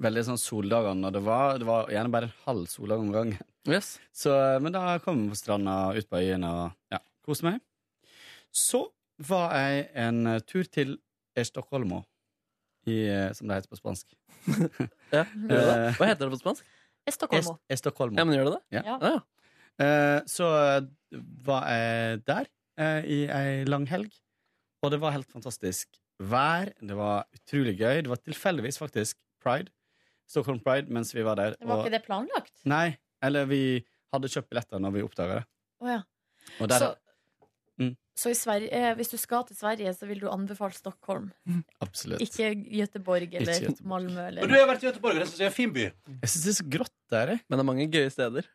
Speaker 12: veldig sånn soldager når det var Det var gjerne bare en halv soldag om gangen. Så, eh, men da kom jeg på stranda ut på øyen og ja, koste meg. Så var jeg en eh, tur til Estocolmo, i, eh, som det heter på spansk.
Speaker 4: Ja, gjør du det? Hva heter det på spansk?
Speaker 3: Estocolmo.
Speaker 12: Est- Estocolmo.
Speaker 4: Ja, men gjør det det?
Speaker 12: Ja.
Speaker 3: Ja.
Speaker 4: Ah,
Speaker 12: Eh, så eh, var jeg der eh, i ei lang helg, og det var helt fantastisk vær. Det var utrolig gøy. Det var tilfeldigvis faktisk pride. Stockholm Pride mens vi var der.
Speaker 3: Var
Speaker 12: og-
Speaker 3: ikke det planlagt?
Speaker 12: Nei, eller vi hadde kjøpt billetter når vi oppdaga det.
Speaker 3: Å ja.
Speaker 12: Og der,
Speaker 3: Så-
Speaker 12: Mm,
Speaker 3: Så i Sverige, eh, hvis du skal til Sverige, så vil du anbefale Stockholm.
Speaker 12: Mm. absolutt.
Speaker 3: Ikke Göteborg eller
Speaker 12: Ikke Göteborg.
Speaker 3: Malmö. Eller.
Speaker 2: Men du har vært i Göteborg, og det syns jeg er en fin by.
Speaker 12: Jeg syns det er så grått der. jeg.
Speaker 4: Men det er mange gøye steder.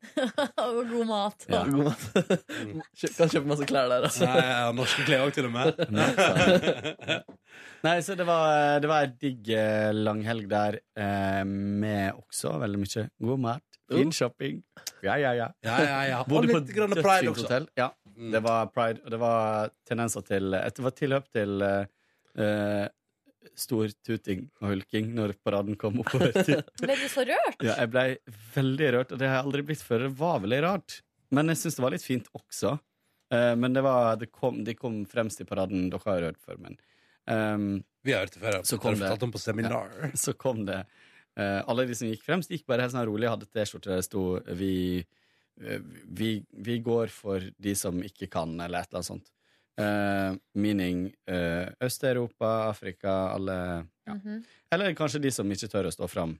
Speaker 3: Og god mat.
Speaker 4: Ja. God mat. Kjø- kan kjøpe masse klær der, altså.
Speaker 2: Nei, jeg har norske klær òg, til og med.
Speaker 12: Nei, så det var, det var ei digg eh, langhelg der, eh, med også veldig mye god mat, fin shopping. Ja, ja, ja.
Speaker 2: Ja, ja, ja. Og
Speaker 12: Bodde på
Speaker 2: litt grann pride
Speaker 12: dødsfint
Speaker 2: også.
Speaker 12: hotell. Ja, det var pride, og det var tendenser til eh, Det var tilløp til eh, eh, stor tuting og hulking når paraden kom oppover. til-
Speaker 3: Ble du så rørt?
Speaker 12: ja, jeg ble veldig rørt, og det har jeg aldri blitt før. Det var veldig rart. Men jeg syns det var litt fint også. Eh, men det var, det kom, de kom fremst i paraden. Dere har jo hørt før, men
Speaker 2: Vi har hørt det før. ja.
Speaker 12: Så
Speaker 2: Dere
Speaker 12: kom
Speaker 2: har
Speaker 12: det,
Speaker 2: fortalt om på seminar.
Speaker 12: Ja, så kom det eh, Alle de som gikk fremst, gikk bare helt sånn rolig, hadde T-skjorte der det sto vi, eh, vi, 'Vi går for de som ikke kan', eller et eller annet sånt. Eh, meaning eh, Øst-Europa, Afrika, alle ja.
Speaker 3: Mhm.
Speaker 12: Eller kanskje de som ikke tør å stå fram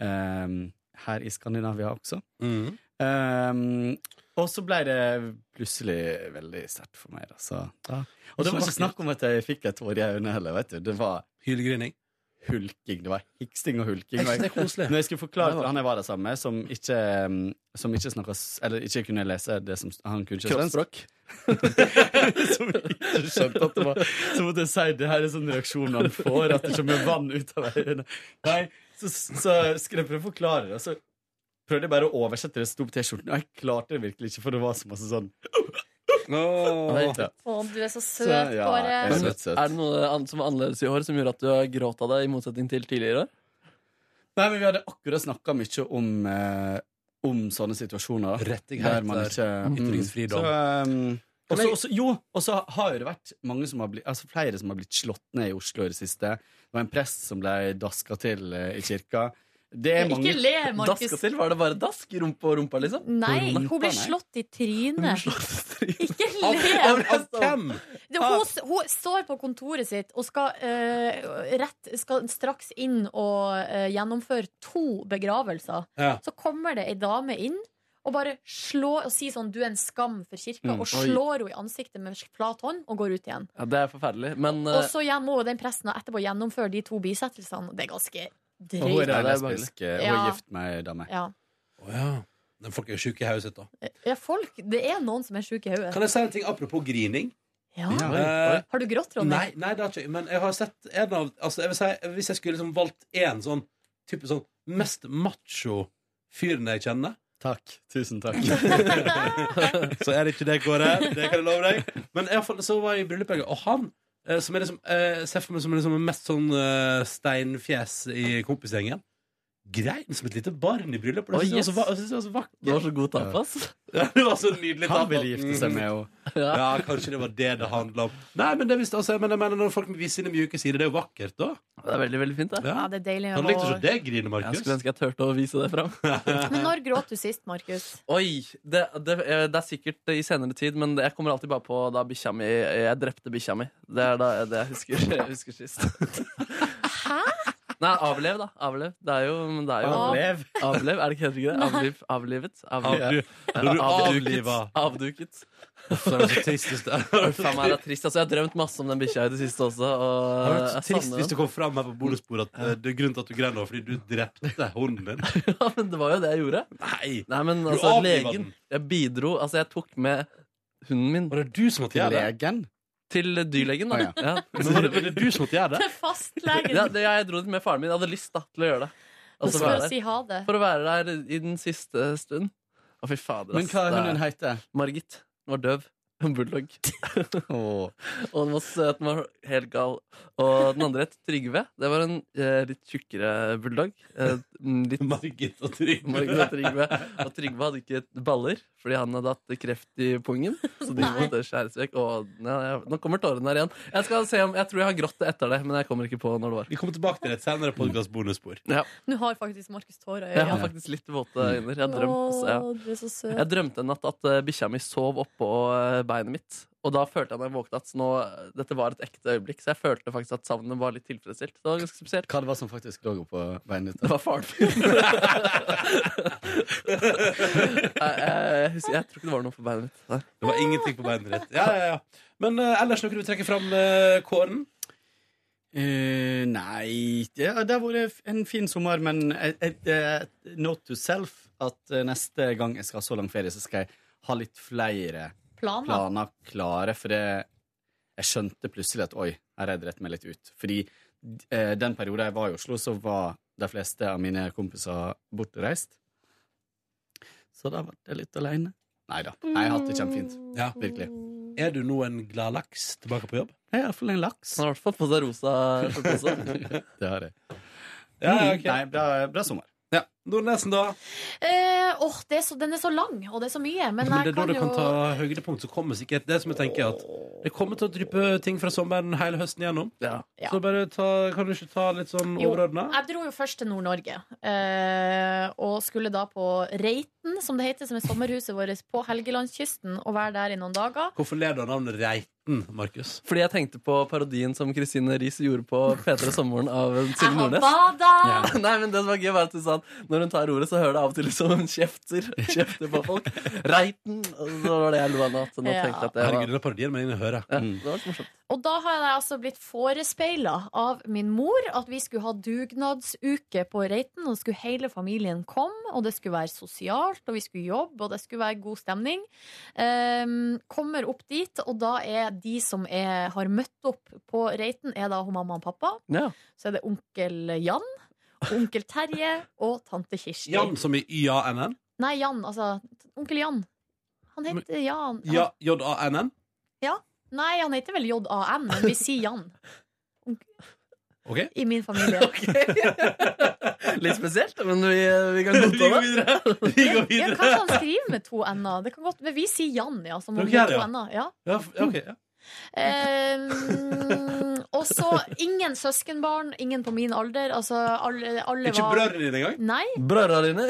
Speaker 12: ehm, her i Skandinavia også.
Speaker 2: Mm.
Speaker 12: Ehm, og så ble det plutselig veldig sterkt for meg. Altså. Da. Og det var ikke snakk om at jeg fikk et hår i øynene heller. Vet du. Det var
Speaker 2: Hylgrining.
Speaker 12: Hulking. Det var hiksting og hulking.
Speaker 2: Jeg synes
Speaker 12: Og
Speaker 2: det er koselig.
Speaker 12: Når jeg skulle forklare til han jeg var der sammen med, som ikke, ehm, som ikke snakket s- Eller ikke kunne lese det som han kunne ikke svensk
Speaker 4: Kroppsspråk.
Speaker 12: som ikke skjønte at det var Så måtte jeg si det her er sånn reaksjon man får, at det kommer vann ut av øynene. Nei, så, så skulle jeg prøve å forklare det, og så prøvde jeg bare å oversette det som sto på T-skjorten. Og jeg klarte det virkelig ikke, for det var så masse sånn Nei, ja.
Speaker 3: Å, du er så søt,
Speaker 12: Så, ja,
Speaker 3: Kåre.
Speaker 12: jeg er søt, søt.
Speaker 4: Er det noe annet som var annerledes i år som gjorde at du gråt av deg, i motsetning til tidligere år?
Speaker 12: Nei, men vi hadde akkurat snakka mye om eh, Om sånne situasjoner. da.
Speaker 2: Rettigheter, Mm.
Speaker 12: Der man ikke
Speaker 2: ytringsfrihet.
Speaker 12: Så, ehm, også, også, jo, og så har jo det vært mange som har blitt, altså flere som har blitt slått ned i Oslo i det siste. Det var en prest som ble daska til eh, i kirka. Det er mange
Speaker 3: Ikke le, Eh, Markus.
Speaker 4: Daska til? Var det bare dask? Rumpe og rumpa, liksom?
Speaker 3: Nei, hun ble slått i trynet. Ikke le! altså.
Speaker 2: Hvem?
Speaker 3: Det, hun, hun står på kontoret sitt og skal, eh, rett, skal straks inn og eh, gjennomføre to begravelser.
Speaker 2: Ja.
Speaker 3: Så kommer det ei dame inn og bare slår og sier sånn 'du er en skam for kirka',
Speaker 4: Mm.
Speaker 3: og
Speaker 4: Oi.
Speaker 3: slår henne i ansiktet med flat hånd og går ut igjen.
Speaker 4: Ja, det er forferdelig. Men eh,
Speaker 3: Og så igjen må den presten etterpå gjennomføre de to bisettelsene. Det er ganske
Speaker 12: Og hun er
Speaker 3: drøyt.
Speaker 12: da
Speaker 4: Ja, det er
Speaker 12: lesbisk. eh, Hun
Speaker 3: Ja.
Speaker 12: er gift med ei dame.
Speaker 3: Ja.
Speaker 2: Å ja. Men folk er jo sjuke i hodet sitt, da.
Speaker 3: ja, folk Det er noen som er sjuke i
Speaker 2: Kan
Speaker 3: hodet.
Speaker 2: jeg si en ting apropos grining?
Speaker 3: Ja.
Speaker 2: Eh,
Speaker 3: Har du grått, Ronny?
Speaker 2: Nei, nei, det har ikke jeg. Men jeg har sett en av altså, jeg vil si, Hvis jeg skulle liksom valgt én sånn type sånn mest macho fyren jeg kjenner
Speaker 12: Takk. Tusen takk.
Speaker 2: så er det ikke det, Kåre. Det kan jeg love deg. Men i alle fall, så var jeg i bryllup, jeg, og han eh, som er liksom, eh, ser for meg som liksom den mest sånn eh, steinfjes i kompisgjengen. Grein som et lite barn i bryllup. Og
Speaker 4: Å,
Speaker 2: det synes jeg
Speaker 4: yes.
Speaker 2: var så va- jeg synes det var så vakkert.
Speaker 4: Det var så god tapas.
Speaker 2: Ja, det var så nydelig
Speaker 12: Han
Speaker 2: tapas.
Speaker 12: ville gifte seg med henne.
Speaker 4: Ja.
Speaker 2: Ja, kanskje det var det det handla om. Nei, men det visste altså, men jeg mener Når folk viser sine mjuke sider, det er jo vakkert, da.
Speaker 4: Det er veldig, veldig fint, det.
Speaker 3: Ja, det er deilig.
Speaker 2: Hadde likt å se
Speaker 3: å-
Speaker 2: deg grine,
Speaker 4: Jeg
Speaker 2: Markus.
Speaker 4: skulle ønske jeg turte å vise det fram.
Speaker 3: Men når gråt du sist, Markus?
Speaker 4: Oi, det, det, eh, det er sikkert i senere tid, men det- jeg kommer alltid bare på da bikkja mi Jeg drepte bikkja mi. Det er da, det jeg husker, jeg husker sist.
Speaker 3: Hæ?
Speaker 4: Nei, avlev, da. Avlev. Det er jo, men det er jo
Speaker 12: Avlev.
Speaker 4: Avlev, er det ikke helt riktig? det? Avliv, avlivet?
Speaker 2: Avdu- Når du avliva.
Speaker 4: Avduket.
Speaker 2: Så er det så trist hvis det-
Speaker 4: Faen meg, det er trist. Altså, jeg har drømt masse om den bikkja i det siste også. Og
Speaker 2: Det hadde vært så
Speaker 4: jeg
Speaker 2: trist
Speaker 4: savner
Speaker 2: hvis
Speaker 4: den.
Speaker 2: det kom fram her på bonusbordet at eh, det er grunnen til at du grein nå, fordi du drepte hunden din.
Speaker 4: Ja, men det var jo det jeg gjorde.
Speaker 2: Nei!
Speaker 4: Nei, men
Speaker 2: Du
Speaker 4: altså,
Speaker 2: avlivet
Speaker 4: legen
Speaker 2: den.
Speaker 4: Jeg bidro, altså jeg tok med hunden min
Speaker 2: Var det du som måtte
Speaker 12: Til
Speaker 2: gjøre det?
Speaker 12: legen.
Speaker 4: til dyrlegen, da.
Speaker 12: Å,
Speaker 4: ja.
Speaker 2: Men var det, var det du som måtte gjøre det?
Speaker 3: Til fastlegen.
Speaker 4: Ja, det, jeg dro dit med faren min. Jeg hadde lyst da, til å gjøre det. Og så
Speaker 3: for å
Speaker 4: være der.
Speaker 3: si ha det.
Speaker 4: For å være der i den siste stund. Å, fy fader,
Speaker 12: Men
Speaker 4: ass.
Speaker 12: hva
Speaker 4: Det
Speaker 12: er
Speaker 4: er-
Speaker 12: hunden heter?
Speaker 4: Margit. Den var døv. En bulldog. og den var søt, den var helt gal. Og den andre het Trygve. Det var en eh, litt tjukkere bulldog. Eh, litt...
Speaker 2: Margit og Trygve.
Speaker 4: Margit og Trygve. Og Trygve hadde ikke baller fordi han hadde hatt kreft i pungen. Så de måtte skjæres vekk. Og nei, jeg- nå kommer tårene her igjen. Jeg skal se om, jeg tror jeg har grått etter det, men jeg kommer ikke på når det var.
Speaker 2: Vi kommer tilbake til det senere podkast-bonusspor.
Speaker 4: Ja.
Speaker 3: Nå har faktisk Markus tårer i
Speaker 4: Jeg har
Speaker 3: øynene.
Speaker 4: faktisk litt våte
Speaker 12: Mm.
Speaker 4: øyne. Jeg, drøm, altså,
Speaker 3: Å,
Speaker 4: ja.
Speaker 3: du er så søt.
Speaker 4: jeg drømte en natt at eh, bikkja mi sov oppå eh, beinet mitt. Og da følte jeg når jeg våkna at nå, dette var et ekte øyeblikk. Så jeg følte faktisk at savnet var litt tilfredsstilt. Det var ganske spesielt.
Speaker 12: Hva det var som faktisk lå på beinet ditt?
Speaker 4: Det var faren min. jeg, jeg, husker, jeg tror ikke det var noe på beinet mitt. Nei.
Speaker 2: Det var ingenting på beinet ditt. Ja, ja, ja. Men eh, ellers noe du vil trekke fram, eh, Kåren?
Speaker 12: Eh, nei det, det har vært en fin sommer, men et, et, et note to self at eh, neste gang jeg skal ha så lang ferie, så skal jeg ha litt flere
Speaker 3: Planer.
Speaker 12: klare. For det, jeg skjønte plutselig at oi, her har jeg dritt meg litt ut. Fordi eh, den perioden jeg var i Oslo, så var de fleste av mine kompiser bortreist. Så da ble jeg litt aleine. Nei da. Jeg har hatt det kjempefint.
Speaker 2: Ja.
Speaker 12: Virkelig.
Speaker 2: Er du nå en glad laks tilbake på jobb?
Speaker 12: Jeg er iallfall en laks.
Speaker 4: Han har i hvert fall på seg rosa skjorte også.
Speaker 12: Det har jeg. Mm.
Speaker 2: Ja, ok.
Speaker 12: Nei, bra, bra sommer.
Speaker 2: Ja. Nordnesen, da?
Speaker 3: Eh, åh, det er så, den er så lang, og det er så mye. Men,
Speaker 2: Men det
Speaker 3: jeg
Speaker 2: er da
Speaker 3: kan
Speaker 2: du
Speaker 3: jo
Speaker 2: kan ta høydepunkt, så kommer sikkert det som jeg tenker at det kommer til å dryppe ting fra sommeren hele høsten igjennom. Så bare ta, kan du ikke ta litt sånn
Speaker 3: Jo,
Speaker 2: overordna?
Speaker 3: Jeg dro jo først til Nord-Norge. eh, og skulle da på Reiten, som det heter, som er sommerhuset vårt på Helgelandskysten, og være der i noen dager.
Speaker 2: Hvorfor ler du av navnet Reiten, Markus?
Speaker 4: Fordi jeg tenkte på parodien som Kristine Riis gjorde på P3 Sommeren av Silje
Speaker 3: Jeg har
Speaker 4: Nordnes.
Speaker 3: bada!
Speaker 4: Ja. Nei, men det som var gøy var at du sa at Når hun tar ordet, så hører det av og til ut som hun kjefter, kjefter på folk. Reiten! Og så var det jeg lo av nå. Så nå
Speaker 3: Ja.
Speaker 4: tenkte jeg at det
Speaker 2: Herregud,
Speaker 4: var,
Speaker 2: den parodien må jeg inn og høre.
Speaker 4: ja, det var litt morsomt.
Speaker 3: Og da har jeg altså blitt forespeila av min mor at vi skulle ha dugnadsuke på Reiten. Og skulle hele familien komme, og det skulle være sosialt, og vi skulle jobbe, og det skulle være god stemning. Ehm, kommer opp dit, og da er de som er, har møtt opp på Reiten, er da hun mamma og pappa.
Speaker 4: Ja.
Speaker 3: Så er det onkel Jan, onkel Terje og tante Kirsti.
Speaker 2: Jan som i YANN?
Speaker 3: Nei, Jan, altså onkel Jan. Han heter Jan. Han,
Speaker 2: Ja, JANN?
Speaker 3: ja. Nei, han heter vel JAN, men vi sier Jan.
Speaker 2: OK?
Speaker 3: I min familie.
Speaker 4: Litt spesielt, men vi, vi kan godta det.
Speaker 3: Ja, kanskje han skriver med to n-er. Det kan godt, men vi sier Jan, ja. Som om
Speaker 2: Dere
Speaker 3: det
Speaker 2: gjør
Speaker 3: er
Speaker 2: det,
Speaker 3: to
Speaker 2: ja.
Speaker 3: n-er. Ja.
Speaker 2: Ja, f- ja, ok, ja.
Speaker 3: Ehm, og så ingen søskenbarn, ingen på min alder. Altså, alle, alle
Speaker 2: Ikke
Speaker 3: var
Speaker 2: brødrene dine engang?
Speaker 3: Nei.
Speaker 4: Brødra dine?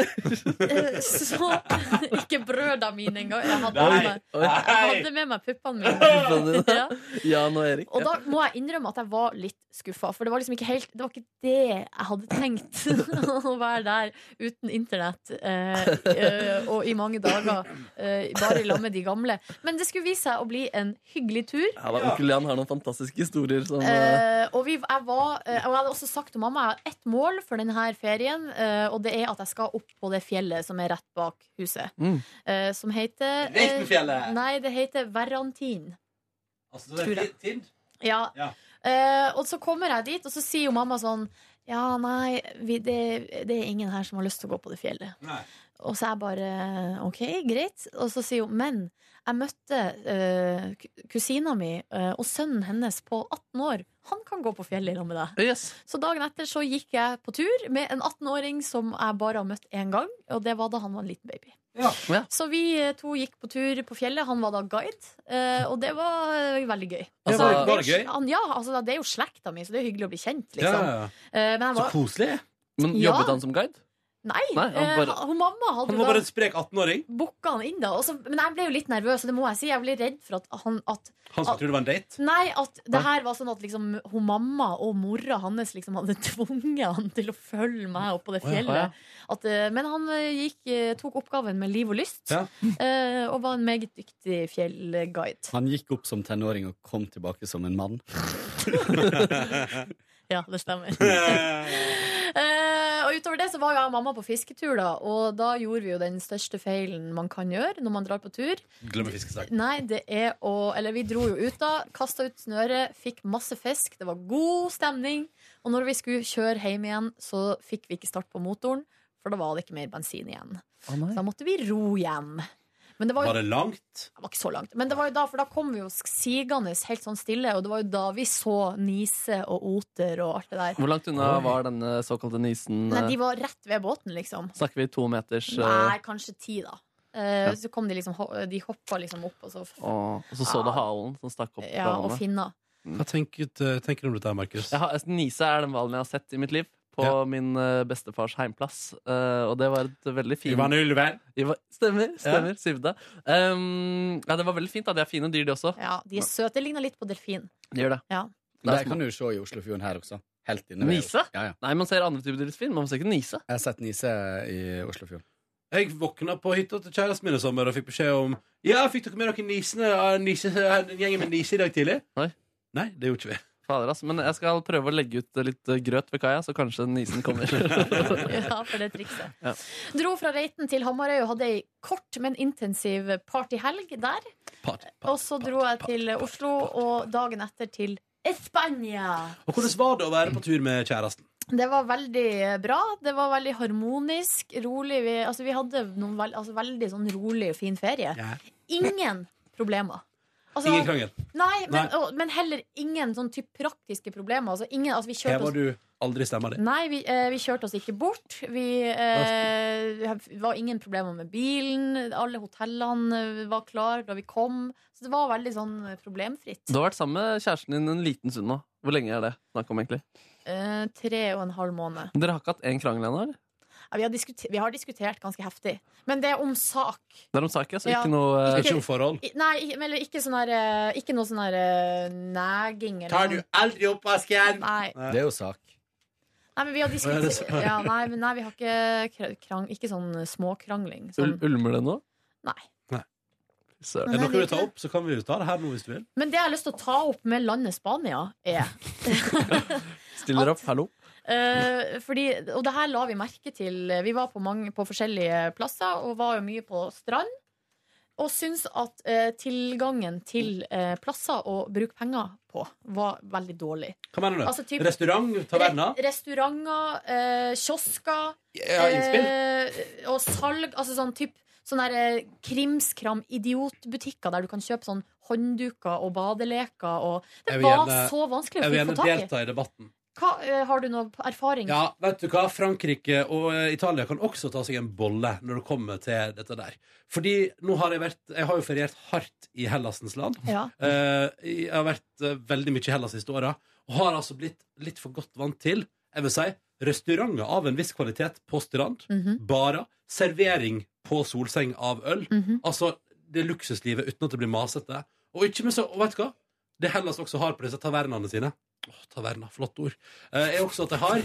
Speaker 3: Eh, Så ikke brøda mine engang. Jeg hadde,
Speaker 4: Nei.
Speaker 3: med meg, jeg hadde med meg puppene mine.
Speaker 4: Brødrene dine? Jan og Erik.
Speaker 3: Og da må jeg innrømme at jeg var litt skuffa. For det var liksom ikke helt Det var ikke det jeg hadde tenkt. å være der uten internett eh, eh, og i mange dager eh, bare i lag med de gamle. Men det skulle vise seg å bli en hyggelig tur.
Speaker 4: Ja, da, onkel Jan har noen fantastiske historier som eh,
Speaker 3: Eh, og, vi, jeg var, eh, og jeg hadde også sagt til mamma Jeg har ett mål for denne ferien, eh, og det er at jeg skal opp på det fjellet som er rett bak huset.
Speaker 4: Mm.
Speaker 3: Eh, som heter eh,
Speaker 2: Reitenfjellet.
Speaker 3: Nei, det heter Verrantin.
Speaker 2: Altså, det er ti- tid.
Speaker 3: Ja.
Speaker 2: Ja.
Speaker 3: Eh, og så kommer jeg dit, og så sier jo mamma sånn Ja, nei, vi, det, det er ingen her som har lyst til å gå på det fjellet.
Speaker 2: Nei.
Speaker 3: Og så er jeg bare OK, greit. Og så sier hun Men jeg møtte eh, ku- kusina mi eh, og sønnen hennes på 18 år. Han kan gå på fjellet sammen med deg.
Speaker 4: Yes.
Speaker 3: Så dagen etter så gikk jeg på tur med en 18-åring som jeg bare har møtt én gang, og det var da han var en liten baby.
Speaker 4: Ja.
Speaker 3: Så vi eh, to gikk på tur på fjellet. Han var da guide, eh, og det var eh, veldig gøy.
Speaker 4: Ja, var- var det
Speaker 3: er jo-
Speaker 4: gøy?
Speaker 3: Han, ja, altså, det er jo slekta mi, så det er hyggelig å bli kjent,
Speaker 4: Ja,
Speaker 3: liksom.
Speaker 4: ja, ja.
Speaker 3: Eh, Men jeg var
Speaker 2: koselig.
Speaker 4: Men
Speaker 3: Ja.
Speaker 4: jobbet han som guide?
Speaker 3: Nei,
Speaker 4: Nei, han
Speaker 3: eh,
Speaker 4: bare-
Speaker 3: han- hun mamma hadde
Speaker 2: Han var bare
Speaker 3: da
Speaker 2: en sprek 18-åring.
Speaker 3: booka han inn, da. Og så, men jeg ble jo litt nervøs, og det må jeg si. Jeg ble redd for at han at,
Speaker 2: Han
Speaker 3: at
Speaker 2: skulle tro det var en date.
Speaker 3: Nei, at det
Speaker 2: Nei.
Speaker 3: her var sånn at liksom, hun mamma og mora hans liksom hadde tvunget han til å følge meg opp på det
Speaker 2: Å ja, å
Speaker 3: fjellet.
Speaker 2: ja.
Speaker 3: At, eh, men han eh, gikk, eh, tok oppgaven med liv og lyst,
Speaker 2: Ja.
Speaker 3: eh, og var en meget dyktig fjellguide.
Speaker 12: Han gikk opp som tenåring og kom tilbake som en mann.
Speaker 3: Ja, det stemmer. Eh, og utover det så var jeg og mamma på fisketur, da, og da gjorde vi jo den største feilen man kan gjøre når man drar på tur.
Speaker 2: Glemmer fiskestang.
Speaker 3: Nei, det er å Eller vi dro jo ut, da. Kasta ut snøret, fikk masse fisk. Det var god stemning. Og når vi skulle kjøre hjem igjen, så fikk vi ikke start på motoren, for da var det ikke mer bensin igjen.
Speaker 4: Å, nei.
Speaker 3: Så da måtte vi ro hjem. Men det var, jo,
Speaker 2: Var det langt?
Speaker 3: Det var ikke så langt. Men det var jo da, for da kom vi jo sigende helt sånn stille, og det var jo da vi så Nise og Oter og alt det der.
Speaker 4: Hvor langt unna var denne såkalte nisen?
Speaker 3: Nei, de var rett ved båten, liksom.
Speaker 4: Snakker vi to meters eh,
Speaker 3: Nei, kanskje ti, da. Eh,
Speaker 4: Ja.
Speaker 3: Så kom de liksom ho- De hoppa liksom opp, og så
Speaker 4: og, og så så du halen som stakk opp
Speaker 3: Ah. Ja, og
Speaker 4: hvalene.
Speaker 3: finna.
Speaker 12: Mm.
Speaker 2: Hva tenker, tenker du om dette, Markus?
Speaker 4: Jeg har- altså, Nise er den hvalen jeg har sett i mitt liv. På min eh, bestefars heimplass. Eh, og det var et veldig fint
Speaker 2: Ivan Ulven.
Speaker 4: Iva- Stemmer. stemmer, Sivda. Um, ja, det var veldig fint. da, De er fine dyr, de også.
Speaker 3: Ja, de er søte. Det ligner litt på delfin.
Speaker 4: De gjør det.
Speaker 3: Ja.
Speaker 4: Det er
Speaker 12: Det
Speaker 4: små.
Speaker 12: kan du jo se i Oslofjorden her også. Helt inne ved-
Speaker 4: Nise?
Speaker 12: Ja, ja.
Speaker 4: Nei, man ser andre typer delfin. Man ser ikke nise.
Speaker 12: Jeg har sett nise i Oslofjorden.
Speaker 2: Jeg våkna på hytta til kjæresten min i sommer og fikk beskjed om Ja, fikk dere med dere nisene? Ja, Nise, en gjeng med nise i dag tidlig?
Speaker 4: Nei.
Speaker 2: det gjorde ikke vi.
Speaker 4: Fader, ass. Men jeg skal prøve å legge ut litt eh, grøt ved kaia, så kanskje nisen kommer.
Speaker 3: Ja, for det trikset.
Speaker 4: Ja.
Speaker 3: Dro fra Reiten til Hamarøy og hadde ei kort, men intensiv partyhelg der. og så dro jeg til Oslo, og dagen etter til Spania.
Speaker 2: Og hvordan var det å være på tur med kjæresten?
Speaker 3: Det var veldig bra. Det var veldig harmonisk, rolig. Vi, altså, vi hadde noen vel, altså, veldig sånn rolig og fin ferie. Ingen problemer. Altså,
Speaker 2: Ingen krangel.
Speaker 3: Nei, men,
Speaker 2: Nei.
Speaker 3: Og, men heller ingen sånn typ praktiske problemer. Altså, ingen, altså, vi
Speaker 2: Her
Speaker 3: kjørte
Speaker 2: var
Speaker 3: oss
Speaker 2: du aldri stemma di.
Speaker 3: Nei, vi, eh, vi kjørte oss ikke bort. Vi eh, det var ingen problemer med bilen. Alle hotellene var klare da vi kom. Så det var veldig sånn problemfritt.
Speaker 4: Du har vært sammen med kjæresten din en liten stund nå. Hvor lenge er det snakk om, egentlig?
Speaker 3: Eh, tre og en halv måned.
Speaker 4: Dere har ikke hatt én krangel ennå, eller?
Speaker 3: Ja, vi, har diskutert, vi har diskutert ganske heftig. Men det er om sak.
Speaker 4: Det er om saken, så
Speaker 3: Ja.
Speaker 4: ikke noe eh,
Speaker 3: I- Nei, i- eller ikke, sånn her, eh, ikke noe sånn her eh, neging. Eller noe.
Speaker 2: aldri oppvasken?
Speaker 3: Nei.
Speaker 12: Det er jo sak.
Speaker 3: nei, men vi har
Speaker 12: Å, ja, det er
Speaker 3: diskutert
Speaker 12: så-
Speaker 3: ja, Nei, men nei, vi har ikke kra- krang, Ikke sånn småkrangling.
Speaker 12: Um,
Speaker 3: Sånn.
Speaker 4: Ul ulmer det nå?
Speaker 3: Nei.
Speaker 2: Er det noe du vil ta opp, så kan vi jo ta det her nå hvis du vil.
Speaker 3: Men det jeg har lyst til å ta opp med landet Spania, er
Speaker 4: Stiller opp, hallo?
Speaker 3: Eh, fordi, og det her la vi merke til. eh, Vi var på, mange, på forskjellige plasser og var jo mye på strand. Og syntes at eh, tilgangen til eh, plasser å bruke penger på var veldig dårlig.
Speaker 2: Hva mener du?
Speaker 3: Altså, typ-
Speaker 2: Restaurant? Taverna?
Speaker 3: Re restauranter, eh, kiosker
Speaker 2: Ja, innspill.
Speaker 3: eh, Og salg. Altså sånn typ Sånne der, eh, krimskram idiotbutikker der du kan kjøpe sånn håndduker og badeleker og Det
Speaker 2: Jeg vil
Speaker 3: var
Speaker 2: gjerne-
Speaker 3: så vanskelig
Speaker 2: Jeg
Speaker 3: å
Speaker 2: vil
Speaker 3: få
Speaker 2: gjerne
Speaker 3: tak i.
Speaker 2: delta i debatten.
Speaker 3: Hva, eh, har du noe erfaring?
Speaker 2: Ja, vet du hva? Frankrike og eh, Italia kan også ta seg en bolle når det kommer til dette der. Fordi nå har jeg vært Jeg har jo feriert hardt i Hellasens land.
Speaker 3: Ja.
Speaker 2: Eh, jeg har vært eh, veldig mye i Hellas siste åra og har altså blitt litt for godt vant til Jeg vil si restauranter av en viss kvalitet på strand,
Speaker 13: Mhm.
Speaker 2: barer, servering på solseng av øl.
Speaker 3: Mhm.
Speaker 2: Altså det luksuslivet uten at det blir masete. Og ikke med så, og vet du hva? Det Hellas også har på disse tavernaene sine. Åh, taverna, flott ord. Eh, er også at de har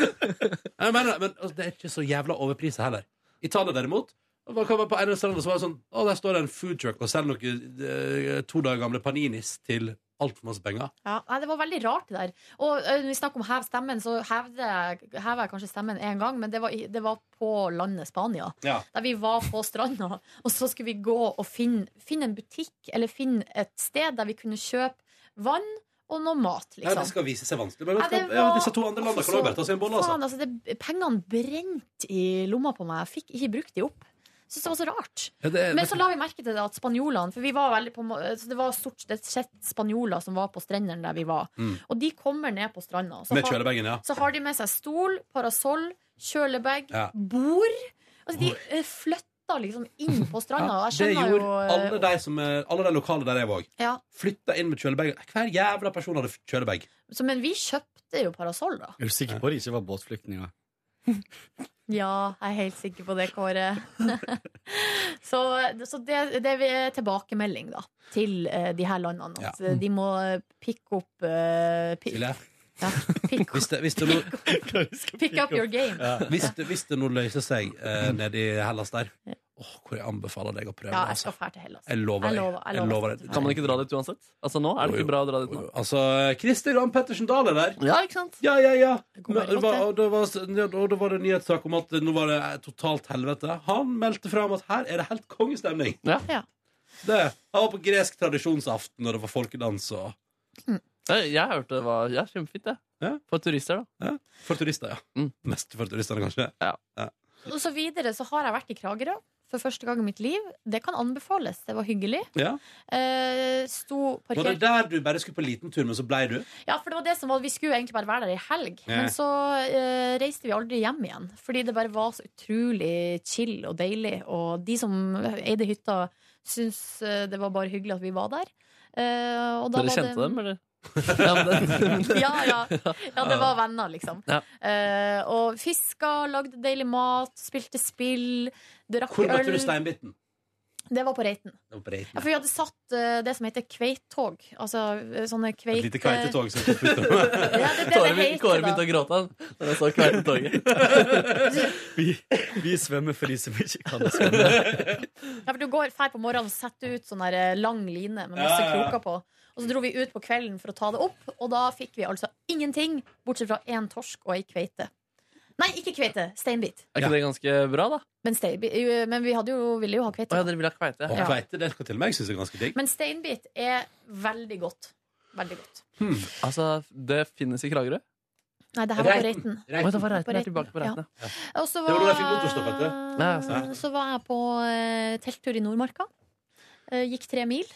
Speaker 2: Jeg mener, men altså, det er ikke så jævla overpriset heller. Italia derimot man kan være på en av strandene, så var det sånn Å, der står det en food truck og selger noen eh, to dager gamle paninis til altfor masse penger.
Speaker 3: Ja, nei, Det var veldig rart, det der. Og ø, når vi snakker om hev stemmen, så hevde, jeg- hever jeg kanskje stemmen én gang, men det var, i- det var på landet Spania.
Speaker 2: Ja.
Speaker 3: Der vi var på stranda, og så skulle vi gå og finne, finne en butikk eller finne et sted der vi kunne kjøpe vann og noe mat,
Speaker 2: Nei, det
Speaker 3: liksom.
Speaker 2: skal vise seg vanskelig. Men vet du
Speaker 3: Nei,
Speaker 2: hva?
Speaker 3: det
Speaker 2: ja,
Speaker 3: var-
Speaker 2: disse to andre landene kan også bare ta seg en bolle, altså.
Speaker 3: Faen, altså, det, pengene brente i lomma på meg. Jeg fikk ikke brukt de opp. Jeg synes det var så rart.
Speaker 2: Ja, det-
Speaker 3: Men så la vi merke til det at spanjolene For vi var veldig på, må- så det var stort sett spanjoler som var på strendene der vi var.
Speaker 2: Mm.
Speaker 3: Og de kommer ned på stranda. og
Speaker 2: Med
Speaker 3: har-
Speaker 2: kjølebagen, ja.
Speaker 3: Så har de med seg stol, parasoll, kjølebag,
Speaker 2: Ja.
Speaker 3: bord. Altså, de eh, flytta liksom inn på stranda. og jeg
Speaker 2: det
Speaker 3: skjønner
Speaker 2: gjorde
Speaker 3: jo eh,
Speaker 2: alle, de som, er- alle de lokale der jeg var.
Speaker 3: ja.
Speaker 2: Flytta inn med kjølebag. Hver jævla person hadde kjølebag.
Speaker 3: så, Men vi kjøpte jo parasoll, da.
Speaker 12: Er du sikker på at de ikke var båtflyktninger?
Speaker 3: Ja, jeg er helt sikker på det, Kåre. så så det, det er tilbakemelding, da, til eh, de her landene. At
Speaker 2: Ja.
Speaker 3: eh, de må eh, pick opp eh, pi-
Speaker 2: Silje? Hvis det, hvis det nå
Speaker 3: Pick up your game.
Speaker 2: Ja. Hvis, det, hvis det nå løser seg eh, nede i Hellas der, åh, hvor jeg anbefaler deg å prøve.
Speaker 3: Ja, jeg
Speaker 2: altså.
Speaker 3: skal fære til Hellas.
Speaker 2: Jeg lover deg. Jeg lover deg.
Speaker 4: Kan man ikke dra dit uansett? Altså nå Er det ikke bra å dra dit nå?
Speaker 2: Altså, Christer Ramm Pettersen Dahl er der.
Speaker 4: Ja, ikke sant?
Speaker 2: Ja, ja, ja. Men, det var, og, det var, og det var det en nyhetssak om at nå var det eh, totalt helvete. Han meldte fra om at her er det helt kongestemning.
Speaker 3: Ja.
Speaker 2: Det, han var på gresk tradisjonsaften, og det var folkedans og
Speaker 4: Jeg, jeg hørte det var ja, kjempefint, det. For turister, da.
Speaker 2: Mm. For turister, ja. Mest for turistene, kanskje.
Speaker 4: Ja.
Speaker 3: Og så videre så har jeg vært i Kragerø. for første gang i mitt liv. Det kan anbefales. Det var hyggelig.
Speaker 2: Ja.
Speaker 3: Eh, sto
Speaker 2: Var det
Speaker 3: parkert
Speaker 2: der du bare skulle på liten tur, men så blei du?
Speaker 3: Ja, for det var det som var Vi skulle jo egentlig bare være der i helg,
Speaker 2: Ja.
Speaker 3: men så eh, reiste vi aldri hjem igjen. Fordi det bare var så utrolig chill og deilig, og de som eide hytta, syntes eh, det var bare hyggelig at vi var der. Eh, og da
Speaker 4: Dere
Speaker 3: var det-
Speaker 4: kjente dem, eller? Ja, men det-
Speaker 3: ja, ja. ja, det var venner, liksom.
Speaker 4: Ja.
Speaker 3: Eh, og fiska, lagde deilig mat, spilte spill, drakk
Speaker 2: Hvor møtte
Speaker 3: øl.
Speaker 2: du steinbiten?
Speaker 3: Det var på Reiten.
Speaker 2: Det var på Reiten.
Speaker 3: Ja, for vi hadde satt eh, det som heter kveittog. Altså eh, sånne
Speaker 2: Et
Speaker 3: kveite...
Speaker 2: lite kveitetog som kom ut
Speaker 3: det
Speaker 4: Kåre
Speaker 3: heter,
Speaker 4: begyn- Kåre begynte å gråte han, da jeg sa kveitetoget.
Speaker 12: Vi, vi svømmer for de som ikke kan svømme.
Speaker 3: Ja, for du går feil på morgenen og setter ut sånn der eh, lang line med masse
Speaker 12: Ja, ja, ja.
Speaker 3: kroker på. Og så dro vi ut på kvelden for å ta det opp, og da fikk vi altså ingenting, bortsett fra én torsk og ei kveite. Nei, ikke kveite. Steinbit.
Speaker 4: Er ikke det ganske bra, da?
Speaker 3: Men, steinbit, jo, men vi hadde jo, ville jo ha kveite.
Speaker 4: Å ja, dere vil ha kveite?
Speaker 3: Og Ja.
Speaker 2: kveite, det skal til og med jeg synes er ganske digg.
Speaker 3: Men steinbit er veldig godt. Veldig godt.
Speaker 4: Altså, det finnes i Kragerø?
Speaker 3: Nei, det her var på
Speaker 4: Reiten.
Speaker 3: Reiten.
Speaker 4: Reiten. Å, det var Reiten.
Speaker 3: På
Speaker 4: Jeg er tilbake på Reiten,
Speaker 3: ja.
Speaker 4: ja.
Speaker 3: Og så
Speaker 4: Det var
Speaker 3: var,
Speaker 4: da jeg fikk motorstopp, vet du. Ja, sant.
Speaker 3: så var jeg på eh, telttur i Nordmarka. Eh, gikk tre mil.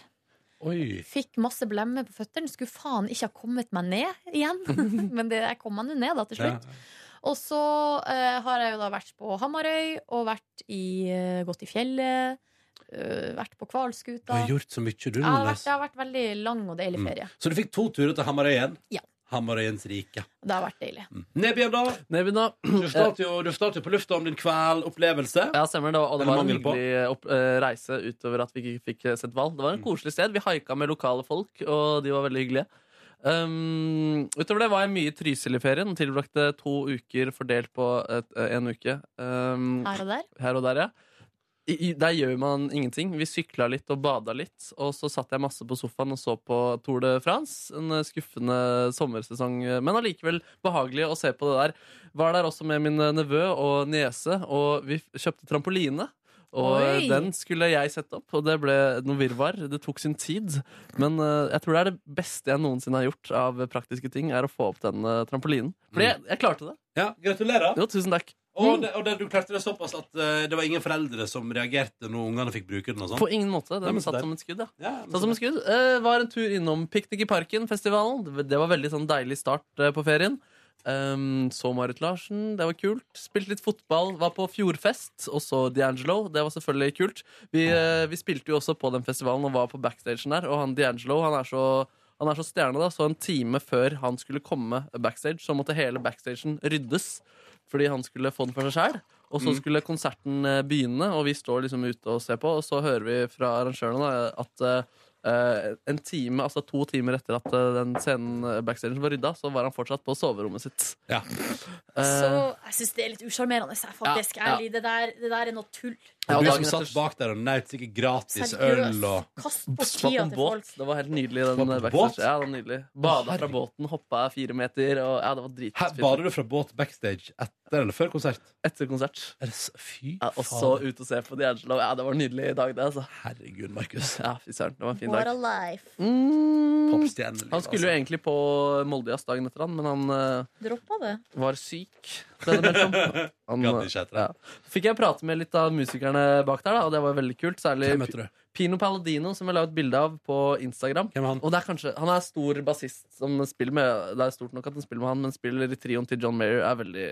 Speaker 2: Oi.
Speaker 3: Fikk masse blemmer på føttene. Skulle faen ikke ha kommet meg ned igjen. Men det, jeg kom meg nå ned da til slutt. Og så eh, har jeg jo da vært på Hamarøy og vært i, eh, gått i fjellet. eh, vært på
Speaker 2: Du
Speaker 3: hvalskuta.
Speaker 2: har gjort så mye, du,
Speaker 3: Jeg har vært,
Speaker 2: Nordnes.
Speaker 3: det har vært veldig lang og deilig
Speaker 2: Mm.
Speaker 3: ferie.
Speaker 2: Så du fikk to turer til Hamarøyen?
Speaker 3: Ja.
Speaker 2: Hamarøyens rike.
Speaker 3: Det har vært deilig.
Speaker 2: Mm. Nebyen, da?
Speaker 3: Eh.
Speaker 2: Du starter jo, du starter jo på lufta om din kvelopplevelse.
Speaker 4: Ja, stemmer det. var- Og det
Speaker 2: Eller
Speaker 4: var en
Speaker 2: mangel på.
Speaker 4: hyggelig opp, eh, reise utover at vi ikke fikk eh, sett hval. Det var
Speaker 2: Mm.
Speaker 4: en koselig sted. Vi haika med lokale folk, og de var veldig hyggelige. Um, utover det var jeg mye i Trysil i ferien. Tilbrakte to uker fordelt på et, eh, en uke. Um,
Speaker 3: Her og der?
Speaker 4: Her og der, ja. I, i, der gjør man ingenting. Vi sykla litt og bada litt. Og så satt jeg masse på sofaen og så på Tour de France. En eh, skuffende sommersesong, eh, men allikevel behagelig å se på det der. Var der også med min eh, nevø og niese, og vi f- kjøpte trampoline. Og eh,
Speaker 12: Oi.
Speaker 4: den skulle jeg sette opp, og det ble noe virvar. Det tok sin tid. Men eh, jeg tror det er det beste jeg noensinne har gjort av praktiske ting, er å få opp den eh, trampolinen.
Speaker 2: Mm.
Speaker 4: Fordi jeg, jeg klarte det.
Speaker 2: Ja, gratulerer.
Speaker 4: Jo, tusen takk.
Speaker 3: Mm.
Speaker 2: Og, det, og det, du klarte det såpass at eh, det var ingen foreldre som reagerte når ungene fikk bruke den? og sånn
Speaker 4: På ingen måte.
Speaker 2: Nei,
Speaker 4: Den
Speaker 2: men så
Speaker 4: satt
Speaker 2: der.
Speaker 4: som et skudd, ja.
Speaker 2: Ja, men
Speaker 3: sånn
Speaker 4: satt som et skudd. Eh, var en tur innom Piknik i Parken-festivalen. Det- Det var veldig sånn deilig start eh, på ferien. Ehm, så Marit Larsen, det var kult. Spilte litt fotball, var på fjordfest. Og så D'Angelo, det var selvfølgelig kult. Vi, eh, vi spilte jo også på den festivalen og var på backstagen der. Og han D'Angelo, han er så han er så stjerne, da, så en time før han skulle komme backstage, så måtte hele backstagen ryddes. Fordi han skulle få den for seg sjæl. Og så
Speaker 12: Mm.
Speaker 4: skulle konserten eh, begynne, og vi står liksom ute og ser på, og så hører vi fra arrangørene da, at eh, en time, altså to timer etter at eh, den scenen eh, backstagen var rydda, så var han fortsatt på soverommet sitt. Eh,
Speaker 3: Så jeg syns det er litt usjarmerende, jeg, faktisk.
Speaker 2: Ja, ja.
Speaker 3: Ærlig, det, der, det der er noe tull.
Speaker 2: Og du som satt bak der og nøt sikkert gratis
Speaker 3: Seriøst.
Speaker 2: øl og
Speaker 3: Kast bort
Speaker 4: Satt
Speaker 3: tida
Speaker 4: på
Speaker 3: til folk.
Speaker 4: båt. Det var helt nydelig. Den eh,
Speaker 2: båt?
Speaker 4: backstage. Ja, det var nydelig. Bada fra båten, hoppa fire meter. Og, ja, det var
Speaker 2: Her
Speaker 4: dritfint.
Speaker 2: bader du fra båt backstage etter eller før konsert?
Speaker 4: Etter konsert.
Speaker 2: Er det s- Fy
Speaker 4: Ja, og så ut og se på D'Angelo. Ja, det var en nydelig dag, det. Altså.
Speaker 2: Herregud, Markus.
Speaker 4: Ja, fy søren. Det var en fin
Speaker 3: What a
Speaker 4: dag. Mm.
Speaker 3: life.
Speaker 2: Popstjerneliv,
Speaker 4: Han skulle jo egentlig på Moldejazz dagen etter, han, men han eh,
Speaker 3: Droppa det.
Speaker 4: var syk. ble det meldt om. Han, eh,
Speaker 2: Gadd ikke etter det.
Speaker 4: ja. Fikk jeg prate med litt av musikerne bak der, da, og det var veldig kult. Særlig
Speaker 2: Hvem møtte du?
Speaker 4: Pino Palladino, som jeg la ut bilde av på Instagram.
Speaker 2: han?
Speaker 4: Og det er kanskje, han er stor bassist som spiller med Det er stort nok at han spiller med han, men spiller i trioen til John Mayer. Er veldig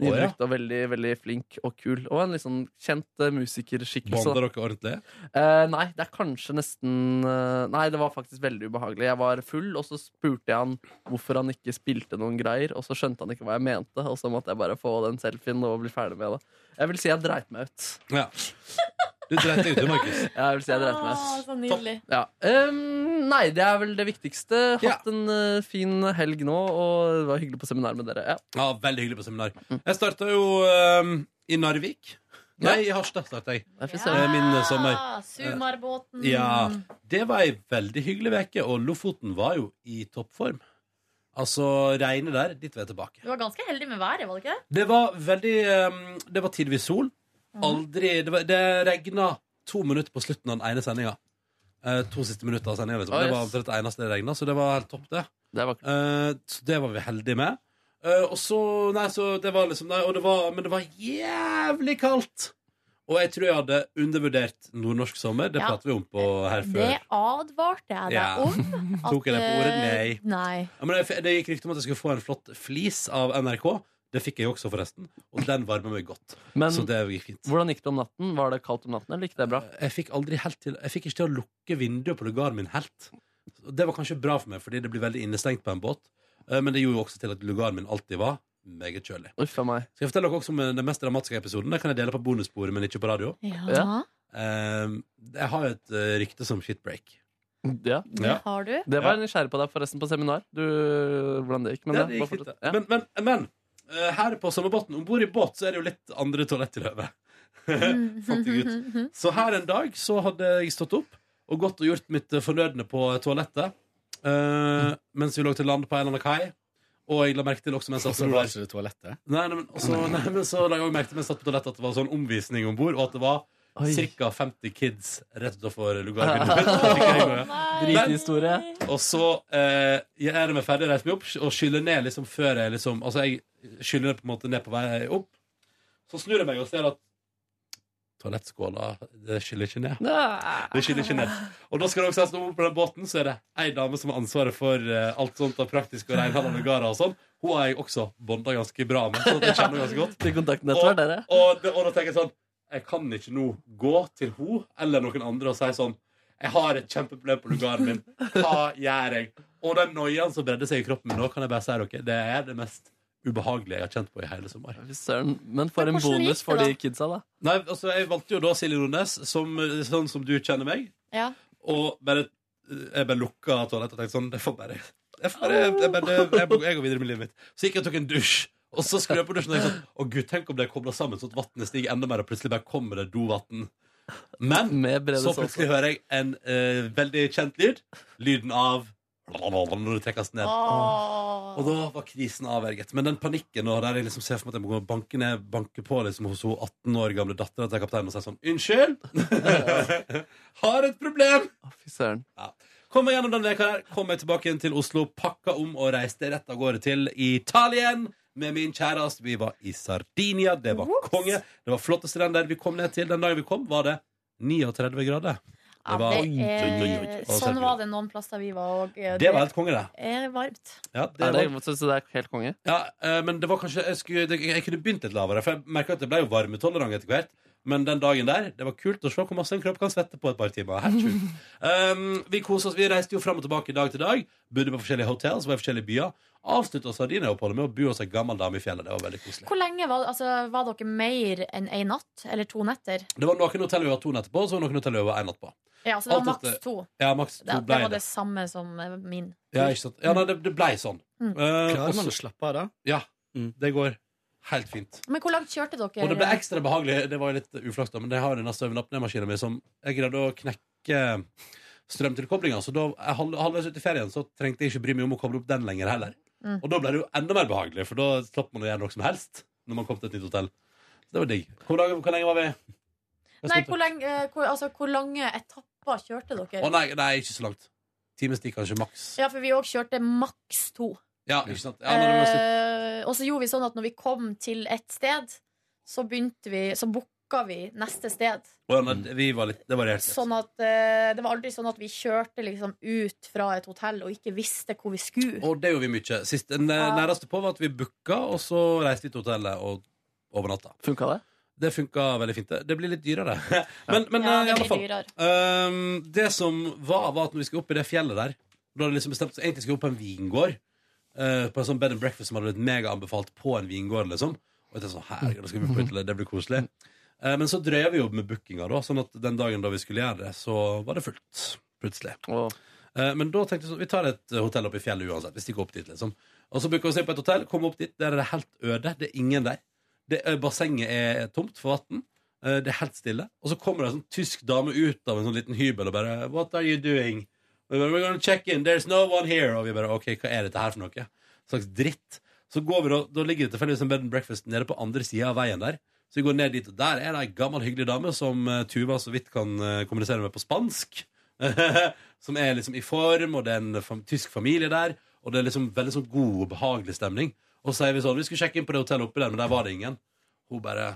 Speaker 2: Å, ja.
Speaker 4: nydelig og veldig, veldig flink og kul. Og en litt sånn kjent eh, musikerskikkelse. da.
Speaker 2: Bonder dere ordentlig?
Speaker 4: Eh, nei, det er kanskje nesten eh, Nei, det var faktisk veldig ubehagelig. Jeg var full, og så spurte jeg han hvorfor han ikke spilte noen greier, og så skjønte han ikke hva jeg mente, og så måtte jeg bare få den selfien og bli ferdig med det. Jeg vil si jeg dreit meg ut.
Speaker 2: Ja. Du dreit deg ut, du, Markus.
Speaker 4: Ja, jeg vil si jeg dreit meg
Speaker 3: Å,
Speaker 4: ut.
Speaker 3: Ah, så nydelig.
Speaker 4: Ja. Ehm, nei, det er vel det viktigste. Hatt en eh, fin helg nå, og det var hyggelig på seminar med dere. Ja.
Speaker 2: Ja, veldig hyggelig på seminar.
Speaker 4: Mm.
Speaker 2: Jeg starta jo ehm, i Narvik. Nei, i Harstad starta jeg. Eh, Min eh, sommer.
Speaker 3: Ah, Sumarbåten.
Speaker 2: Ja, det var ei veldig hyggelig veke Og Lofoten var jo i toppform Altså, regnet der, dit var jeg tilbake
Speaker 3: Du var ganske heldig med været, var du ikke det?
Speaker 2: Det var veldig, ehm, det var tidvis sol Aldri, det, var, det regnet to minutter på slutten av den ene sendingen Eh, To siste minutter av sendingen liksom.
Speaker 4: Ah,
Speaker 2: Det var
Speaker 4: yes.
Speaker 2: omtrent det eneste det regnet, så det var helt topp det Eh,
Speaker 4: Det var
Speaker 2: Så det var vi heldige med Eh, og så, nei, så det var liksom nei, og det var, Men det var jævlig kaldt Og jeg tror jeg hadde undervurdert nordnorsk sommer. Det
Speaker 3: Ja.
Speaker 2: prater vi om på her før.
Speaker 3: Det advarte jeg deg
Speaker 2: Ja.
Speaker 3: om.
Speaker 2: Tok jeg deg på ordet? Nei.
Speaker 3: eh, Nei.
Speaker 2: Ja, men det, det gikk rykte om at jeg skulle få en flott flis av NRK. Det fikk jeg jo også, forresten. Og den varmer meg godt.
Speaker 4: Men
Speaker 2: så det gikk fint.
Speaker 4: hvordan gikk det om natten? Var det kaldt om natten, eller gikk det bra?
Speaker 2: Jeg fikk aldri helt til Jeg fikk ikke til å lukke vinduet på lugaren min helt. Og Det var kanskje bra for meg, fordi det blir veldig innestengt på en båt. Eh, Men det gjorde jo også til at lugaren min alltid var meget kjølig. Skal jeg fortelle dere også om eh, den mest dramatiske episoden? Det kan jeg dele på bonussporet, men ikke på radio.
Speaker 3: Ja. Ja.
Speaker 2: Eh, Jeg har jo et eh, rykte som shitbreak.
Speaker 4: Ja.
Speaker 2: Det
Speaker 3: har du.
Speaker 4: Det var
Speaker 2: Ja.
Speaker 4: jeg nysgjerrig på deg forresten på seminar. Du, hvordan det gikk. Men
Speaker 2: Ja,
Speaker 4: ja,
Speaker 2: det
Speaker 4: bare
Speaker 2: gikk fint,
Speaker 4: fortsett.
Speaker 2: det. Men, men, men eh, her på sommerbåten, om bord i båt, så er det jo litt andre toalett i løvet. Fant jeg ut. Så her en dag så hadde jeg stått opp og gått og gjort mitt eh, fornødne på toalettet eh, mens vi lå til land på en eller annen kai. Og jeg la merke til også mens jeg
Speaker 12: Og så
Speaker 2: satt
Speaker 12: var
Speaker 2: der
Speaker 12: det ikke toalettet.
Speaker 2: Nei, nei, men, også, nei, men så la jeg også merke til mens jeg satt på toalettet at det var sånn omvisning om bord, og at det var ca. 50 kids rett utenfor lugarvinduet.
Speaker 4: Drithistorie.
Speaker 2: Og så eh, jeg er meg ferdig, reiser meg opp og skyller ned liksom før jeg liksom Altså, jeg skyller på en måte ned på vei opp. Så snur jeg meg og ser at toalettskåla det skyller ikke ned. Det skyller ikke ned. Og da skal det også sies at oppe på den båten så er det ei dame som har ansvaret for eh, alt sånt av praktisk og renholdende lugarer og sånn. Hun har jeg også bonda ganske bra med. Så jeg kjenner henne ganske godt.
Speaker 4: Til kontaktnettverk, dere.
Speaker 2: Og, og da tenker jeg sånn Jeg kan ikke nå gå til hun eller noen andre og si sånn Jeg har et kjempeproblem på lugaren min. Hva gjør jeg? Og den noiaen som bredde seg i kroppen min nå, kan jeg bare si dere, det er det mest ubehagelige jeg har kjent på i hele sommer.
Speaker 4: Men for en bonus for de kidsa, da.
Speaker 2: Nei, altså, jeg valgte jo da Silje Nordnes, som, sånn som du kjenner meg,
Speaker 3: Ja.
Speaker 2: og bare, jeg bare lukka toalettet og tenkte sånn Det får bare Jeg, får bare, jeg, bare, jeg, jeg, går videre med livet mitt. Så gikk jeg og tok en dusj. Og så skrur jeg på dusjen og tenkte sånn Å gud, tenk om det er kobla sammen, sånn at vannet stiger enda mer, og plutselig bare kommer det dovann. Men
Speaker 4: Mm,
Speaker 2: så
Speaker 4: såpe.
Speaker 2: plutselig hører jeg en eh, veldig kjent lyd. Lyden av når det trekkes ned. Og da var krisen avverget. Men den panikken og der jeg liksom ser for meg at jeg må gå og banke, ned, banke på liksom hos hun 18 år gamle dattera til kapteinen og si sånn Unnskyld! Har et problem!
Speaker 4: Fy søren.
Speaker 2: Ja. Kom meg gjennom den veka her. Kom meg tilbake igjen til Oslo, pakka om og reiste rett av gårde til Italien med min kjæreste. Vi var i Sardinia. Det var konge. Det var flotte strender vi kom ned til. Den dagen vi kom, var det 39 grader.
Speaker 3: Ja,
Speaker 2: var-
Speaker 3: det er,
Speaker 2: Og
Speaker 3: sånn
Speaker 2: så-
Speaker 3: var det noen plasser vi var òg.
Speaker 2: Det var helt konge, det.
Speaker 3: er varmt.
Speaker 2: Ja,
Speaker 4: Er det-
Speaker 2: det er helt konge? Ja, eh, men det var kanskje jeg, skulle, det, jeg kunne begynt litt lavere, for jeg merket at jeg ble jo varmetolerant etter hvert. Men den dagen der, det var kult å se hvor masse en kropp kan svette på et par timer. Helt sjukt. Um, vi koset oss, vi reiste jo fram og tilbake dag til dag. Bodde på forskjellige hotells, var i forskjellige byer. Avslutta Sardinia-oppholdet med å bo hos ei gammel dame i fjellet. Det var veldig koselig.
Speaker 3: Hvor lenge var, altså, var dere mer enn én natt? Eller to netter?
Speaker 2: Det var noen hotell vi var to netter på, og så var det noen hotell vi var én natt på.
Speaker 3: Ja, så det var
Speaker 2: Alt
Speaker 3: maks
Speaker 2: dette-
Speaker 3: to.
Speaker 2: Ja, maks
Speaker 3: Det,
Speaker 2: to
Speaker 3: det
Speaker 2: ble
Speaker 3: var
Speaker 2: det.
Speaker 3: det samme som eh, min.
Speaker 2: Ja, ikke sant? Ja, nei, det, det blei sånn.
Speaker 3: Mm.
Speaker 2: Eh,
Speaker 12: Klarer man
Speaker 2: også-
Speaker 12: å Mm. slappe av da?
Speaker 2: Ja. Det går helt fint.
Speaker 3: Men hvor langt kjørte dere?
Speaker 2: Og det ble ekstra behagelig. Det var jo litt uflaks, da, men jeg har denne søvnapnemaskinen min som jeg greide å knekke strømtilkoblinga. Så da jeg halv- halvveis ut i ferien så trengte jeg ikke bry meg om å koble opp den lenger heller.
Speaker 3: Mm.
Speaker 2: Og da ble det jo enda mer behagelig, for da slapp man å gjøre noe som helst når man kom til et nytt hotell. Så det var digg. Hvor, lang- hvor lenge var vi? Hva
Speaker 3: Nei,
Speaker 2: skulle-
Speaker 3: hvor, lenge, eh, hvor, altså, hvor lange etapper kjørte dere?
Speaker 2: Å nei, nei, ikke så langt. Times tid, kanskje, maks.
Speaker 3: Ja, for vi òg kjørte maks to.
Speaker 2: Ja, ikke sant? Ja, nei, det var nesten-
Speaker 3: Eh, og så gjorde vi sånn at når vi kom til et sted, så begynte vi Så booka vi neste sted.
Speaker 2: Å, ja, nei, vi var litt, det varierte litt.
Speaker 3: Sånn at eh, Det var aldri sånn at vi kjørte liksom ut fra et hotell og ikke visste hvor vi skulle.
Speaker 2: Og det gjorde vi mye. Sist, den eh,
Speaker 3: Ja.
Speaker 2: næreste på var at vi booka, og så reiste vi til hotellet og overnatta. Funka det? Det funka veldig fint. Det- Det blir litt dyrere. men men
Speaker 3: Ja,
Speaker 2: eh, i
Speaker 3: det
Speaker 2: alle
Speaker 3: blir
Speaker 2: fall.
Speaker 3: dyrere.
Speaker 2: ehm, det som var, var at når vi skulle opp i det fjellet der Da hadde det liksom bestemt seg Egentlig skulle vi opp på en vingård. eh, på en sånn bed and breakfast som hadde blitt megaanbefalt på en vingård. liksom Og jeg tenkte sånn, herregud, da skal vi på utelighet, det blir koselig. Eh, men så drev vi jo med bookinga, da, sånn at den dagen da vi skulle gjøre det, så var det fullt. Plutselig. Eh, men da tenkte jeg sånn, vi tar et eh, hotell oppe i fjellet uansett. Hvis de går opp dit, liksom. Og så booker vi oss inn på et hotell, kommer opp dit, der er det helt øde. Det er ingen der. Det, eh, bassenget er tomt for vann. eh, Det er helt stille. Og så kommer det en sånn tysk dame ut av en sånn liten hybel og bare What are you doing? Og vi bare, We're gonna check in. There's no one here. Og vi bare OK, hva er dette her for noe? Slags dritt. Så går vi da, da ligger det tilfeldigvis en bed and breakfast nede på andre sida av veien der. Så vi går ned dit, og der er det ei gammel, hyggelig dame som eh, Tuva så vidt kan eh, kommunisere med på spansk. som er liksom i form, og det er en fam tysk familie der. Og det er liksom veldig sånn god og behagelig stemning. Og så sier vi sånn Vi skulle sjekke inn på det hotellet oppi der, men der var det ingen. Hun bare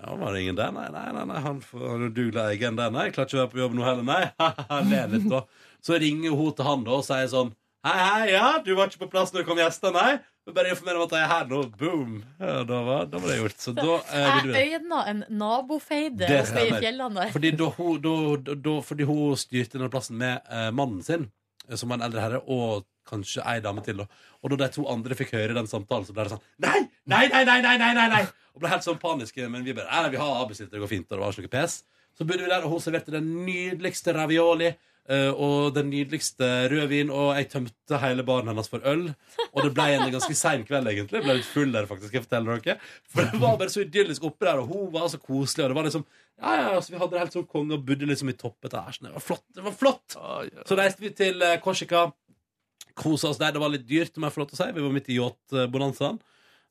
Speaker 2: Ja, var det ingen der? Nei, nei, nei, nei. han får han dugler egen der. Nei, jeg klarer ikke å være på jobb nå heller, nei. Le litt, da. Så ringer hun til han da og sier sånn Hei, hei, ja, du var ikke på plass når det kom gjester, nei? Men bare informer om at jeg er her nå. Boom. Ja, da var, da var det gjort. Så da eh, vil
Speaker 3: Jeg
Speaker 2: du
Speaker 3: øyna en nabofeide
Speaker 2: Det
Speaker 3: oppe i
Speaker 2: stemmer.
Speaker 3: fjellene der.
Speaker 2: Fordi da hun, da, da, da, fordi hun styrte denne plassen med eh, mannen sin, eh, som var en eldre herre, og kanskje ei dame til. Da. Og da de to andre fikk høre den samtalen, så ble det sånn Nei! Nei, nei, nei! nei, nei, nei, nei. Og ble helt sånn paniske. Men vi bare Nei, nei vi har avbestilt, det går fint. Og det var ikke noe pes. Så bodde vi der, og hun serverte den nydeligste ravioli. eh, og den nydeligste rødvin, og jeg tømte hele baren hennes for øl. Og det ble en ganske sein kveld, egentlig. Jeg ble litt full der, faktisk. Jeg forteller dere For det var bare så idyllisk oppe der, og hun var så koselig. Og det var liksom ja, ja, altså, Vi hadde det helt sånn konge og bodde liksom i toppetasjen. Det var flott. det var flott Så reiste vi til eh, Korsika. Kosa oss der. Det var litt dyrt, om jeg får lov til å si. Vi var midt i yachtbonanzaen.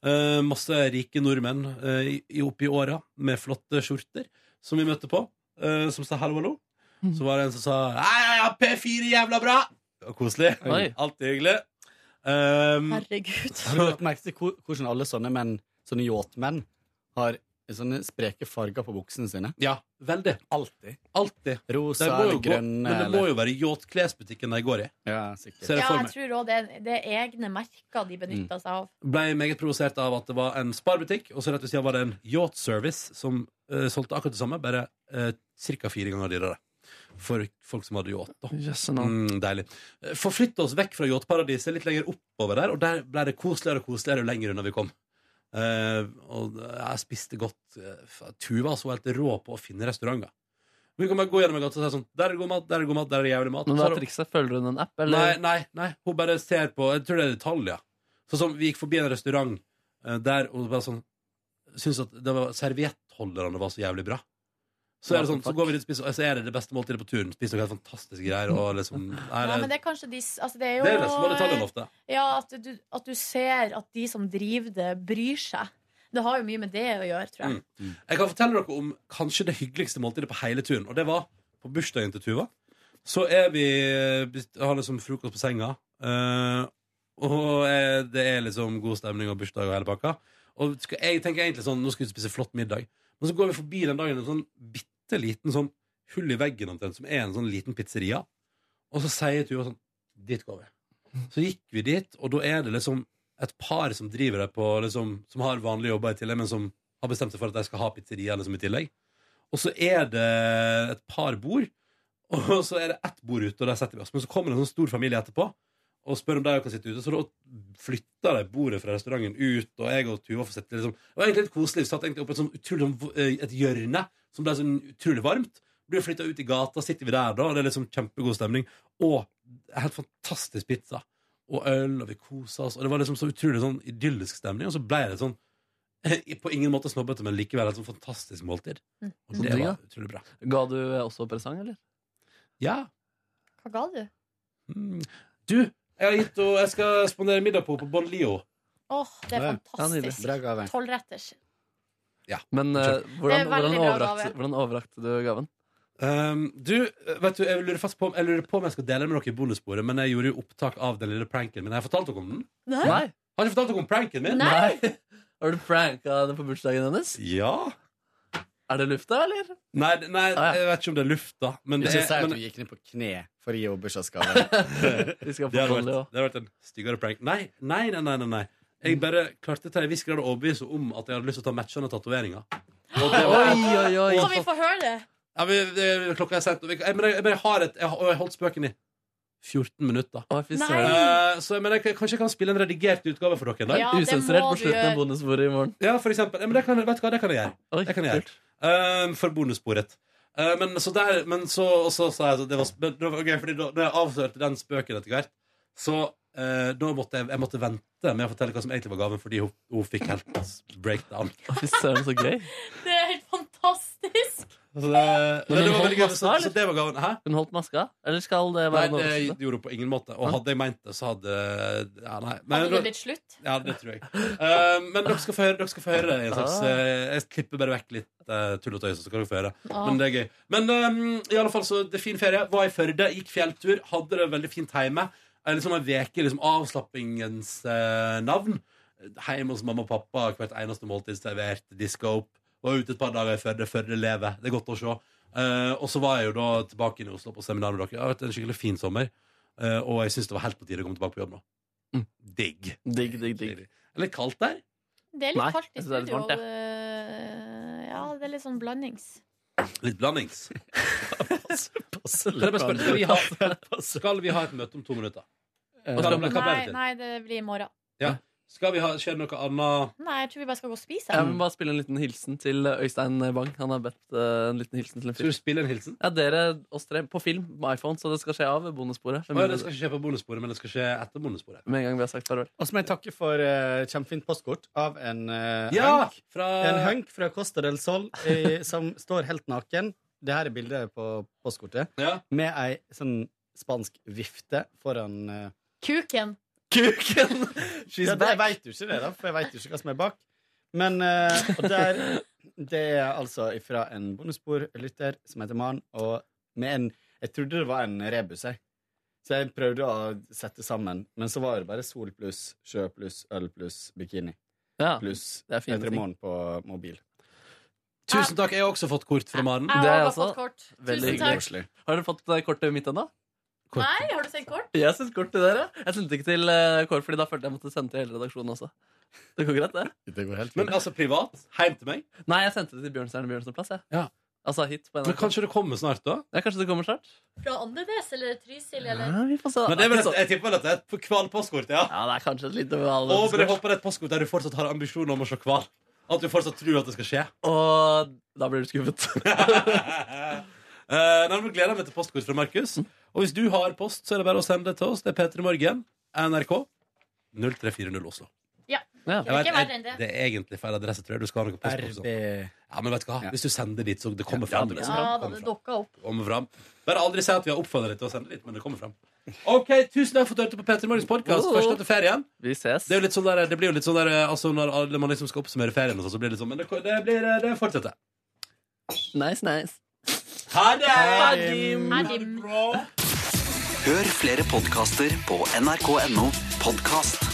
Speaker 2: Eh, masse rike nordmenn eh, i- i- oppi åra med flotte skjorter som vi møtte på, eh, som sa hallo, hallo. Så var det en som sa Hei, ja, ja, P4, jævla bra! Det var koselig.
Speaker 12: Oi.
Speaker 2: Alltid hyggelig. Um,
Speaker 3: Herregud.
Speaker 12: Har du lagt merke til hvor- hvordan alle sånne menn, sånne yachtmenn, har sånne spreke farger på buksene sine?
Speaker 2: Ja, veldig.
Speaker 12: Alltid.
Speaker 2: Alltid.
Speaker 12: Rosa
Speaker 2: Det må jo
Speaker 12: eller
Speaker 2: gå-
Speaker 12: grønne
Speaker 2: Men det må jo være yachtklesbutikken de går i.
Speaker 12: Ja, sikkert.
Speaker 2: Ser jeg
Speaker 3: Ja,
Speaker 2: for
Speaker 3: jeg
Speaker 2: meg. Mm.
Speaker 3: tror òg det, er- det er egne merker de benytter seg av.
Speaker 2: Ble meget provosert av at det var en sparebutikk, og så rett ved siden var det en yachtservice som eh, solgte akkurat det samme, bare uh, ca. fire ganger dyrere. For folk som hadde yacht. da. Mm, deilig. Eh, Forflytte oss vekk fra yachtparadiset, litt lenger oppover der, og der ble det koseligere og koseligere jo lenger unna vi kom. Eh, og jeg spiste godt. Eh, Tuva var så helt rå på å finne restauranter. Vi kan bare gå gjennom en gata og si sånn Der er det god mat, der er det god mat, der er det jævlig mat.
Speaker 4: Men
Speaker 2: Så
Speaker 4: hva
Speaker 2: har
Speaker 4: er
Speaker 2: hun-
Speaker 4: trikset? Følger hun en app,
Speaker 2: Nei,
Speaker 4: eller?
Speaker 2: nei, nei, hun bare ser på Jeg tror det er detaljer Sånn som vi gikk forbi en restaurant eh, Der hun bare sånn Synes at det var serviettholderne var så jævlig bra Så, er det sånn, så går vi dit og spiser og Så er det det beste måltidet på turen Spiser noen helt fantastiske greier og liksom, nei,
Speaker 3: Ja,
Speaker 2: det,
Speaker 3: men det er kanskje de s- altså, Det er jo
Speaker 2: det er det som er detaljene ofte
Speaker 3: Ja, at du, at du ser at de som driver det, bryr seg. Det har jo mye med det å gjøre, tror jeg.
Speaker 2: Mm. Jeg kan fortelle dere om kanskje det hyggeligste måltidet på hele turen. Og det var på bursdagen til Tuva. Så er vi har liksom frokost på senga, eh, og eh, det er liksom god stemning og bursdag og hele pakka. Og skal, jeg tenker egentlig sånn Nå skal vi spise flott middag. Men så går vi forbi den dagen en sånn bitte liten sånn hull i veggen omtrent, som er en sånn liten pizzeria. Og så sier Tuva sånn Dit går vi. Så gikk vi dit, og da er det liksom et par som driver det på liksom, Som har vanlige jobber i tillegg, men som har bestemt seg for at de skal ha pizzeria liksom, i tillegg. Og så er det et par bord, og så er det ett bord ute, og der setter vi oss. Men så kommer det en sånn stor familie etterpå og spør om de kan sitte ute. Så da flytter de bordet fra restauranten ut, og jeg og Tuva får sitte liksom. Det var egentlig litt koselig. Vi satt egentlig oppe i et, sånn utrolig, sånn, eh, et hjørne som ble sånn utrolig varmt. Blir flytta ut i gata, sitter vi der da, og det er liksom kjempegod stemning. Og helt fantastisk pizza. Og øl, og vi kosa oss. Og det var liksom så utrolig sånn idyllisk stemning. Og så ble det sånn på ingen måte snobbete, men likevel et sånn fantastisk måltid. Og
Speaker 4: Så
Speaker 2: det
Speaker 4: digg,
Speaker 2: var
Speaker 4: da.
Speaker 2: utrolig bra.
Speaker 4: Ga du også presang, eller?
Speaker 2: Ja.
Speaker 3: Hva ga du?
Speaker 2: Mm. Du, jeg har gitt henne Jeg skal spandere middag på på Bon Lio.
Speaker 3: Åh, det er
Speaker 2: Ja,
Speaker 3: fantastisk.
Speaker 2: nydelig. Bra gave.
Speaker 3: Tolvretters.
Speaker 4: Men eh,
Speaker 3: Det er
Speaker 4: hvordan, hvordan,
Speaker 3: veldig bra
Speaker 4: overrakte,
Speaker 3: gave.
Speaker 4: hvordan overrakte du gaven?
Speaker 2: Um, du, vet du, jeg lurer fast på om Jeg lurer på om jeg skal dele med dere i bonussporet, men jeg gjorde jo opptak av den lille pranken min. Har jeg fortalt dere om den?
Speaker 3: Nei.
Speaker 2: Har jeg ikke fortalt dere om pranken min?
Speaker 4: Nei. Har du pranka henne på bursdagen hennes?
Speaker 2: Ja.
Speaker 4: Er det lufta, eller?
Speaker 2: Nei, det- nei jeg vet ikke om det er lufta. Men det
Speaker 12: Ikke
Speaker 2: er,
Speaker 12: si at
Speaker 2: men,
Speaker 12: Ah, du gikk ned på kne for å gi henne bursdagsgave.
Speaker 4: Vi skal
Speaker 2: det, hadde
Speaker 4: forholde,
Speaker 2: vært,
Speaker 4: ja.
Speaker 2: det hadde vært en styggere prank. Nei, nei, nei. nei, nei, nei. Jeg bare klarte til en viss grad å overbevise henne om at jeg hadde lyst til å ta matchende tatoveringer. Og det var-
Speaker 3: Kan vi få høre det?
Speaker 2: Ja, men, det- klokka er sent. og vi- Jeg, men jeg, jeg, bare har et, jeg, har- og jeg holdt spøken i 14 minutter.
Speaker 4: fy Nei. søren.
Speaker 2: Eh, så men jeg, kanskje jeg kan spille en redigert utgave for dere en dag?
Speaker 4: Ja, det Usensurert må på du slutten av gjøre. bonusbordet i morgen.
Speaker 2: Ja, for eksempel. Ja, Men det kan, vet du hva, det kan jeg gjøre. det kan jeg gjøre. Eh, for bonussporet. Eh, men så der Men så, og så sa jeg at det var, sp- det var gøy, fordi da, da jeg avslørte den spøken etter hvert, så eh, da måtte jeg, jeg måtte vente med å fortelle hva som egentlig var gaven, fordi hun, hun fikk helt breakdown.
Speaker 4: Fy søren, så gøy.
Speaker 3: Det er helt fantastisk.
Speaker 2: Så det, det
Speaker 4: Men hun
Speaker 2: var
Speaker 4: holdt
Speaker 2: veldig gøy.
Speaker 4: maska,
Speaker 2: Så,
Speaker 4: eller?
Speaker 2: så det var gaven. Hæ?
Speaker 4: Hun holdt maska? Eller skal det
Speaker 2: Nei,
Speaker 4: være en
Speaker 2: det
Speaker 4: overraskelse?
Speaker 2: gjorde hun på ingen måte. Og hadde jeg ment det, så hadde ja, nei.
Speaker 4: Hadde det blitt slutt?
Speaker 2: Ja, det tror jeg. Eh, men dere skal få høre, dere skal få høre det. i En slags,
Speaker 4: Ah.
Speaker 2: eh, jeg klipper bare vekk litt eh, tull og tøys, så kan dere få høre.
Speaker 4: Ah.
Speaker 2: Men det er gøy. Men eh, i alle fall, så det er fin ferie. Var i Førde, gikk fjelltur, hadde det veldig fint hjemme. Eh, Liksom en veke, liksom avslappingens eh, navn. Hjemme hos mamma og pappa, hvert eneste måltid servert, diska opp. Var ute et par dager i Førde. Førde lever. Det er godt å se. Eh, og så var jeg jo da tilbake inn i Oslo på seminar med dere. Det har vært en skikkelig fin sommer. Eh, og jeg syns det var helt på tide å komme tilbake på jobb nå. Digg.
Speaker 4: Digg, digg, digg.
Speaker 2: Litt kaldt der.
Speaker 3: Det er litt
Speaker 2: Nei,
Speaker 3: kaldt i
Speaker 2: jeg synes det er litt
Speaker 3: studio.
Speaker 2: varmt, jeg.
Speaker 3: eh, Ja, det er litt sånn blandings.
Speaker 2: Litt blandings.
Speaker 12: Kan
Speaker 2: jeg bare spørre, skal vi, ha, skal vi ha et møte om to minutter? Hva skal vi- hva blir det
Speaker 3: Nei,
Speaker 2: til?
Speaker 3: nei, det blir i morgen.
Speaker 2: Ja. Skal vi ha, skjer det noe annet?
Speaker 3: Nei, jeg tror vi bare skal gå og spise.
Speaker 4: Jeg må bare spille en liten hilsen til eh, Øystein Bang. Han har bedt eh, en liten hilsen til en fyr.
Speaker 2: Skal du spille en hilsen?
Speaker 4: Ja, dere, oss tre, på film med iPhone, så det skal skje av bonussporet.
Speaker 2: Å, ja, det skal ikke skje på bonussporet, men det skal skje etter bonussporet.
Speaker 4: Med en gang vi har sagt farvel.
Speaker 12: Og så må jeg takke for eh, kjempefint postkort av en eh,
Speaker 2: Ja,
Speaker 12: hunk.
Speaker 2: fra-
Speaker 12: En hunk fra Costa del Sol eh, som står helt naken. Det her er bildet på postkortet. Med ei sånn spansk vifte foran eh,
Speaker 3: Kuken.
Speaker 4: Kuken!
Speaker 12: ja, det, Jeg veit jo ikke det, da, for jeg veit jo ikke hva som er bak. Men eh, og der, det er altså fra en bonusbordlytter som heter Maren, og med en Jeg trodde det var en rebus, jeg. Så jeg prøvde å sette sammen, men så var det bare sol pluss sjø pluss øl pluss bikini.
Speaker 4: Ja,
Speaker 12: pluss
Speaker 4: det er fine
Speaker 12: Edre
Speaker 4: ting.
Speaker 12: Morgen på mobil.
Speaker 2: Tusen takk. Jeg har også fått kort fra Maren.
Speaker 3: Jeg har også fått kort. Tusen takk.
Speaker 4: Har dere fått eh, kortet mitt ennå?
Speaker 3: Nei, har du sendt kort?
Speaker 4: Jeg sendte kort til dere. Jeg sendte ikke til eh, Kåre, fordi da følte jeg måtte sende til hele redaksjonen også. Det går greit, det.
Speaker 2: Men altså privat? Hjem til meg?
Speaker 4: Nei, jeg sendte det til Bjørnstjerne Bjørnson plass. Jeg.
Speaker 2: Ja.
Speaker 4: Altså hit på NRK.
Speaker 2: Men kanskje det kommer snart, da?
Speaker 4: Ja, kanskje det kommer snart.
Speaker 3: Fra Andenes eller Trysil eller
Speaker 4: Ja, vi får se.
Speaker 2: Men det er vel et, jeg tipper vel at det er et hval postkort, ja.
Speaker 4: ja. Det er kanskje et lite
Speaker 2: Og men jeg håper det er et postkort der du fortsatt har ambisjoner om å se hval. At du fortsatt tror at det skal skje.
Speaker 4: Og da blir du skuffet.
Speaker 2: Eh, nei, men gleder jeg meg til postkort fra Markus. Og hvis du har post, så er det bare å sende det til oss. Det er P3 Morgen, NRK, 0340 Oslo.
Speaker 3: Ja.
Speaker 2: Jeg
Speaker 3: Det er
Speaker 2: vet,
Speaker 3: ikke verre
Speaker 2: jeg,
Speaker 3: enn det.
Speaker 2: det er egentlig feil adresse, tror jeg. Du skal ha noe post også. Ja, men vet du hva? Hvis du sender dit, så det kommer fram. liksom.
Speaker 3: Ja, da
Speaker 2: Kommer
Speaker 3: det
Speaker 2: fram.
Speaker 3: dukka opp.
Speaker 2: Kommer fram. Bare aldri si at vi har oppfordret deg til å sende dit, men det kommer fram. OK, tusen takk for at du hørte på P3 Morgens podkast.
Speaker 4: Oh.
Speaker 2: Første etter ferien.
Speaker 4: Vi ses.
Speaker 2: Det, er jo litt sånn der, det blir jo litt sånn der altså Når alle- man liksom skal oppsummere ferien, og sånn, så blir det litt sånn Men det, det, blir, det fortsetter.
Speaker 4: Nice, nice.
Speaker 2: Ha det!
Speaker 10: Hør flere podkaster på nrk.no podkast.